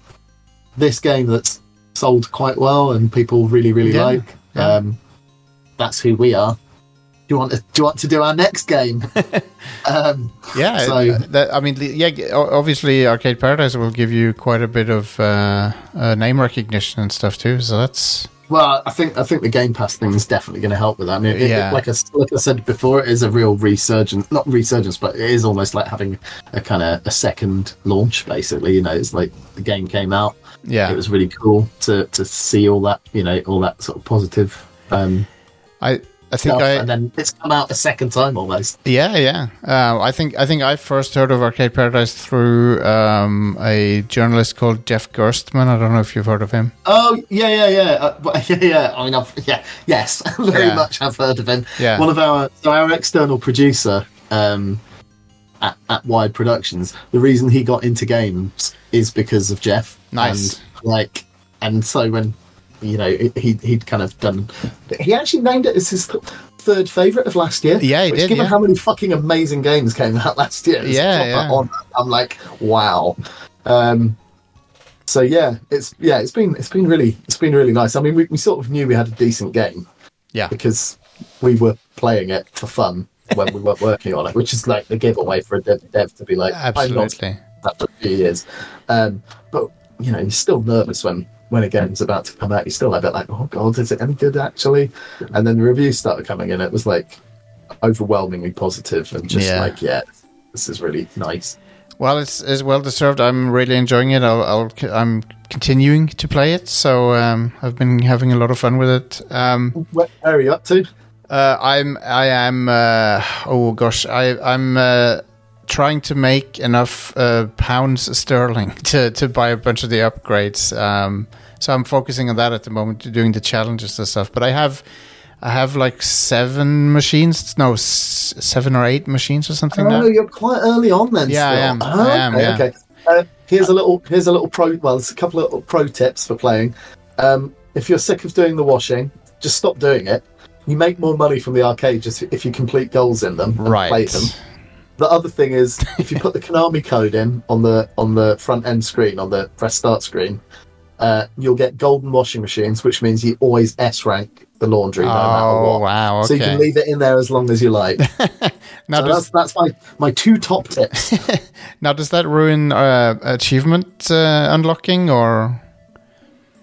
Speaker 6: this game that's sold quite well and people really really
Speaker 1: Yeah,
Speaker 6: like,
Speaker 1: yeah.
Speaker 6: um, that's who we are." Do you want to, do you want to do our next game? um,
Speaker 1: Yeah,
Speaker 6: So-
Speaker 1: it- that, I mean, the- yeah. g- o- Obviously, Arcade Paradise will give you quite a bit of uh, uh, name recognition and stuff too. So that's
Speaker 6: Well, I think I think the Game Pass thing is definitely going to help with that. I mean, it- it-
Speaker 1: Yeah.
Speaker 6: like, I, s- like I said before, it is a real resurgence. Not resurgence, but it is almost like having a kind of a second launch. Basically, you know, it's like the game came out.
Speaker 1: yeah.
Speaker 6: It was really cool to to see all that, you know, all that sort of positive um,
Speaker 1: I I think
Speaker 6: stuff,
Speaker 1: I
Speaker 6: and then it's come out a second time almost.
Speaker 1: Yeah, yeah. Uh, I think I think I first heard of Arcade Paradise through um, a journalist called Jeff Gerstmann. I don't know if you've heard of him.
Speaker 6: Oh yeah, yeah, yeah, uh, but- yeah, yeah. I mean, I've, yeah, yes, very
Speaker 1: Yeah.
Speaker 6: much. I've heard of him.
Speaker 1: Yeah.
Speaker 6: One of our so our external producer um, at, at Wide Productions. The reason he got into games is because of Jeff.
Speaker 1: Nice.
Speaker 6: And, like, and so when you know he he'd kind of done. He actually named it as his th- third favorite of last year.
Speaker 1: Yeah, he
Speaker 6: which
Speaker 1: did,
Speaker 6: Given
Speaker 1: yeah.
Speaker 6: how many fucking amazing games came out last year, it's
Speaker 1: Yeah,
Speaker 6: proper
Speaker 1: yeah.
Speaker 6: honor. I'm like, wow. Um, so yeah, it's yeah, it's been it's been really it's been really nice. I mean, we, we sort of knew we had a decent game
Speaker 1: Yeah,
Speaker 6: because we were playing it for fun when we weren't working on it, which is like the giveaway for a dev, dev to be like,
Speaker 1: absolutely.
Speaker 6: I've not done that for a few years. Um, but you know, you're still nervous when when a game's about to come out. You're still a bit like, oh god, is it any good actually? And then the reviews started coming in. It was like overwhelmingly positive and just
Speaker 1: Yeah.
Speaker 6: like, yeah, this is really nice.
Speaker 1: Well, it's, it's well deserved. I'm really enjoying it. I'll, I'll c- I'm continuing to play it, so um, I've been having a lot of fun with it. Um,
Speaker 6: Where, where are you up to?
Speaker 1: Uh, I'm I am uh, oh gosh I I'm uh, trying to make enough uh, pounds sterling to to buy a bunch of the upgrades. Um, so I'm focusing on that at the moment, doing the challenges and stuff. But I have I have like seven machines, no s- seven or eight machines or something. now.
Speaker 6: Oh, you're quite early on then.
Speaker 1: Yeah, I
Speaker 6: still.
Speaker 1: am.
Speaker 6: Oh,
Speaker 1: I am,
Speaker 6: okay,
Speaker 1: yeah.
Speaker 6: okay. Uh, here's a little. Here's a little pro. Well, there's a couple of little pro tips for playing. Um, if you're sick of doing the washing, just stop doing it. You make more money from the arcade just if you complete goals in them and play
Speaker 1: right.
Speaker 6: them. The other thing is if you put the Konami code in on the on the front end screen on the press start screen, uh, you'll get golden washing machines, which means you always S rank the the laundry no matter
Speaker 1: Oh
Speaker 6: what.
Speaker 1: wow!
Speaker 6: So you can
Speaker 1: Okay.
Speaker 6: leave it in there as long as you like.
Speaker 1: Now
Speaker 6: so
Speaker 1: does
Speaker 6: that's that's my my two top tips.
Speaker 1: now does that ruin uh, achievement uh, unlocking or?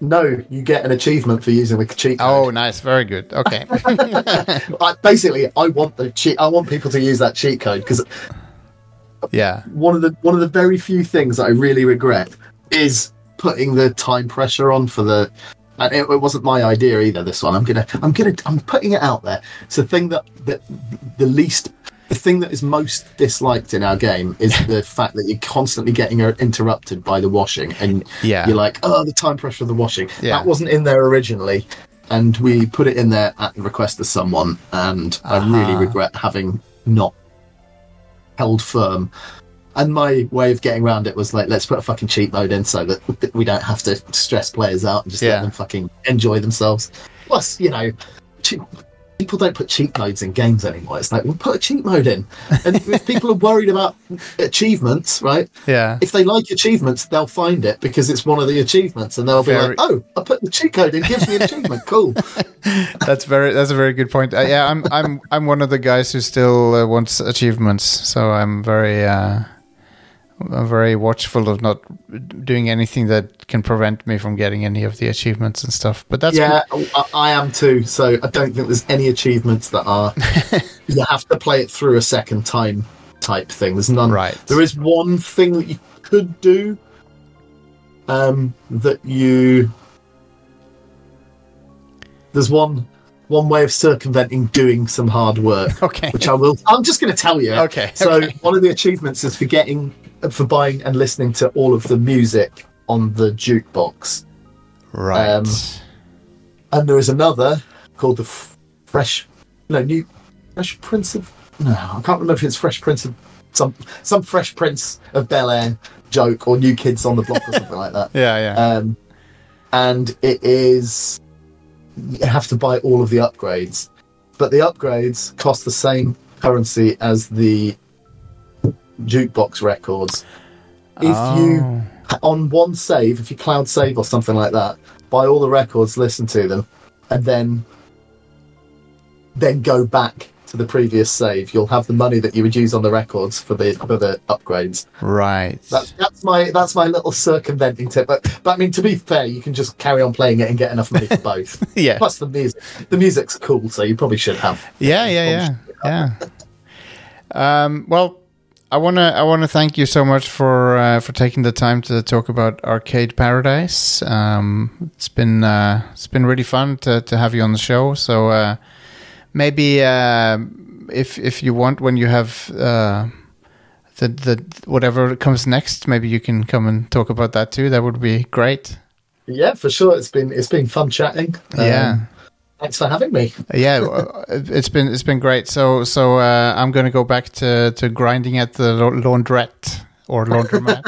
Speaker 6: no, you get an achievement for using the cheat
Speaker 1: Oh,
Speaker 6: code.
Speaker 1: nice, very good. Okay.
Speaker 6: I, basically, I want the cheat. I want people to use that cheat code because
Speaker 1: yeah.
Speaker 6: one of the one of the very few things that I really regret is putting the time pressure on for the. And it, it wasn't my idea either. This one, I'm gonna, I'm gonna, I'm putting it out there. It's the thing that that the least, the thing that is most disliked in our game is the fact that you're constantly getting uh, interrupted by the washing, and
Speaker 1: Yeah.
Speaker 6: you're like, oh, the time pressure of the washing.
Speaker 1: Yeah.
Speaker 6: That wasn't in there originally, and we put it in there at the request of someone, and I really regret having not held firm and my way of getting around it was like, let's put a fucking cheat mode in so that that we don't have to stress players out and just
Speaker 1: Yeah.
Speaker 6: let them fucking enjoy themselves. Plus, you know, che- people don't put cheat modes in games anymore. It's like, well, put a cheat mode in. And if people are worried about achievements, right?
Speaker 1: Yeah.
Speaker 6: If they like achievements, they'll find it because it's one of the achievements and they'll be
Speaker 1: Very-
Speaker 6: like, oh, I put the cheat code in, gives me an achievement. Cool.
Speaker 1: That's very. That's a very good point. Uh, yeah, I'm. I'm. I'm one of the guys who still uh, wants achievements, so I'm very. Uh, I'm very watchful of not doing anything that can prevent me from getting any of the achievements and stuff. But that's
Speaker 6: yeah, I, I am too. So I don't think there's any achievements that are you have to play it through a second time type thing. There's none.
Speaker 1: Right.
Speaker 6: There is one thing that you could do um, that you there's one one way of circumventing doing some hard work.
Speaker 1: okay.
Speaker 6: Which I will. I'm just going to tell you.
Speaker 1: Okay,
Speaker 6: So
Speaker 1: okay.
Speaker 6: one of the achievements is for getting, for buying and listening to all of the music on the jukebox.
Speaker 1: Right.
Speaker 6: um, And there is another called the F- Fresh, no, New Fresh Prince of. No, I can't remember if it's Fresh Prince of some some Fresh Prince of Bel Air joke or New Kids on the Block or something like that.
Speaker 1: yeah. Yeah.
Speaker 6: Um, and it is you have to buy all of the upgrades, but the upgrades cost the same currency as the jukebox records. If you
Speaker 1: Oh.
Speaker 6: on one save, if you cloud save or something like that, buy all the records, listen to them, and then then go back to the previous save. You'll have the money that you would use on the records for the for the upgrades.
Speaker 1: Right.
Speaker 6: That's that's my that's my little circumventing tip. But but I mean, to be fair, you can just carry on playing it and get enough money for both.
Speaker 1: Yeah.
Speaker 6: Plus the music, the music's cool, so you probably should have.
Speaker 1: Yeah, yeah, yeah, yeah. Um, well, I wanna I wanna thank you so much for uh, for taking the time to talk about Arcade Paradise. Um, it's been uh, it's been really fun to, to have you on the show. So uh, maybe uh, if if you want, when you have uh, the the whatever comes next, maybe you can come and talk about that too. That would be great.
Speaker 6: Yeah, for sure. It's been it's been fun chatting. Um,
Speaker 1: yeah.
Speaker 6: Thanks for having me.
Speaker 1: yeah uh, it's been it's been great so so uh, i'm gonna go back to to grinding at the la- laundrette or laundromat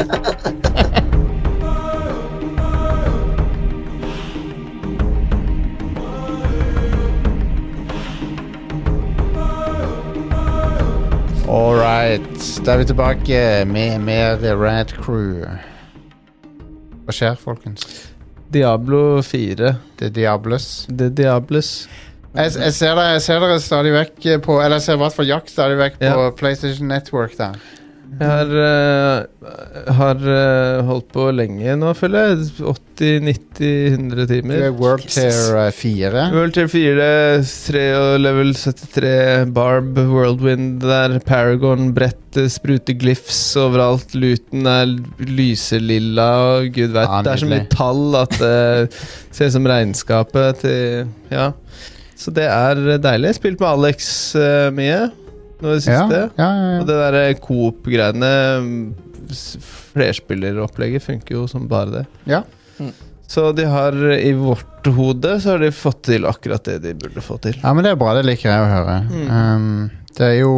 Speaker 1: All right, da er vi tilbake med mer The Rad Crew. Hva skjer, folkens?
Speaker 2: Diablo 4.
Speaker 1: Det er Diablos.
Speaker 2: The Diables.
Speaker 1: Jeg, jeg, ser dere, jeg ser dere stadig vekk eh, på Eller jeg ser i hvert fall Jack stadig vekk på
Speaker 2: Ja.
Speaker 1: PlayStation Network der.
Speaker 2: Jeg har, eh, har eh, holdt på lenge nå, føler jeg. 80-90-100
Speaker 1: Du
Speaker 2: timer.
Speaker 1: er World Tier eh, 4.
Speaker 2: World Tier 4, 3 og level 73, Barb, Worldwind der, Paragon, brett, eh, sprute glyphs overalt, Luten er lyselilla og gud veit.
Speaker 1: Ja,
Speaker 2: det er så mye
Speaker 1: nydelig.
Speaker 2: tall at det ser ut som regnskapet til Ja. Så det er deilig. Spilt med Alex eh, mye nå i det
Speaker 1: Ja,
Speaker 2: siste.
Speaker 1: ja, ja,
Speaker 2: Og
Speaker 1: ja.
Speaker 2: det derre coop-greiene mm, s- Flerspilleropplegget funker jo som bare det.
Speaker 1: Ja.
Speaker 3: Mm.
Speaker 2: Så de har eh, i vårt hode så har de fått til akkurat det de burde få til.
Speaker 1: ja, men det er bra. Det liker jeg å høre. Um, det er jo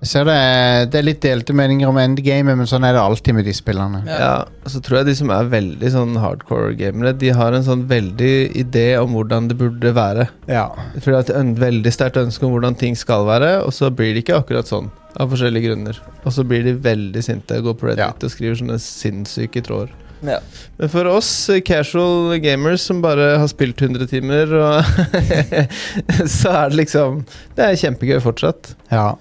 Speaker 1: Jeg ser det er, det er litt delte meninger om endgamet, men sånn er det alltid med de spillerne.
Speaker 2: Ja. og Så tror jeg de som er veldig sånn hardcore gamere, de har en sånn veldig idé om hvordan det burde være.
Speaker 1: Ja.
Speaker 2: For de har et øn- veldig sterkt ønske om hvordan ting skal være, og så blir det ikke akkurat sånn. Av forskjellige grunner. Og så blir de veldig sinte, går på Reddit
Speaker 1: Ja.
Speaker 2: og skriver sånne sinnssyke tråder.
Speaker 3: Ja.
Speaker 2: Men for oss eh, casual gamers som bare har spilt 100 timer, og så er det liksom Det er kjempegøy fortsatt.
Speaker 1: Ja.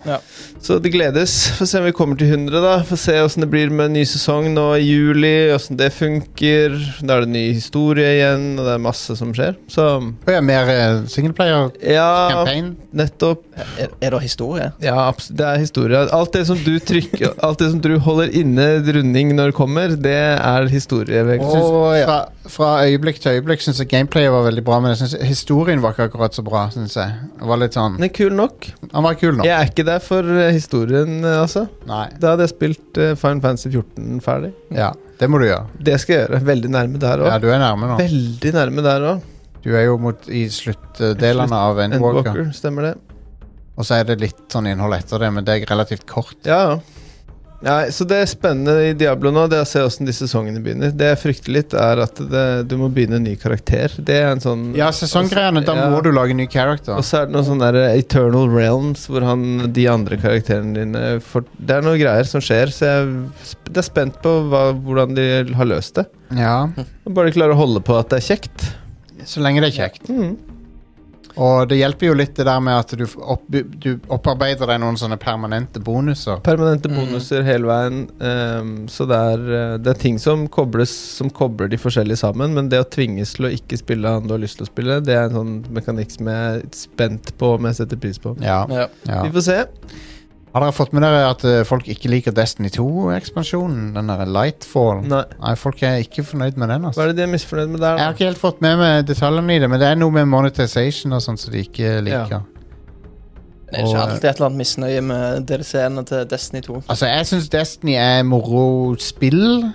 Speaker 2: Så det gledes. Få se om vi kommer til 100, da. Få se åssen det blir med ny sesong nå i juli. Åssen det funker. Da er det ny historie igjen, og det er masse som skjer. Så
Speaker 1: Og ja, mer eh, singleplayer
Speaker 2: ja,
Speaker 1: campaign.
Speaker 2: nettopp.
Speaker 3: Er, er det historie?
Speaker 2: Ja, abs- det er historie. Alt det som du trykker Alt det som du holder inne runding når det kommer, det er historie. Vegard.
Speaker 1: Og fra, fra øyeblikk til øyeblikk syns jeg gameplayet var veldig bra, men jeg synes historien var ikke akkurat så bra. Synes jeg. Det var litt sånn,
Speaker 2: Den er kul nok.
Speaker 1: Han var kul nå.
Speaker 2: Jeg er ikke der for eh, historien, eh, altså.
Speaker 1: Nei,
Speaker 2: Da hadde jeg spilt eh, Final Fantasy 14 ferdig.
Speaker 1: ja, Det må du gjøre.
Speaker 2: Det skal jeg gjøre. Veldig nærme der
Speaker 1: Ja,
Speaker 2: òg.
Speaker 1: Du er nærme nå.
Speaker 2: Veldig nærme der òg.
Speaker 1: Du er jo mot, i sluttdelene av Endwalker.
Speaker 2: Endwalker, stemmer det.
Speaker 1: Og så er det litt sånn innhold etter det, men det er relativt kort.
Speaker 2: Ja, ja. Nei, så det spennende i Diablo nå, det er å se åssen de sesongene begynner. Det jeg frykter litt, er at det, du må begynne en ny karakter. Det er en sånn
Speaker 1: Ja, sesonggreiene. Da
Speaker 2: Ja.
Speaker 1: må du lage en ny character.
Speaker 2: Og så er det noen sånne der eh, Eternal Realms hvor han, de andre karakterene dine får, Det er noen greier som skjer, så jeg sp- det er spent på hva, hvordan de har løst det.
Speaker 1: Ja,
Speaker 2: Og Bare de klarer å holde på at det er kjekt.
Speaker 1: Så lenge det er kjekt.
Speaker 2: Mm.
Speaker 1: Og det hjelper jo litt det der med at du, f- opp, du opparbeider deg noen sånne permanente bonuser.
Speaker 2: Permanente
Speaker 3: Mm.
Speaker 2: bonuser hele veien. ehm, så det er, eh, det er ting som kobles Som kobler de forskjellige sammen, men det å tvinges til å ikke spille han du har lyst til å spille, det er en sånn mekanikk som jeg er spent på om jeg setter pris på.
Speaker 1: Ja,
Speaker 3: Ja.
Speaker 1: ja.
Speaker 2: Vi får se.
Speaker 1: Har dere fått med dere at eh, folk ikke liker Destiny 2-ekspansjonen? Den der Lightfall?
Speaker 2: Nei.
Speaker 1: Nei, folk er ikke fornøyd med den.
Speaker 2: Mm. Hva
Speaker 1: altså
Speaker 2: er det de er misfornøyd med der?
Speaker 1: Jeg
Speaker 2: da?
Speaker 1: har ikke helt fått med meg detaljene i det, men det er noe med monetization og sånt som de ikke liker.
Speaker 3: Det er ikke
Speaker 1: Og-
Speaker 3: alltid et eller annet misnøye med DLC-ene til Destiny 2.
Speaker 1: Altså, jeg syns Destiny er moro spill,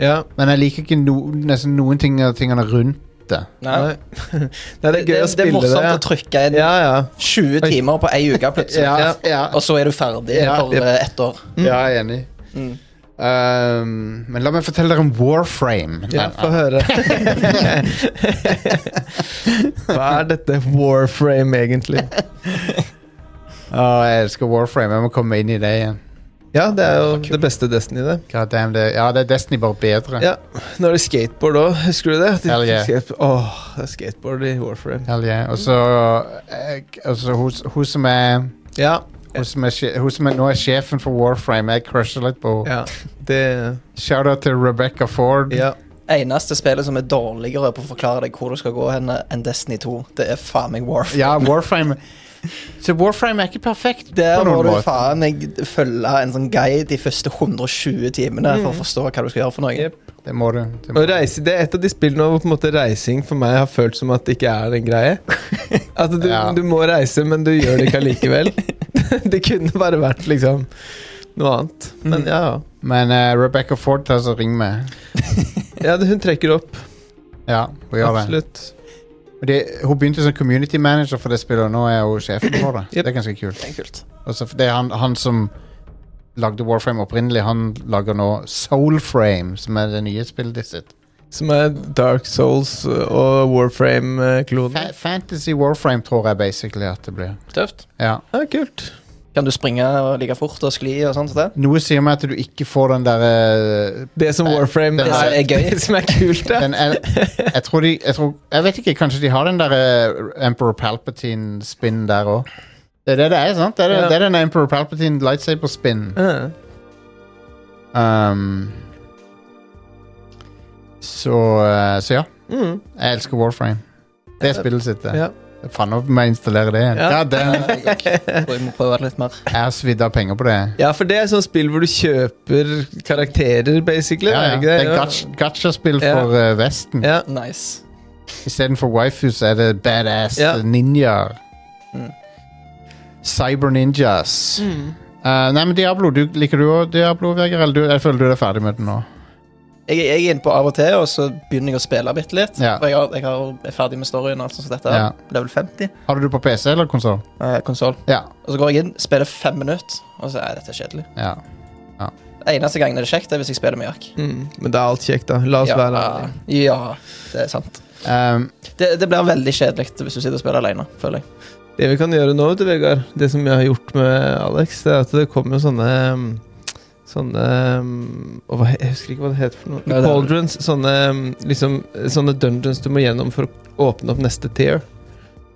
Speaker 2: Ja.
Speaker 1: men jeg liker ikke no, nesten noen ting av tingene rundt det.
Speaker 2: Nei. Nei, det er gøy
Speaker 3: det,
Speaker 2: å spille
Speaker 3: er morsomt å
Speaker 2: det.
Speaker 3: trykke inn
Speaker 2: Ja, ja.
Speaker 3: 20
Speaker 2: Oi.
Speaker 3: timer på ei uke plutselig,
Speaker 1: Ja, ja.
Speaker 3: og så er du ferdig
Speaker 1: Ja,
Speaker 3: for
Speaker 1: ja.
Speaker 3: eh, ett år.
Speaker 1: Ja, jeg er enig.
Speaker 3: Mm.
Speaker 1: Um, men la meg fortelle dere om Warframe.
Speaker 2: ja.
Speaker 1: Nei,
Speaker 2: Få høre. Hva er dette Warframe, egentlig?
Speaker 1: Å, jeg elsker Warframe. Jeg må komme inn i det igjen.
Speaker 2: Ja, det er jo det beste Destiny, det.
Speaker 1: God damn, det, ja, det er Destiny bare bedre.
Speaker 2: Ja, Nå er det skateboard òg, husker du det? De,
Speaker 1: Hell yeah.
Speaker 2: skate- Åh, det er skateboard i Warframe.
Speaker 1: Hell yeah. Og så eh, altså, hun, hun som er
Speaker 2: Ja,
Speaker 1: hun som, er, sje- hun som er, nå er sjefen for Warframe. Jeg crusher litt på henne.
Speaker 2: ja, det
Speaker 1: Shout-out til Rebecca Ford.
Speaker 2: Ja.
Speaker 3: Eneste spillet som er dårligere på å forklare deg hvor du skal gå hen enn Destiny 2, det er faen meg Warf.
Speaker 1: Ja, Warframe Så Warframe er ikke perfekt
Speaker 3: Der
Speaker 1: på
Speaker 3: må
Speaker 1: noen
Speaker 3: du
Speaker 1: måte.
Speaker 3: faen meg følge en sånn guide de første 120 timene for å forstå hva du skal gjøre for noe.
Speaker 2: Yep.
Speaker 1: Det må du. Det
Speaker 2: Og
Speaker 1: må.
Speaker 2: reise, det er et av de spillene hvor på en måte reising for meg har følt som at det ikke er en greie. At du,
Speaker 1: Ja.
Speaker 2: du må reise, men du gjør det ikke allikevel. det kunne bare vært liksom noe annet.
Speaker 1: Mm.
Speaker 2: Men ja, ja.
Speaker 1: Men eh, Rebecca Ford tar så ring med.
Speaker 2: ja. det- Hun trekker opp.
Speaker 1: Ja, hun gjør det.
Speaker 2: Absolutt.
Speaker 1: Og det. Hun begynte som community manager for det spillet, og nå er hun sjefen for det.
Speaker 2: Yep.
Speaker 1: Det er ganske kult.
Speaker 3: Det er kult.
Speaker 1: Og så det er han, han som lagde Warframe opprinnelig, han lager nå Soulframe, som er det nye spillet ditt sitt.
Speaker 2: Som er Dark Souls og Warframe-klonen.
Speaker 1: Fa Fantasy Warframe tror jeg basically at det blir.
Speaker 3: Tøft.
Speaker 1: Ja.
Speaker 2: Ja, kult.
Speaker 3: Kan du springe og like fort og skli og sånt? og Det?
Speaker 1: Noe sier meg at du ikke får den eh, derre
Speaker 2: Det som Warframe
Speaker 1: Det
Speaker 3: som er gøy.
Speaker 2: Det som er kult, ja.
Speaker 1: den, jeg, jeg tror de jeg, tror, jeg vet ikke, kanskje de har den der eh, Emperor Palpatine-spinnen der òg. Det er det det er, sant? Det er,
Speaker 2: Ja.
Speaker 1: det er den Emperor Palpatine lightsaber-spinnen.
Speaker 2: Ja.
Speaker 1: Um, så, eh, så ja.
Speaker 2: Mm.
Speaker 1: Jeg elsker Warframe. Det er spillet sitt, det.
Speaker 2: Ja.
Speaker 1: Faen om jeg installerer det igjen.
Speaker 2: Ja.
Speaker 1: Ja, det-
Speaker 3: Tror jeg må prøve det litt mer.
Speaker 1: jeg har svidd av penger på det.
Speaker 2: Ja, for det er sånn spill hvor du kjøper karakterer, basically.
Speaker 1: Ja, ja.
Speaker 2: ikke
Speaker 1: Det er
Speaker 2: Ja.
Speaker 1: gacha- gacha-spill
Speaker 2: Ja.
Speaker 1: for eh, Vesten.
Speaker 2: Ja.
Speaker 3: Nice.
Speaker 1: Istedenfor waifus er det badass
Speaker 2: Ja.
Speaker 1: ninjaer.
Speaker 3: Mm.
Speaker 1: Cyber ninjas. Eh, nei, men Diablo, du, liker du òg Diablo, Vegard? Eller du, jeg føler du er ferdig med det nå.
Speaker 3: Jeg, jeg er inne på av og til, og så begynner jeg å spille bitte litt.
Speaker 1: Ja.
Speaker 3: For jeg, har, jeg har, er ferdig med storyen og alt sånt som dette. her. Level 50.
Speaker 1: Har du det på PC eller konsoll?
Speaker 3: Eh, Konsoll.
Speaker 1: Ja.
Speaker 3: Og så går jeg inn, spiller fem minutter, og så er dette er kjedelig.
Speaker 1: ja.
Speaker 3: Eneste gangen er det kjekt, det er hvis jeg spiller med Jack.
Speaker 2: Mm. Men det er alt kjekt, da. La oss være ærlige.
Speaker 3: ja, det er sant.
Speaker 1: Um,
Speaker 3: Det, det blir veldig kjedelig hvis du sitter og spiller alene, føler jeg.
Speaker 2: Det vi kan gjøre nå, vet du, Vegard, det som jeg har gjort med Alex, det er at det kommer jo sånne um, Sånne um, og hva, Jeg husker ikke hva det heter for noe.
Speaker 3: Nei, det er-
Speaker 2: Cauldrons. Sånne, um, liksom, sånne dungeons du må gjennom for å åpne opp neste tier.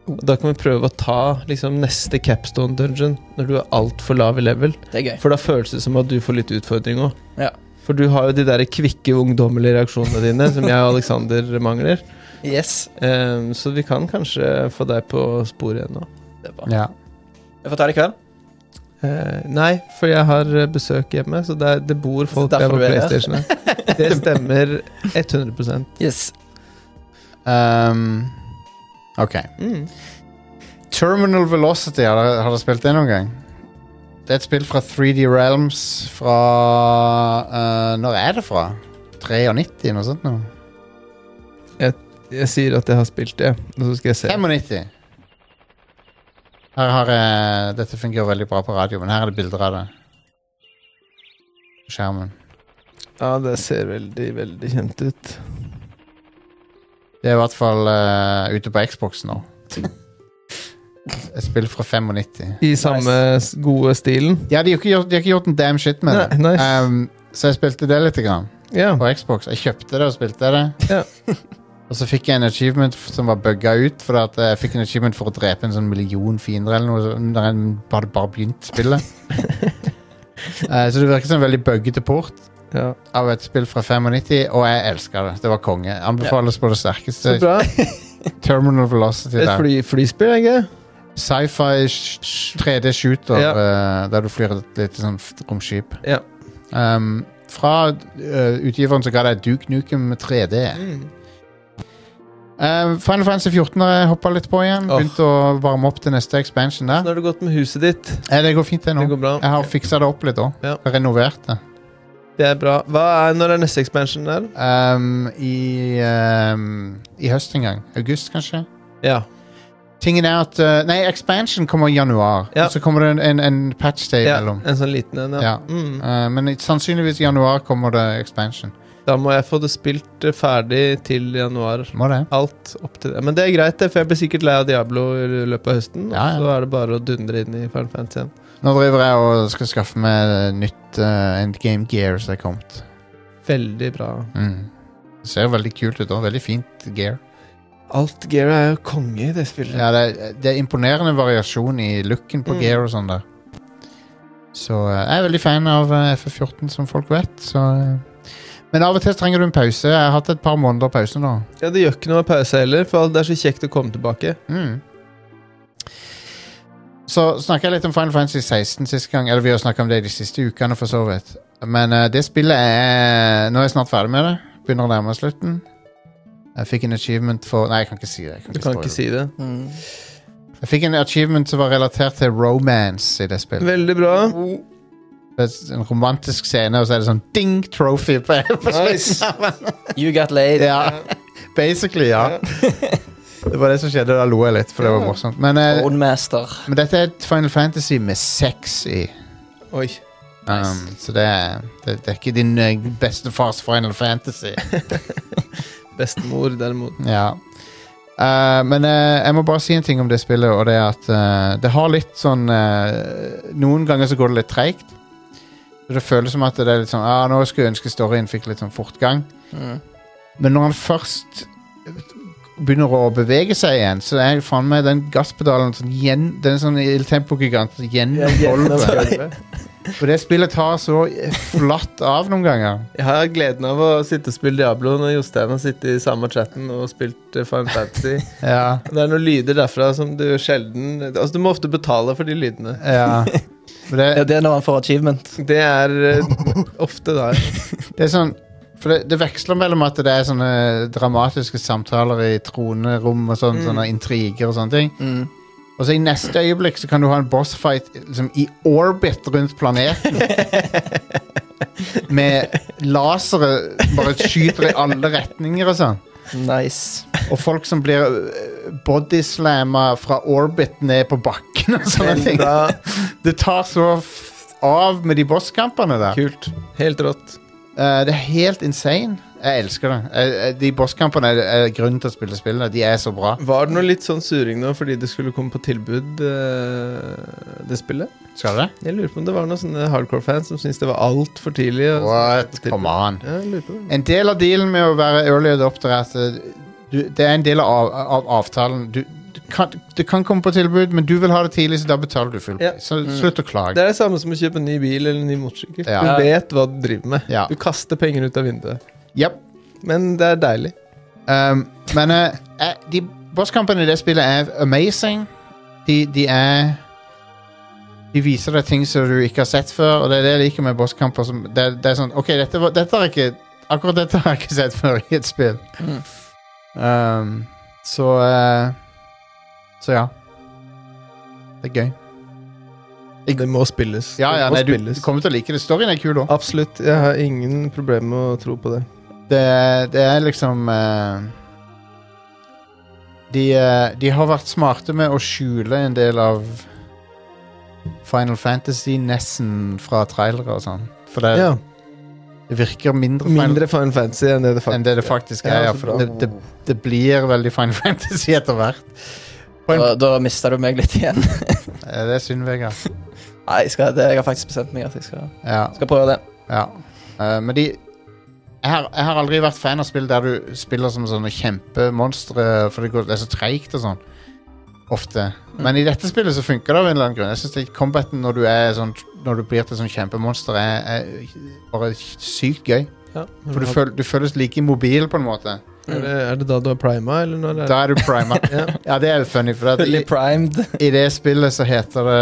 Speaker 1: Oh.
Speaker 2: Og da kan vi prøve å ta liksom, neste capstone dungeon når du er altfor lav i level.
Speaker 3: Det er gøy.
Speaker 2: For da føles det som at du får litt utfordring òg.
Speaker 3: Ja.
Speaker 2: For du har jo de der kvikke, ungdommelige reaksjonene dine som jeg og Aleksander mangler.
Speaker 3: Yes.
Speaker 2: Um, så vi kan kanskje få deg på sporet igjen nå.
Speaker 3: Det er bra.
Speaker 1: Ja.
Speaker 3: Jeg får ta det i kveld.
Speaker 2: Eh, nei, for jeg har eh, besøk hjemme, så det, er- det bor folk der
Speaker 3: Derfor
Speaker 2: på
Speaker 3: du er her.
Speaker 2: PlayStation. her. Det stemmer 100
Speaker 3: Yes.
Speaker 1: Ehm, ok.
Speaker 2: mm.
Speaker 1: Terminal Velocity, har dere, har dere spilt det noen gang? Det er et spill fra 3D Realms fra eh, Når er det fra? 93, noe sånt? Noe.
Speaker 2: Jeg sier at jeg har spilt det, og så skal jeg se.
Speaker 1: 95. Her har jeg Dette fungerer veldig bra på radio, men her er det bilder av det. På skjermen.
Speaker 2: Ja, det ser veldig, veldig kjent ut.
Speaker 1: Det er i hvert fall eh, ute på Xbox nå. Et spill fra 95.
Speaker 2: I samme s- gode stilen.
Speaker 1: Ja, de har ikke gjort, de har ikke gjort en damn shit med det.
Speaker 2: Nei, nice.
Speaker 1: Ehm, så jeg spilte det litt grann,
Speaker 2: Ja.
Speaker 1: på Xbox. Jeg kjøpte det og spilte det.
Speaker 2: Ja.
Speaker 1: og så fikk jeg en achievement f- som var bugga ut. Fordi at jeg fikk en achievement for å drepe en sånn million fiender eller noe sånt, da jeg bare, bare begynt spillet. Eh, så det virker som en veldig buggete port
Speaker 2: ja.
Speaker 1: av et spill fra 95, og jeg elska det. Det var konge. Anbefales på det sterkeste.
Speaker 2: Så bra.
Speaker 1: Terminal Velocity
Speaker 2: Et
Speaker 1: der.
Speaker 2: fly, flyspill, ikke
Speaker 1: Sci-fi sh- sh- 3D shooter
Speaker 2: Ja.
Speaker 1: eh, der du flyr et lite sånn f- romskip.
Speaker 2: Ja.
Speaker 1: Um, fra eh, utgiveren så ga deg Duke Nukem med 3D.
Speaker 2: Mm.
Speaker 1: Eh, Final Fantasy 14 har jeg hoppa litt på igjen.
Speaker 2: Åh.
Speaker 1: Begynte å varme opp til neste expansion der.
Speaker 2: Nå har det gått med huset ditt.
Speaker 1: Eh, det går fint, det nå.
Speaker 2: Det går bra.
Speaker 1: Jeg har fiksa det opp litt òg.
Speaker 2: Ja.
Speaker 1: Renovert det.
Speaker 2: Det er bra. Hva er, når er neste expansion der?
Speaker 1: Um, I um, I høst en gang. August, kanskje.
Speaker 2: Ja.
Speaker 1: Tingen er at eh, Nei, expansion kommer i januar.
Speaker 2: Ja.
Speaker 1: Og så kommer det en, en, en patch day
Speaker 2: ja.
Speaker 1: imellom.
Speaker 2: En sånn liten en,
Speaker 1: Ja.
Speaker 2: ja. Mm.
Speaker 1: Eh, men i- sannsynligvis i januar kommer det expansion.
Speaker 2: Da må jeg få det spilt eh, ferdig til januar.
Speaker 1: Må det?
Speaker 2: Alt opp til det. Men det er greit, det, for jeg blir sikkert lei av Diablo i løpet av høsten.
Speaker 1: Ja, ja.
Speaker 2: Og så er det bare å dundre inn i Final Fantasy igjen.
Speaker 1: Nå driver jeg og skal skaffe meg nytt eh, endgame gear som er kommet.
Speaker 2: Veldig bra.
Speaker 1: Mm. Det ser veldig kult ut òg. Veldig fint gear.
Speaker 2: Alt gear er jo konge i det spillet.
Speaker 1: Ja, det, er- det er imponerende variasjon i looken på
Speaker 2: Mm.
Speaker 1: gear og sånn der. Så eh, jeg er veldig fan av eh, FF14, som folk vet. Så, eh. men av og til trenger du en pause. Jeg har hatt et par måneder pause nå.
Speaker 2: Ja, Det gjør ikke noe med pause heller, for det er så kjekt å komme tilbake.
Speaker 1: Mm. Så snakka jeg litt om Final Fantasy 16 sist gang. Eller vi har snakka om det de siste ukene, for så vidt. Men eh, det spillet er Nå er jeg snart ferdig med det. Begynner å nærme meg slutten. Jeg fikk en achievement for Nei, jeg kan ikke si det. Jeg kan
Speaker 2: Du
Speaker 1: ikke
Speaker 2: kan
Speaker 1: spoil
Speaker 2: ikke
Speaker 1: det.
Speaker 2: si det.
Speaker 3: Mm.
Speaker 1: Jeg fikk en achievement som var relatert til romance i det spillet.
Speaker 2: Veldig bra.
Speaker 1: Det er en romantisk scene, og så er det sånn ding trophy på, på slutten.
Speaker 2: Nice.
Speaker 3: You got laid.
Speaker 1: Ja. Basically, ja. Det var det som skjedde. Da lo jeg litt, for det var morsomt. Men, eh,
Speaker 3: Roadmaster.
Speaker 1: men dette er et Final Fantasy med sex i.
Speaker 2: Oi.
Speaker 1: Um, Så det er, det, det er ikke din eh, bestefars Final Fantasy.
Speaker 2: Bestemor, derimot.
Speaker 1: Ja. Eh, men eh, jeg må bare si en ting om det spillet, og det er at eh, det har litt sånn eh, Noen ganger så går det litt treigt. Så Det føles som at det er litt sånn ah, Nå skulle jeg ønske storyen fikk litt sånn fortgang.
Speaker 3: Mm.
Speaker 1: Men når han først begynner å bevege seg igjen, så er faen meg den gasspedalen sånn gjen, Den sånn Il Tempo-gigant som gjennom gulvet.
Speaker 2: Jeg
Speaker 1: For det spillet tar så flatt av noen ganger.
Speaker 2: har gleden av å sitte og spille Diablo når Jostein har sittet i samme chatten og spilt eh, Final Fantasy.
Speaker 1: Ja,
Speaker 2: Det er noen lyder derfra som du sjelden Altså, du må ofte betale for de lydene.
Speaker 1: ja. For det,
Speaker 3: Ja, det er når han får achievement.
Speaker 2: Det er eh, ofte der.
Speaker 1: Det er sånn For det, det veksler mellom at det er sånne dramatiske samtaler i tronerom og sånn, sånne intriger og sånne ting.
Speaker 3: Mm.
Speaker 1: Og så i neste øyeblikk så kan du ha en bossfight liksom, i orbit rundt planeten. Med lasere bare skyter i alle retninger og sånn.
Speaker 3: Nice.
Speaker 1: Og folk som blir øh, bodyslamma fra orbit ned på bakken og sånne ting.
Speaker 2: Bra.
Speaker 1: Det tar så f av med de bosskampene der.
Speaker 2: Kult. Helt rått.
Speaker 1: Eh, det er helt insane. Jeg elsker det. Jeg, jeg, de bosskampene er, er grunnen til å spille spillet. De er så bra.
Speaker 2: Var det noe litt sånn suring nå fordi det skulle komme på tilbud, eh, det spillet?
Speaker 1: Skal det?
Speaker 2: Jeg lurer på om det var noen sånne hardcore-fans som syntes det var altfor tidlig. og-
Speaker 1: What? Come on.
Speaker 2: Ja, jeg lurer på det.
Speaker 1: En del av dealen med å være early adopter er at eh, du, det er en del av, av avtalen. Du, du kan, det kan komme på tilbud, men du vil ha det tidlig, så da betaler du full
Speaker 2: Ja.
Speaker 1: pris. Så slutt å
Speaker 2: Det
Speaker 1: klage.
Speaker 2: er det samme som å kjøpe en ny bil eller en ny motorsykkel.
Speaker 1: Ja.
Speaker 2: Du vet hva du driver med.
Speaker 1: Ja.
Speaker 2: Du kaster penger ut av vinduet.
Speaker 1: Yep.
Speaker 2: Men det er deilig.
Speaker 1: Um, men eh, eh, de bosskampene i det spillet er amazing. De, de er De viser deg ting som du ikke har sett før, og det er det jeg liker med bosskamper. Som, det, er- det er sånn OK, dette, var, dette har jeg ikke Akkurat dette har jeg ikke sett før i et spill.
Speaker 3: Mm.
Speaker 1: Um, så eh, Så ja. Det er gøy.
Speaker 2: Det må spilles.
Speaker 1: Ja, ja,
Speaker 2: det må
Speaker 1: nei, du,
Speaker 2: spilles.
Speaker 1: du kommer til å like det. Storyen er kul òg.
Speaker 2: Absolutt. Jeg har ingen problemer med å tro på det.
Speaker 1: det, det er liksom eh, de, eh, de har vært smarte med å skjule en del av Final Fantasy-nessen fra trailere og sånn. For det,
Speaker 2: Ja,
Speaker 1: det virker mindre,
Speaker 2: Mindre Final Fantasy enn det det
Speaker 1: Final, enn det det faktisk
Speaker 2: faktisk Ja,
Speaker 1: er. Ja, altså,
Speaker 2: så
Speaker 1: for det, det, det blir veldig Final Fantasy etter hvert. På en,
Speaker 3: Da, da mista du meg litt igjen.
Speaker 1: Eh, det er synd, Vegard.
Speaker 3: Nei, jeg, skal, det, jeg har faktisk bestemt meg at jeg skal,
Speaker 1: Ja,
Speaker 3: skal prøve det.
Speaker 1: ja. Eh, men de jeg har, jeg har aldri vært fan av spill der du spiller som sånne kjempemonstre, for det, går, det er så treigt og sånn. Ofte.
Speaker 2: Mm.
Speaker 1: Men i dette spillet så funker det av en eller annen grunn. Jeg synes det- Combaten når du, er sånn, når du blir til sånn kjempemonster, er, er bare sykt gøy.
Speaker 2: Ja.
Speaker 1: For du, føl, du føles like mobil, på en måte.
Speaker 2: er, det, er det da du har prima, eller når er det?
Speaker 1: Da er du prima.
Speaker 2: Ja.
Speaker 1: ja, det er jo funny, for at i,
Speaker 3: Fully primed.
Speaker 1: i det spillet så heter det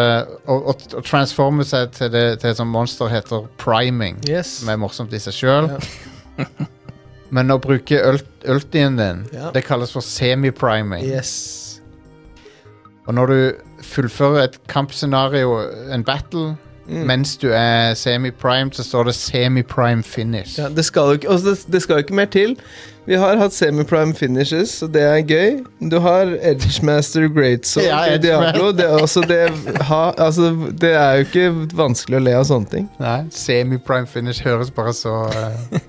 Speaker 1: Å, å, å transforme seg til, det, til et sånt monster heter priming.
Speaker 2: Yes.
Speaker 1: som er morsomt i seg sjøl. Men å bruke ult- ultien din,
Speaker 2: Ja.
Speaker 1: det kalles for semi-priming.
Speaker 2: yes.
Speaker 1: Og når du fullfører et kampscenario, en battle,
Speaker 2: Mm.
Speaker 1: mens du er semi-primed, så står det semi-prime finish.
Speaker 2: Ja, det, skal jo ikke, altså det, det skal jo ikke mer til. Vi har hatt semi-prime finishes, og det er gøy. Du har Edgemaster Greatsword
Speaker 1: Ja,
Speaker 2: i
Speaker 1: Edgemaster.
Speaker 2: Diablo. Det, er også det, ha, altså, det er jo ikke vanskelig å le av sånne ting.
Speaker 1: Nei, semi-prime finish høres bare så eh,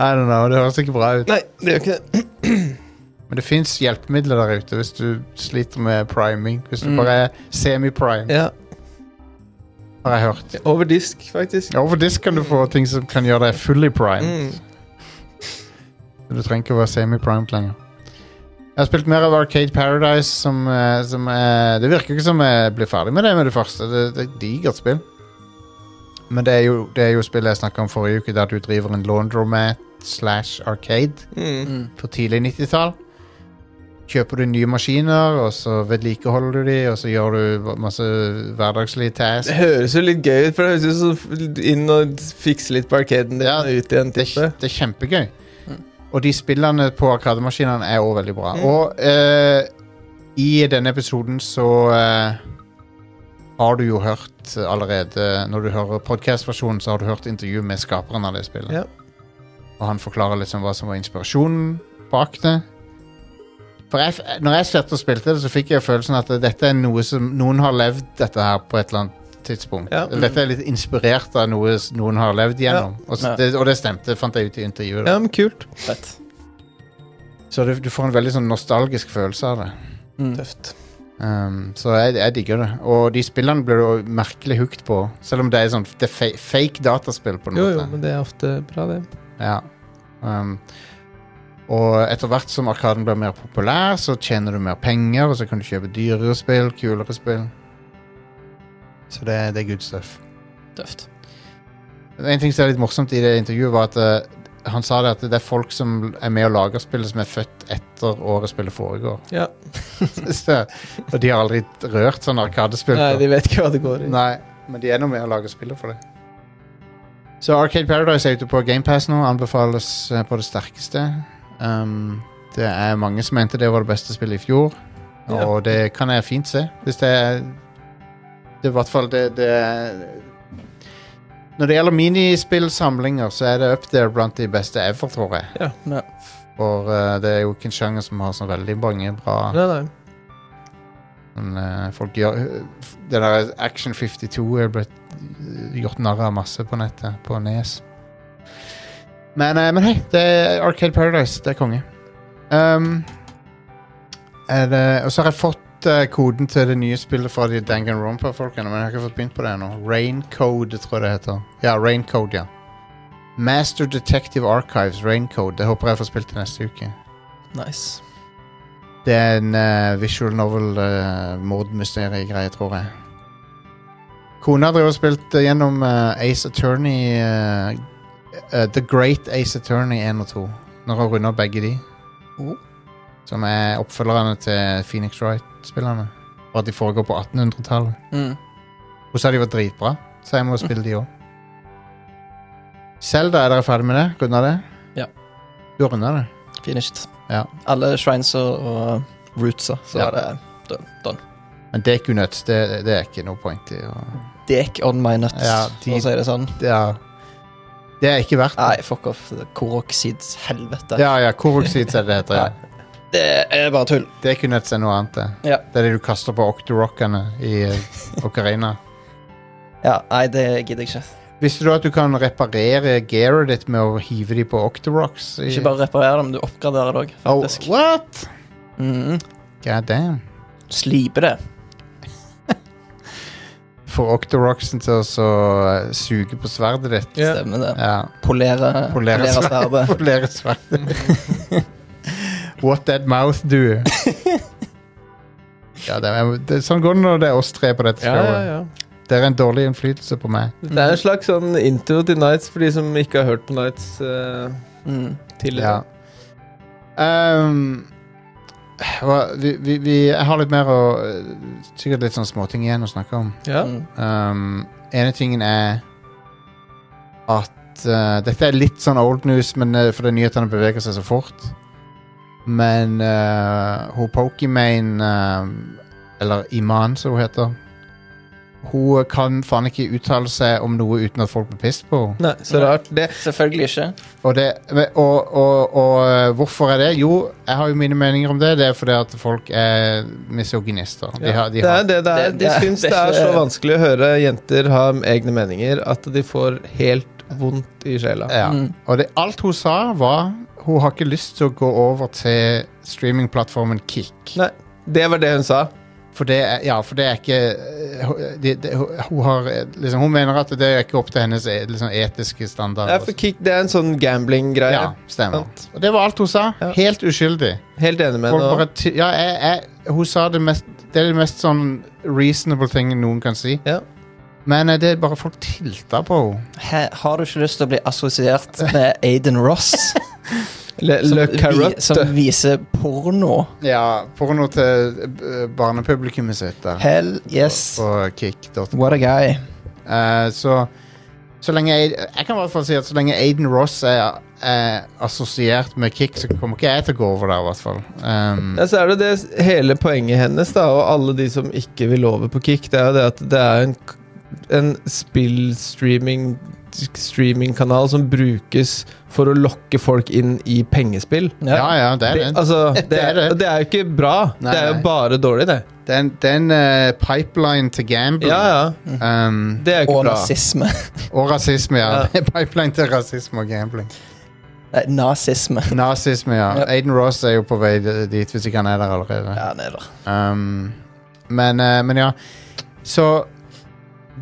Speaker 1: I don't know, det høres ikke bra ut.
Speaker 2: Nei, det gjør ikke det.
Speaker 1: Men det fins hjelpemidler der ute hvis du sliter med priming. Hvis du bare er semi-prime,
Speaker 2: Mm. Ja,
Speaker 1: har jeg hørt.
Speaker 2: over disk, faktisk.
Speaker 1: Ja, Over disk kan du få ting som kan gjøre deg fully primed.
Speaker 2: Mm.
Speaker 1: Du trenger ikke å være semi-primed lenger. Jeg har spilt mer av Arcade Paradise, som, eh, som eh, Det virker ikke som jeg blir ferdig med det med det første. Det, det er et digert spill. Men det er jo, det er jo spillet jeg snakka om forrige uke, der du driver en laundromat slash arcade
Speaker 2: Mm.
Speaker 3: Mm.
Speaker 1: på tidlig 90-tall. Kjøper du nye maskiner, og så vedlikeholder du de, og så gjør du masse hverdagslige tasks.
Speaker 2: Det høres jo litt gøy ut, for det høres ut som inn og fikse litt på arkaden din
Speaker 1: Ja,
Speaker 2: og ut igjen.
Speaker 1: det, er
Speaker 2: type.
Speaker 1: kj- det er kjempegøy. Og de spillene på arkademaskinene er òg veldig bra.
Speaker 2: Mm.
Speaker 1: Og eh, i denne episoden så eh, har du jo hørt allerede Når du hører podkastversjonen, så har du hørt intervju med skaperen av det spillet.
Speaker 2: Ja.
Speaker 1: Og han forklarer liksom hva som var inspirasjonen bak det. For jeg, f- når jeg satt og spilte det, så fikk jeg følelsen at dette er noe som noen har levd dette her på et eller annet tidspunkt.
Speaker 2: Ja.
Speaker 1: Eller Dette er litt inspirert av noe s- noen har levd gjennom. Og, s-
Speaker 3: Ja.
Speaker 1: det, og det stemte, fant jeg ut i intervjuet.
Speaker 2: Ja,
Speaker 1: da.
Speaker 2: men kult.
Speaker 3: Fett.
Speaker 1: Så du, du får en veldig sånn nostalgisk følelse av det.
Speaker 3: Mm.
Speaker 2: Tøft.
Speaker 1: Um, så jeg, jeg digger det. Og de spillene blir du også merkelig hooked på. Selv om det er sånn det er fa fake dataspill, på en
Speaker 2: Jo,
Speaker 1: måte.
Speaker 2: jo, men det er ofte bra, det.
Speaker 1: Ja. Um, og etter hvert som Arkaden blir mer populær, så tjener du mer penger, og så kan du kjøpe dyrere spill, kulere spill. Så det, det er good stuff.
Speaker 3: Tøft.
Speaker 1: En ting som er litt morsomt i det intervjuet, var at eh, han sa det at det er folk som er med og lager spillet, som er født etter året spillet foregår.
Speaker 2: Ja.
Speaker 1: så, og de har aldri rørt sånn Arkadespill
Speaker 2: Nei,
Speaker 1: før.
Speaker 2: de vet ikke hva det går i.
Speaker 1: Nei, men de er nå med og lager spillet for det. Så Arcade Paradise er ute på GamePass nå. Anbefales eh, på det sterkeste. Um, det er mange som mente det var det beste spillet i fjor,
Speaker 2: Ja.
Speaker 1: og det kan jeg fint se. Hvis det er Det er i hvert fall det, det er Når det gjelder minispillsamlinger, så er det up there blant de beste ever, tror jeg.
Speaker 3: Ja.
Speaker 1: For eh, det er jo ikke en sjanger som har så veldig mange bra
Speaker 2: Nei, nei.
Speaker 1: men, eh, folk gjør Det der Action 52 er blitt eh, gjort narr av masse på nettet, på Nes. E Men, eh, men hei, det er Arcade Paradise. Det er konge. Ehm, er det, og så har jeg fått eh, koden til det nye spillet fra de Danganronpa-folkene, men jeg har ikke fått begynt på det ennå. Raincode, tror jeg det heter. Ja, Raincode, ja. Master Detective Archives, Raincode. Det håper jeg får spilt til neste uke.
Speaker 3: Nice.
Speaker 1: Det er en eh, visual novel uh, mordmysterie-greie, tror jeg. Kona har drevet og spilt eh, gjennom eh, Ace Attorney eh, eh, The Great Ace Attorney 1 og 2. Når hun runder begge de.
Speaker 3: Oh.
Speaker 1: Som er oppfølgerne til Phoenix Wright-spillerne. Og at de foregår på 1800-tallet.
Speaker 3: Mm.
Speaker 1: Hun sa de var dritbra, så jeg må spille de òg. Selda, er dere ferdig med det? Runda det?
Speaker 3: Ja.
Speaker 1: Du har runda det?
Speaker 3: Finished.
Speaker 1: Ja.
Speaker 3: Alle shrines og, og rootsa, så
Speaker 1: Ja.
Speaker 3: var det done. done.
Speaker 1: Men det er ikke unødt. Det, det er ikke noe poeng til å
Speaker 3: Dek on my nuts,
Speaker 1: Ja, de-
Speaker 3: for å si det sånn.
Speaker 1: Ja. Det er ikke verdt det.
Speaker 3: Nei, fuck off. Koroksids helvete.
Speaker 1: Ja, ja, koroksid er det det heter. Ja.
Speaker 3: Det er bare tull.
Speaker 1: Det kunne hett seg noe annet. Det.
Speaker 3: Ja.
Speaker 1: det er det du kaster på Octorockene i eh, Ocarina.
Speaker 3: Ja, nei, det gidder jeg ikke.
Speaker 1: Visste du at du kan reparere gearet ditt med å hive de på Octorocks? i-
Speaker 3: Ikke bare reparere det, men du oppgraderer det òg,
Speaker 1: oh,
Speaker 3: faktisk.
Speaker 1: What?
Speaker 3: Mm.
Speaker 1: God damn.
Speaker 3: Slipe det.
Speaker 1: Får Octorocksen til å så, eh, suge på sverdet ditt.
Speaker 2: Ja.
Speaker 3: Stemmer det.
Speaker 1: Ja.
Speaker 3: Polere,
Speaker 1: Polere
Speaker 3: polere sverdet.
Speaker 1: Polere sverdet. What that mouth do? ja, det er, det, sånn går det når det er oss tre på dette
Speaker 2: Ja,
Speaker 1: showet.
Speaker 2: ja, ja.
Speaker 1: Det er en dårlig innflytelse på meg.
Speaker 2: Det er en slags sånn intro til Nights for de som ikke har hørt på Nights eh,
Speaker 3: Mm.
Speaker 2: tidligere.
Speaker 1: Ehm, hva- vi, vi, vi, jeg har litt mer å Sikkert litt sånn småting igjen å snakke om.
Speaker 2: Ja.
Speaker 3: Mm.
Speaker 1: Um, ene tingen er at eh, Dette er litt sånn old news, men uh, fordi nyhetene beveger seg så fort. Men eh, hun Pokimane, eh, eller Iman som hun heter Hun kan faen ikke uttale seg om noe uten at folk blir pissed på henne.
Speaker 2: Nei, så rart. Det,
Speaker 3: Selvfølgelig ikke.
Speaker 1: Og, det, og, og, og eh, hvorfor er det? Jo, jeg har jo mine meninger om det. Det er fordi at folk er misogynister. De har, de
Speaker 2: det
Speaker 1: har,
Speaker 2: er det det er.
Speaker 3: Det-
Speaker 2: De
Speaker 3: det er-
Speaker 2: syns
Speaker 3: det
Speaker 2: det
Speaker 3: er
Speaker 2: er
Speaker 3: ikke-
Speaker 2: så vanskelig å høre jenter ha egne meninger at de får helt vondt i sjela.
Speaker 1: ja.
Speaker 3: Mm.
Speaker 1: Og det, alt hun sa, var hun har ikke lyst til å gå over til streamingplattformen Kick.
Speaker 2: Nei, det var det hun sa.
Speaker 1: For det er, ja, for det er ikke eh, hun- de, de, hun- Hun har eh, liksom, Hun mener at det er ikke opp til hennes eh, liksom, etiske
Speaker 2: Ja,
Speaker 1: standarder.
Speaker 2: for kick, det er en sånn gambling-greie.
Speaker 1: altså. ja, stemmer. Og det var alt hun sa.
Speaker 2: Ja.
Speaker 1: Helt uskyldig.
Speaker 2: Helt enig med
Speaker 1: Folk
Speaker 2: henne.
Speaker 1: bare, ty- ja, jeg, jeg, hun sa det mest Det er det mest sånn reasonable ting noen kan si.
Speaker 2: Ja.
Speaker 1: Men eh, det er bare folk tilta på henne.
Speaker 3: Hæ, har du ikke lyst til å bli assosiert med Aiden Ross?
Speaker 2: Le,
Speaker 3: Som,
Speaker 2: le
Speaker 3: vi,
Speaker 2: Carrot.
Speaker 3: som viser porno?
Speaker 1: Ja, porno til eh, barnepublikummet sitt der.
Speaker 3: Hell yes.
Speaker 1: På kick.no.
Speaker 3: What a guy.
Speaker 1: Eh, så så lenge jeg, jeg kan i hvert fall si at så lenge Aiden Ross er, er assosiert med Kick, så kommer ikke jeg til å gå over der, i hvert fall. Um,
Speaker 2: Ja, så er det det s- hele poenget hennes, da, og alle de som ikke vil over på Kick, det er jo det at det er en, k- en spillstreaming streamingkanal som brukes for å lokke folk inn i pengespill.
Speaker 1: ja, ja, det er det.
Speaker 2: Altså, det
Speaker 1: er
Speaker 2: er,
Speaker 1: det.
Speaker 2: og det er jo ikke bra.
Speaker 1: Nei,
Speaker 2: det er jo
Speaker 1: nei. Mm.
Speaker 2: bare dårlig, det.
Speaker 1: Det er en, det er en eh, pipeline til gambling.
Speaker 2: Ja, ja.
Speaker 1: Um,
Speaker 2: Det er jo ikke
Speaker 3: Og
Speaker 2: bra.
Speaker 3: nazisme.
Speaker 1: og rasisme, ja.
Speaker 2: Ja.
Speaker 1: pipeline til rasisme og gambling.
Speaker 3: Nei, nazisme.
Speaker 1: Nazisme, ja.
Speaker 3: Ja.
Speaker 1: Aiden Ross er jo på vei dit, hvis ikke han er der allerede.
Speaker 3: Ja, han er der.
Speaker 1: Um, men, eh, men ja Så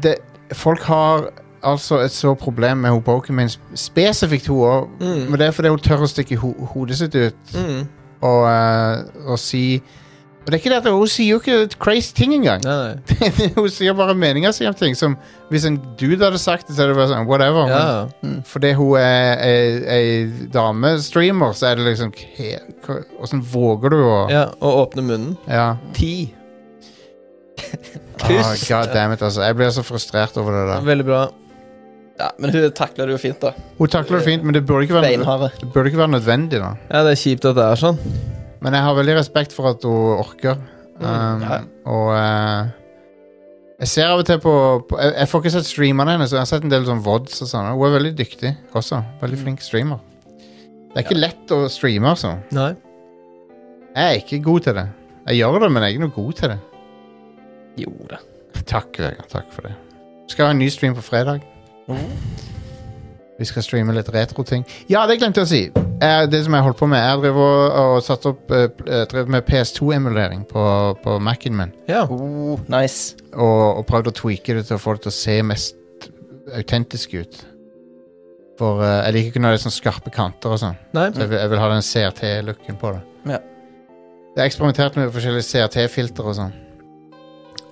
Speaker 1: det, Folk har altså et så problem med hun Pokémon, spesifikt hun òg. Men det er fordi hun tør å stikke ho hodet sitt ut
Speaker 2: Mm.
Speaker 1: og, eh, og si Og det er ikke det at hun sier jo ikke crazy ting engang.
Speaker 2: Nei, nei.
Speaker 1: hun sier bare meninga si om ting som Hvis en dude hadde sagt det, så hadde det vært sånn whatever.
Speaker 2: Ja.
Speaker 1: Men fordi hun er ei- ei damestreamer, så er det liksom Åssen våger du å
Speaker 2: ja. Og åpne munnen.
Speaker 1: ja.
Speaker 2: Ti.
Speaker 1: Ah,
Speaker 2: Tyst.
Speaker 1: God damn it, altså. Jeg blir så frustrert over det der.
Speaker 2: Veldig bra.
Speaker 3: Ja, men hun takler det jo fint, da.
Speaker 1: Hun takler det fint, men det burde ikke være, nød-
Speaker 3: Beinharde.
Speaker 1: det burde ikke være nødvendig. da
Speaker 2: Ja, det er kjipt at det er sånn.
Speaker 1: Men jeg har veldig respekt for at hun orker.
Speaker 2: Mm,
Speaker 1: Um,
Speaker 3: ja.
Speaker 1: Og eh, jeg ser av og til på, på jeg, jeg får ikke sett streamerne hennes, så jeg har sett en del sånn VODs og sånn. Hun er veldig dyktig også. Veldig
Speaker 2: Mm.
Speaker 1: flink streamer. Det er ikke lett å streame, altså.
Speaker 2: Nei.
Speaker 1: Jeg er ikke god til det. Jeg gjør det, men jeg er ikke noe god til det.
Speaker 3: Jo da. Oh.
Speaker 1: Takk, Vegard. Takk for det. Skal ha en ny stream på fredag. Vi skal streame litt retro-ting. Ja, det glemte jeg å si! Eh, det som jeg holdt på med, jeg drev og, og satt opp, eh, pl- eh, drev med PS2-emulering på, på Mac-en min.
Speaker 2: Ja.
Speaker 3: Oh, nice.
Speaker 1: Og, og prøvde å tweake det til å få det til å se mest autentisk ut. For eh, jeg liker ikke når det er sånne skarpe kanter og sånn.
Speaker 2: Nei.
Speaker 1: Så jeg vil, jeg vil ha den CRT-looken på det.
Speaker 3: Mm. Ja.
Speaker 1: Jeg har eksperimentert med forskjellige CRT-filter og sånn.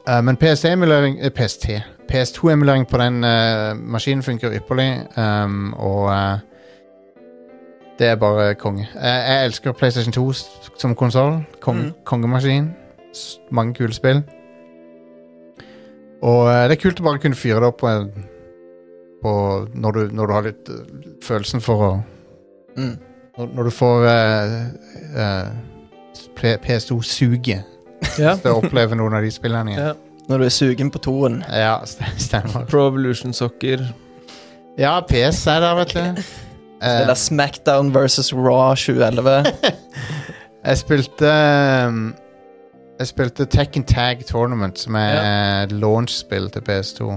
Speaker 1: Eh, men PST-emulering eh, PST. PS2-emulering på den eh, maskinen funker ypperlig, ehm, og eh, det er bare konge. Jeg- jeg elsker PlayStation 2 s- som konsoll. Kong,
Speaker 3: Mm.
Speaker 1: Kongemaskin. S- Mange kule spill. Og eh, det er kult å bare kunne fyre det opp på, en- på når, du, når du har litt eh, følelsen for å
Speaker 3: Mm.
Speaker 1: når, når du får eh, eh, P- PS2-suget
Speaker 2: Ja.
Speaker 1: til å oppleve noen av de spillene igjen.
Speaker 2: Ja.
Speaker 3: Når du er sugen på toen.
Speaker 1: Ja, st- stemmer.
Speaker 2: Pro Evolution Soccer.
Speaker 1: Ja, PS er der, vet du. Eh,
Speaker 3: Spiller Smackdown versus Raw 2011.
Speaker 1: jeg spilte um, Jeg spilte Tekken Tag Tournament, som er et launch-spill til PS2.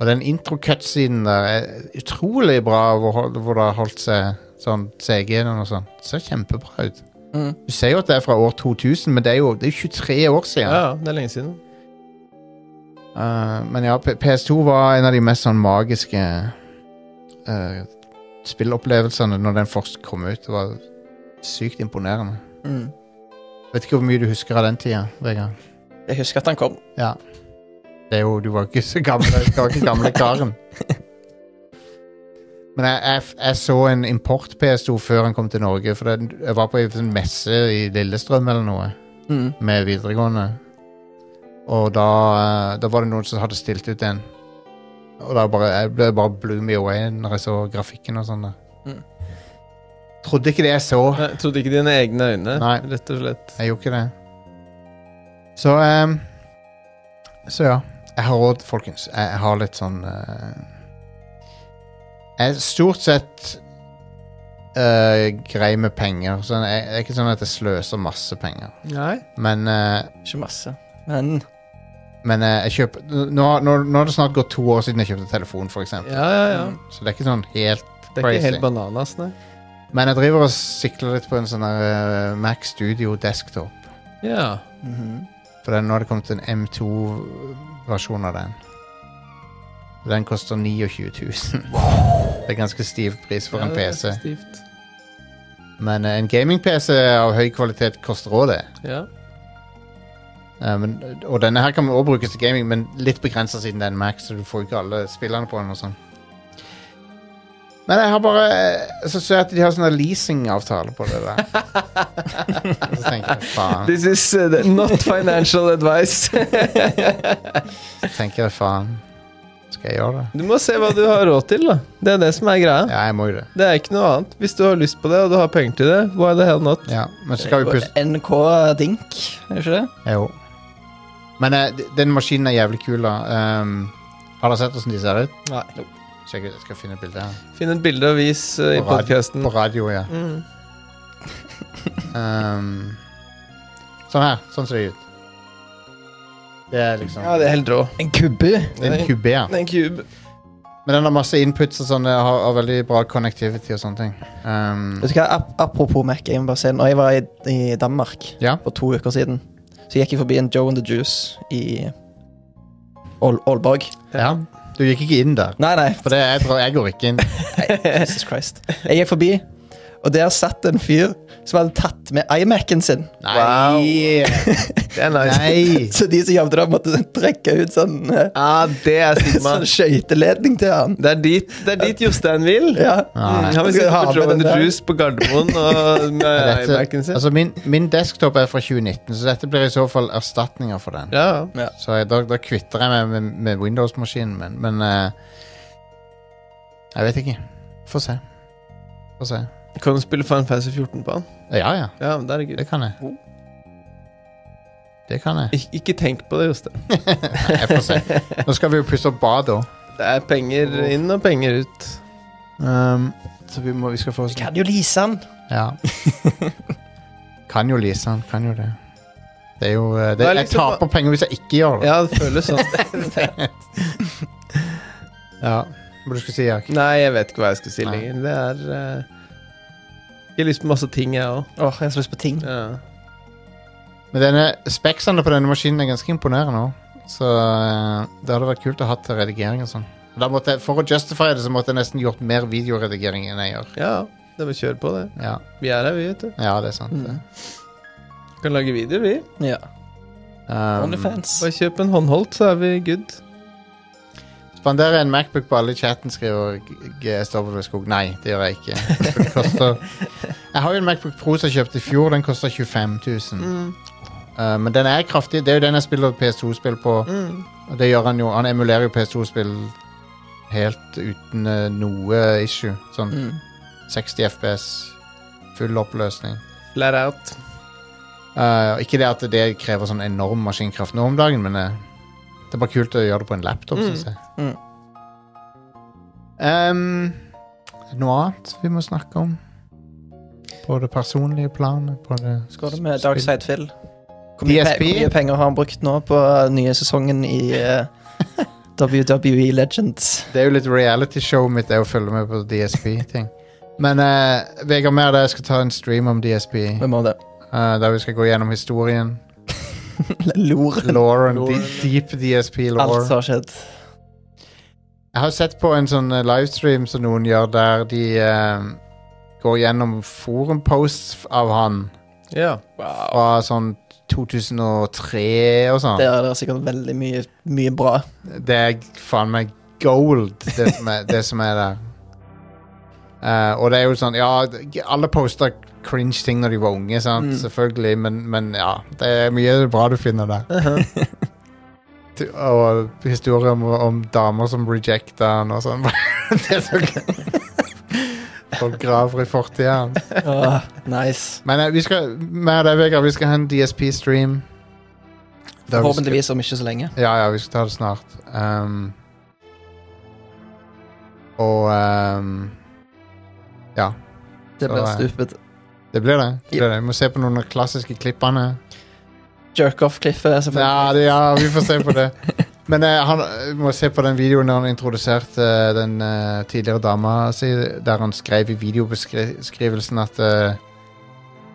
Speaker 1: Og den intro-cutscenen der er utrolig bra, hvor, hold- hvor det har holdt seg sånn CG-en og sånn. Det ser kjempebra ut.
Speaker 3: Mm.
Speaker 1: Du ser jo at det er fra år 2000, men det er jo, det er jo 23 år siden.
Speaker 2: Ja, ja, det er lenge siden.
Speaker 1: Eh, men ja, P- PS2 var en av de mest sånn magiske eh, spillopplevelsene når den først kom ut. Det var sykt imponerende.
Speaker 3: Mm.
Speaker 1: Vet ikke hvor mye du husker av den tida, Vegard.
Speaker 3: Jeg husker at han kom.
Speaker 1: Ja. Det er jo, du var ikke så gammel, du var ikke gamle karen. Men jeg, jeg, f- jeg så en import PS2 før han kom til Norge, for den, jeg var på en sånn messe i Lillestrøm eller noe.
Speaker 3: Mm.
Speaker 1: med videregående. Og da, eh, da var det noen som hadde stilt ut en. Og da bare, jeg ble bare bloomy away når jeg så grafikken og sånn. der.
Speaker 3: Mm.
Speaker 1: Trodde ikke det jeg så.
Speaker 2: Nei, Jeg trodde ikke dine egne øyne,
Speaker 1: Nei.
Speaker 2: rett og slett.
Speaker 1: Jeg gjorde ikke det. Så ehm, Så ja. Jeg har råd, folkens. Jeg, jeg har litt sånn eh, Jeg er stort sett eh, grei med penger. Sånn, jeg, det er ikke sånn at jeg sløser masse penger.
Speaker 2: Nei.
Speaker 1: Men eh,
Speaker 3: Ikke masse. Men
Speaker 1: Men eh, jeg kjøper Nå har det snart gått to år siden jeg kjøpte telefon, for eksempel.
Speaker 2: Ja, ja, ja.
Speaker 1: Så det er ikke sånn helt
Speaker 2: Det er
Speaker 1: Crazy.
Speaker 2: ikke helt bananas, nei.
Speaker 1: Men jeg driver og sikler litt på en sånn der eh, Mac Studio desktop.
Speaker 2: Ja.
Speaker 3: Mhm.
Speaker 1: For den, nå har det kommet en M2-versjon av den. Den koster 29 000. Det er ganske stiv pris for
Speaker 2: ja,
Speaker 1: en
Speaker 2: det er
Speaker 1: PC.
Speaker 2: Stivt.
Speaker 1: Men eh, en gaming-PC av høy kvalitet koster òg det.
Speaker 2: Ja.
Speaker 1: Eh, men, og denne her kan også brukes til gaming, men litt begrensa siden det er en Mac, så du får ikke alle spillene på den. og sånn. Men jeg har bare eh, Så ser jeg at de har sånne leasingavtaler på det der. så tenker jeg faen.
Speaker 2: This is uh, not financial advice.
Speaker 1: så tenker jeg, faen. Skal jeg gjøre det?
Speaker 2: Du må se hva du har råd til, da. Det er det som er greia.
Speaker 1: Ja, jeg må jo det.
Speaker 2: Det er ikke noe annet. Hvis du har lyst på det, og du har penger til det, why the hell not?
Speaker 1: Ja, men så
Speaker 3: Eh,
Speaker 1: skal vi plutselig
Speaker 3: NK Dink, er det ikke det?
Speaker 1: Jo. Men eh, d- den maskinen er jævlig kul, da. Ehm, har dere sett åssen de ser ut?
Speaker 2: Nei.
Speaker 1: Sjekk ut, jeg skal finne et bilde her.
Speaker 2: Finn et bilde og vis uh, i
Speaker 1: På radio-
Speaker 2: podkasten.
Speaker 1: På radio, ja.
Speaker 2: Mm.
Speaker 1: Ehm, sånn her. Sånn ser det ut. Det er liksom
Speaker 2: Ja, det er helt rå.
Speaker 3: En kubbe.
Speaker 1: det er en kubé. ja.
Speaker 2: Det er en kube.
Speaker 1: Men den har masse inputs og sånn, det har, har veldig bra connectivity og sånne ting. Ehm,
Speaker 3: Vet du hva, ap Apropos Mac, jeg må bare si Når jeg var i, i Danmark
Speaker 1: Ja.
Speaker 3: for to uker siden, så gikk jeg forbi en Joe and the Juice i Ål- Aalborg.
Speaker 1: ja. Du gikk ikke inn der.
Speaker 3: Nei, nei,
Speaker 1: For det jeg tror jeg går ikke inn.
Speaker 3: Jesus Christ. Jeg gikk forbi, og der satt en fyr som hadde tatt med iMac-en sin.
Speaker 1: Nei!
Speaker 2: Det er nice.
Speaker 1: Nei.
Speaker 3: Så de som jobbet der, måtte sånn trekke ut sånn, eh,
Speaker 2: Ja, det er stigma.
Speaker 3: sånn skøyteledning til han.
Speaker 2: Det er dit, det er dit Jostein vil.
Speaker 3: Ja.
Speaker 1: Nei.
Speaker 2: Mm, Han vil
Speaker 3: Skal
Speaker 2: sitte
Speaker 3: ha
Speaker 2: på
Speaker 3: med
Speaker 2: Joe and
Speaker 3: den
Speaker 2: the
Speaker 3: der.
Speaker 2: Juice på Gardermoen og med
Speaker 1: Dette,
Speaker 2: iMac-en sin.
Speaker 1: altså min, min desktop er fra 2019, så dette blir i så fall erstatninger for den.
Speaker 2: Ja.
Speaker 1: Så jeg, da, da kvitter jeg meg med, med Windows-maskinen min, men eh, Jeg vet ikke. Få se. Få se.
Speaker 2: Kan du spille Final Fantasy 14 på han?
Speaker 1: Ja, ja.
Speaker 2: Ja, men det er gud.
Speaker 1: Det kan jeg. Det kan jeg.
Speaker 2: Ik ikke tenk på det, Jostein.
Speaker 1: Nei, jeg får se. Nå skal vi jo pusse opp badet òg.
Speaker 2: Det er penger inn og penger ut.
Speaker 1: Um, så vi, må, vi skal få oss
Speaker 3: Kan jo lease han.
Speaker 1: Ja. Kan jo lease den. Kan jo det. Det er jo eh, det,
Speaker 2: Det er
Speaker 1: Jeg
Speaker 2: liksom-
Speaker 1: taper
Speaker 2: sånn.
Speaker 1: penger hvis jeg ikke gjør det.
Speaker 2: Ja, det føles sånn.
Speaker 1: Ja. Hva du skal si, Jack?
Speaker 2: Nei, jeg vet ikke hva jeg skal si
Speaker 1: Nei.
Speaker 2: lenger. Det er eh, Jeg har lyst på masse ting, jeg òg.
Speaker 3: Åh, jeg har så lyst på ting.
Speaker 2: Ja.
Speaker 1: Men denne speksene på denne maskinen er ganske imponerende òg. Så eh, det hadde vært kult å ha til redigering og sånn. Da måtte jeg, For å justify det så måtte jeg nesten gjort mer videoredigering enn jeg gjør.
Speaker 2: ja, det var kjør på, det.
Speaker 1: Ja,
Speaker 2: Vi er her, vi, vet du.
Speaker 1: ja det er sant.
Speaker 3: Mm.
Speaker 1: det.
Speaker 2: Kan lage video, vi.
Speaker 3: Ja.
Speaker 1: Um,
Speaker 3: Onlyfans.
Speaker 2: Bare kjøp en håndholdt, så er vi good.
Speaker 1: Spanderer en Macbook på alle i chatten, skriver GSW Skog. Nei, det gjør jeg ikke. Den koster, jeg har jo en Macbook Pro som jeg kjøpte i fjor. Den koster 25 000. Uh, men den er kraftig. Det er jo den jeg spiller PS2-spill på. Og det gjør han jo. Han emulerer jo PS2-spill helt uten eh, noe issue. Sånn
Speaker 3: Mm.
Speaker 1: 60 FPS, full oppløsning.
Speaker 2: Flat out.
Speaker 1: Eh, og ikke det at det krever sånn enorm maskinkraft nå om dagen, men eh, det er bare kult å gjøre det på en laptop, synes jeg.
Speaker 3: Mm.
Speaker 1: Ehm, er det noe annet vi må snakke om? På det personlige planet? På det
Speaker 3: Så går det med Darkside Phil. Hvor mye,
Speaker 1: DSP?
Speaker 3: pe hvor mye penger har han brukt nå på eh, nye sesongen i eh, WWE Legends?
Speaker 1: Det er jo litt realityshowet mitt er å følge med på DSP-ting. Men eh, Vegard Mer, jeg skal ta en stream om DSP.
Speaker 3: Vi må det.
Speaker 1: eh, der vi skal gå gjennom historien.
Speaker 3: Lor.
Speaker 1: Lauren, deep DSP-lore.
Speaker 3: Alt som har skjedd.
Speaker 1: Jeg har sett på en sånn eh, livestream som noen gjør der de eh, går gjennom forumposts av han
Speaker 2: Ja.
Speaker 1: fra sånn 2003 og sånn.
Speaker 3: Der er det sikkert veldig mye, mye bra.
Speaker 1: Det er faen meg gold, det som er, det som er der. Eh, og det er jo sånn Ja, d- alle posta cringe ting når de var unge, sant? selvfølgelig, men, men ja. Det er mye bra du finner der. Du- og historier om, om damer som rejecta han og sånn. det er så gøy. Folk graver i fortida hans.
Speaker 3: Åh, Ah, nice.
Speaker 1: Men eh, vi skal med deg, Vegard, vi skal ha en DSP-stream.
Speaker 3: Forhåpentligvis om ikke så lenge.
Speaker 1: Ja, ja, vi skal ta det snart. Ehm, og ehm, Ja,
Speaker 3: Det blir
Speaker 1: Så, eh,
Speaker 3: stupid.
Speaker 1: det blir det. det, blir det. Vi må se på noen av de klassiske klippene.
Speaker 3: Jerk-off-klippet,
Speaker 1: Ja,
Speaker 3: selvfølgelig.
Speaker 1: det, ja, vi får se på det. Men eh, han, vi må se på den videoen der han introduserte eh, den eh, tidligere dama si, der han skrev i videobeskrivelsen at eh,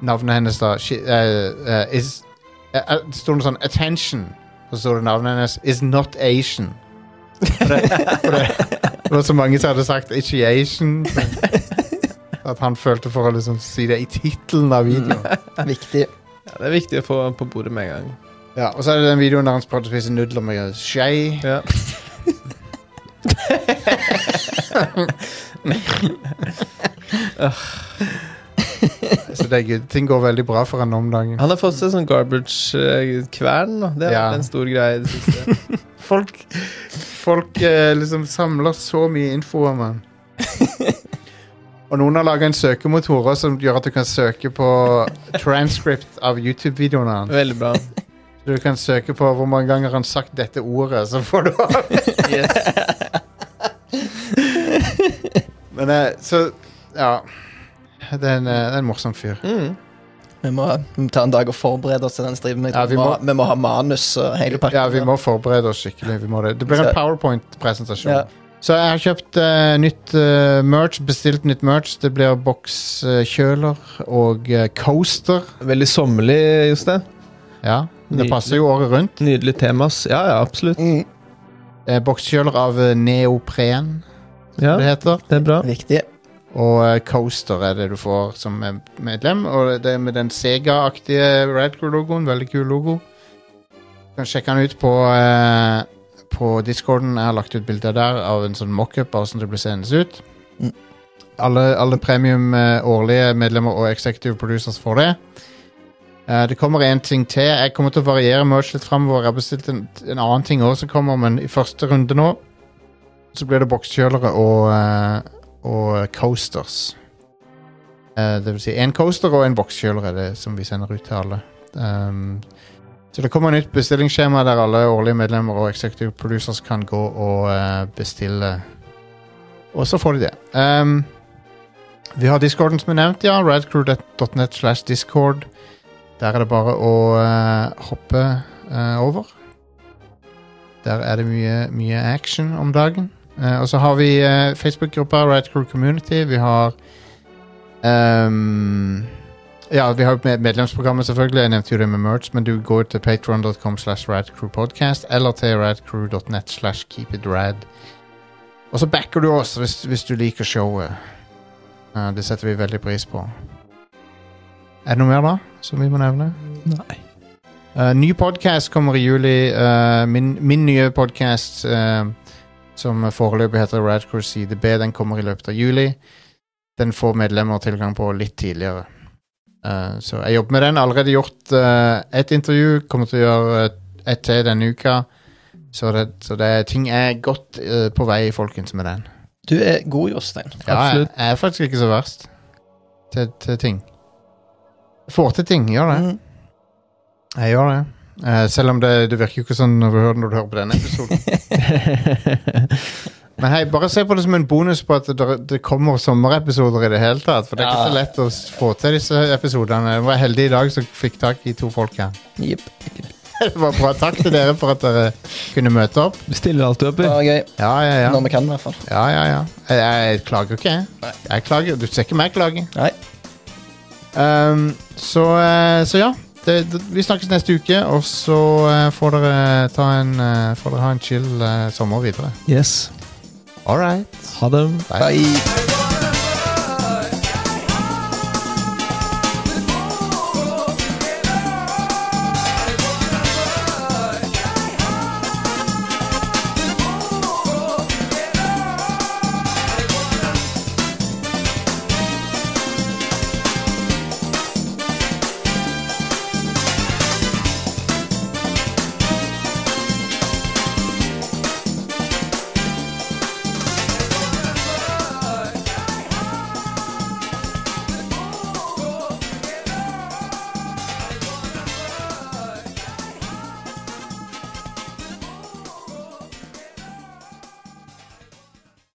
Speaker 1: navnet hennes da she, eh, eh, is, eh, eh, Det sto noe sånn 'Attention', og så sto det navnet hennes 'Is not Asian'. For det, for det, det var så mange som hadde sagt 'Ikke Asian'. At han følte for å liksom si det i tittelen av videoen.
Speaker 3: Mm. Viktig.
Speaker 2: ja. Det er viktig å få på bordet med en gang.
Speaker 1: Ja, Og så er det den videoen der han prøvde å spise nudler med skje.
Speaker 2: Ja.
Speaker 1: Så det er good. Ting går veldig bra for han om dagen.
Speaker 2: Han har fått seg sånn garbage-kvern. da. Det har
Speaker 1: Ja.
Speaker 2: vært en stor greie i det siste.
Speaker 1: Folk, folk eh, liksom samler så mye info om han. Og noen har laga en søkemotor også, som gjør at du kan søke på transcript av YouTube-videoene hans.
Speaker 2: Veldig bra.
Speaker 1: Du kan søke på hvor mange ganger han sagt dette ordet, så får du opp. Men eh, så Ja. Det er en, eh, det er en morsom fyr.
Speaker 3: Mm. Vi må, vi må ta en dag og forberede oss til den streamen.
Speaker 1: Ja, vi
Speaker 3: vi,
Speaker 1: må-
Speaker 3: må, vi må ha manus og hele pakken.
Speaker 1: Ja, vi må forberede oss skikkelig. Vi må det. det blir en
Speaker 3: Så-
Speaker 1: powerpoint-presentasjon.
Speaker 3: Ja.
Speaker 1: Så jeg har kjøpt eh, nytt eh, merch, bestilt nytt merch. Det blir bokskjøler og eh, coaster.
Speaker 2: Veldig sommerlig, Jostein.
Speaker 1: Ja, men det
Speaker 2: Nydelig.
Speaker 1: passer jo året rundt.
Speaker 2: Nydelig tema. ass. Ja, ja, absolutt.
Speaker 3: Mm.
Speaker 1: Eh, Bokskjøler av eh, neopren,
Speaker 2: Ja,
Speaker 1: det heter.
Speaker 2: det er bra.
Speaker 3: Viktig.
Speaker 1: Og eh, coaster er det du får som eh, medlem. Og det er med den Sega-aktige Radcrew-logoen. Veldig kul logo. Du kan sjekke den ut på eh, På discorden. Jeg har lagt ut bilder der av en sånn mockup av hvordan det blir seende ut.
Speaker 3: Mm.
Speaker 1: Alle, alle premium eh, årlige medlemmer og executive producers får det. Eh, det kommer en ting til. Jeg kommer til å variere merch litt framover. Jeg har bestilt en, en annen ting også som kommer, men i første runde nå så blir det bokskjølere og eh, og coasters. Eh, det vil si en coaster og en bokskjøler er det som vi sender ut til alle. Ehm, så det kommer nytt bestillingsskjema der alle årlige medlemmer og executive producers kan gå og eh, bestille. Og så får de det. Ehm, vi har discorden som er nevnt, ja. Radcrew.net slash discord. Der er det bare å eh, hoppe eh, over. Der er det mye, mye action om dagen. Eh, og så har vi eh, Facebook-gruppa Riot Crew Community. Vi har ehm, Ja, vi har jo med medlemsprogrammet, selvfølgelig. Jeg nevnte jo det med merch, men du går til patron.com slash radcrewpodcast eller til radcrew.net slash keepitrad. Og så backer du oss hvis, hvis du liker showet. Eh, det setter vi veldig pris på. Er det noe mer, da, som vi må nevne?
Speaker 3: Nei.
Speaker 1: Eh, ny podkast kommer i juli. eh, min, min nye podkast, som foreløpig heter Radcrew Side B, den kommer i løpet av juli. Den får medlemmer tilgang på litt tidligere. Eh, så jeg jobber med den. Allerede gjort eh, ett intervju. Kommer til å gjøre eh, ett til denne uka. Så det, så det er ting er godt eh, på vei, folkens, med den.
Speaker 3: Du er god, Jostein.
Speaker 1: Ja, jeg,
Speaker 2: Absolutt.
Speaker 1: jeg er faktisk ikke så verst til, til ting. Får til ting, gjør det.
Speaker 3: Mm.
Speaker 1: Jeg gjør det. Eh, selv om det, det virker jo ikke sånn når du hører, når du hører på denne episoden. Men hei, bare se på det som en bonus på at det, det kommer sommerepisoder i det hele tatt. For det er ikke
Speaker 3: Ja.
Speaker 1: så lett å s- få til disse episodene. Jeg var heldig i dag som fikk tak i to folk her.
Speaker 3: Jepp.
Speaker 1: Det var bra. Takk til dere for at dere kunne møte opp.
Speaker 2: Du stiller alltid opp.
Speaker 3: Det
Speaker 2: i.
Speaker 3: var gøy.
Speaker 1: Ja, ja, ja.
Speaker 3: Når vi kan, i hvert fall.
Speaker 1: ja, ja, ja. Jeg, jeg klager jo ikke, jeg. jeg klager. Du ser ikke meg klage.
Speaker 3: Nei.
Speaker 1: Ehm, så, eh, så ja. Det, det, vi snakkes neste uke, og så eh, får, dere ta en, eh, får dere ha en chill eh, sommer videre.
Speaker 2: Yes.
Speaker 1: All right.
Speaker 2: Ha det.
Speaker 1: Bye.
Speaker 3: Bye.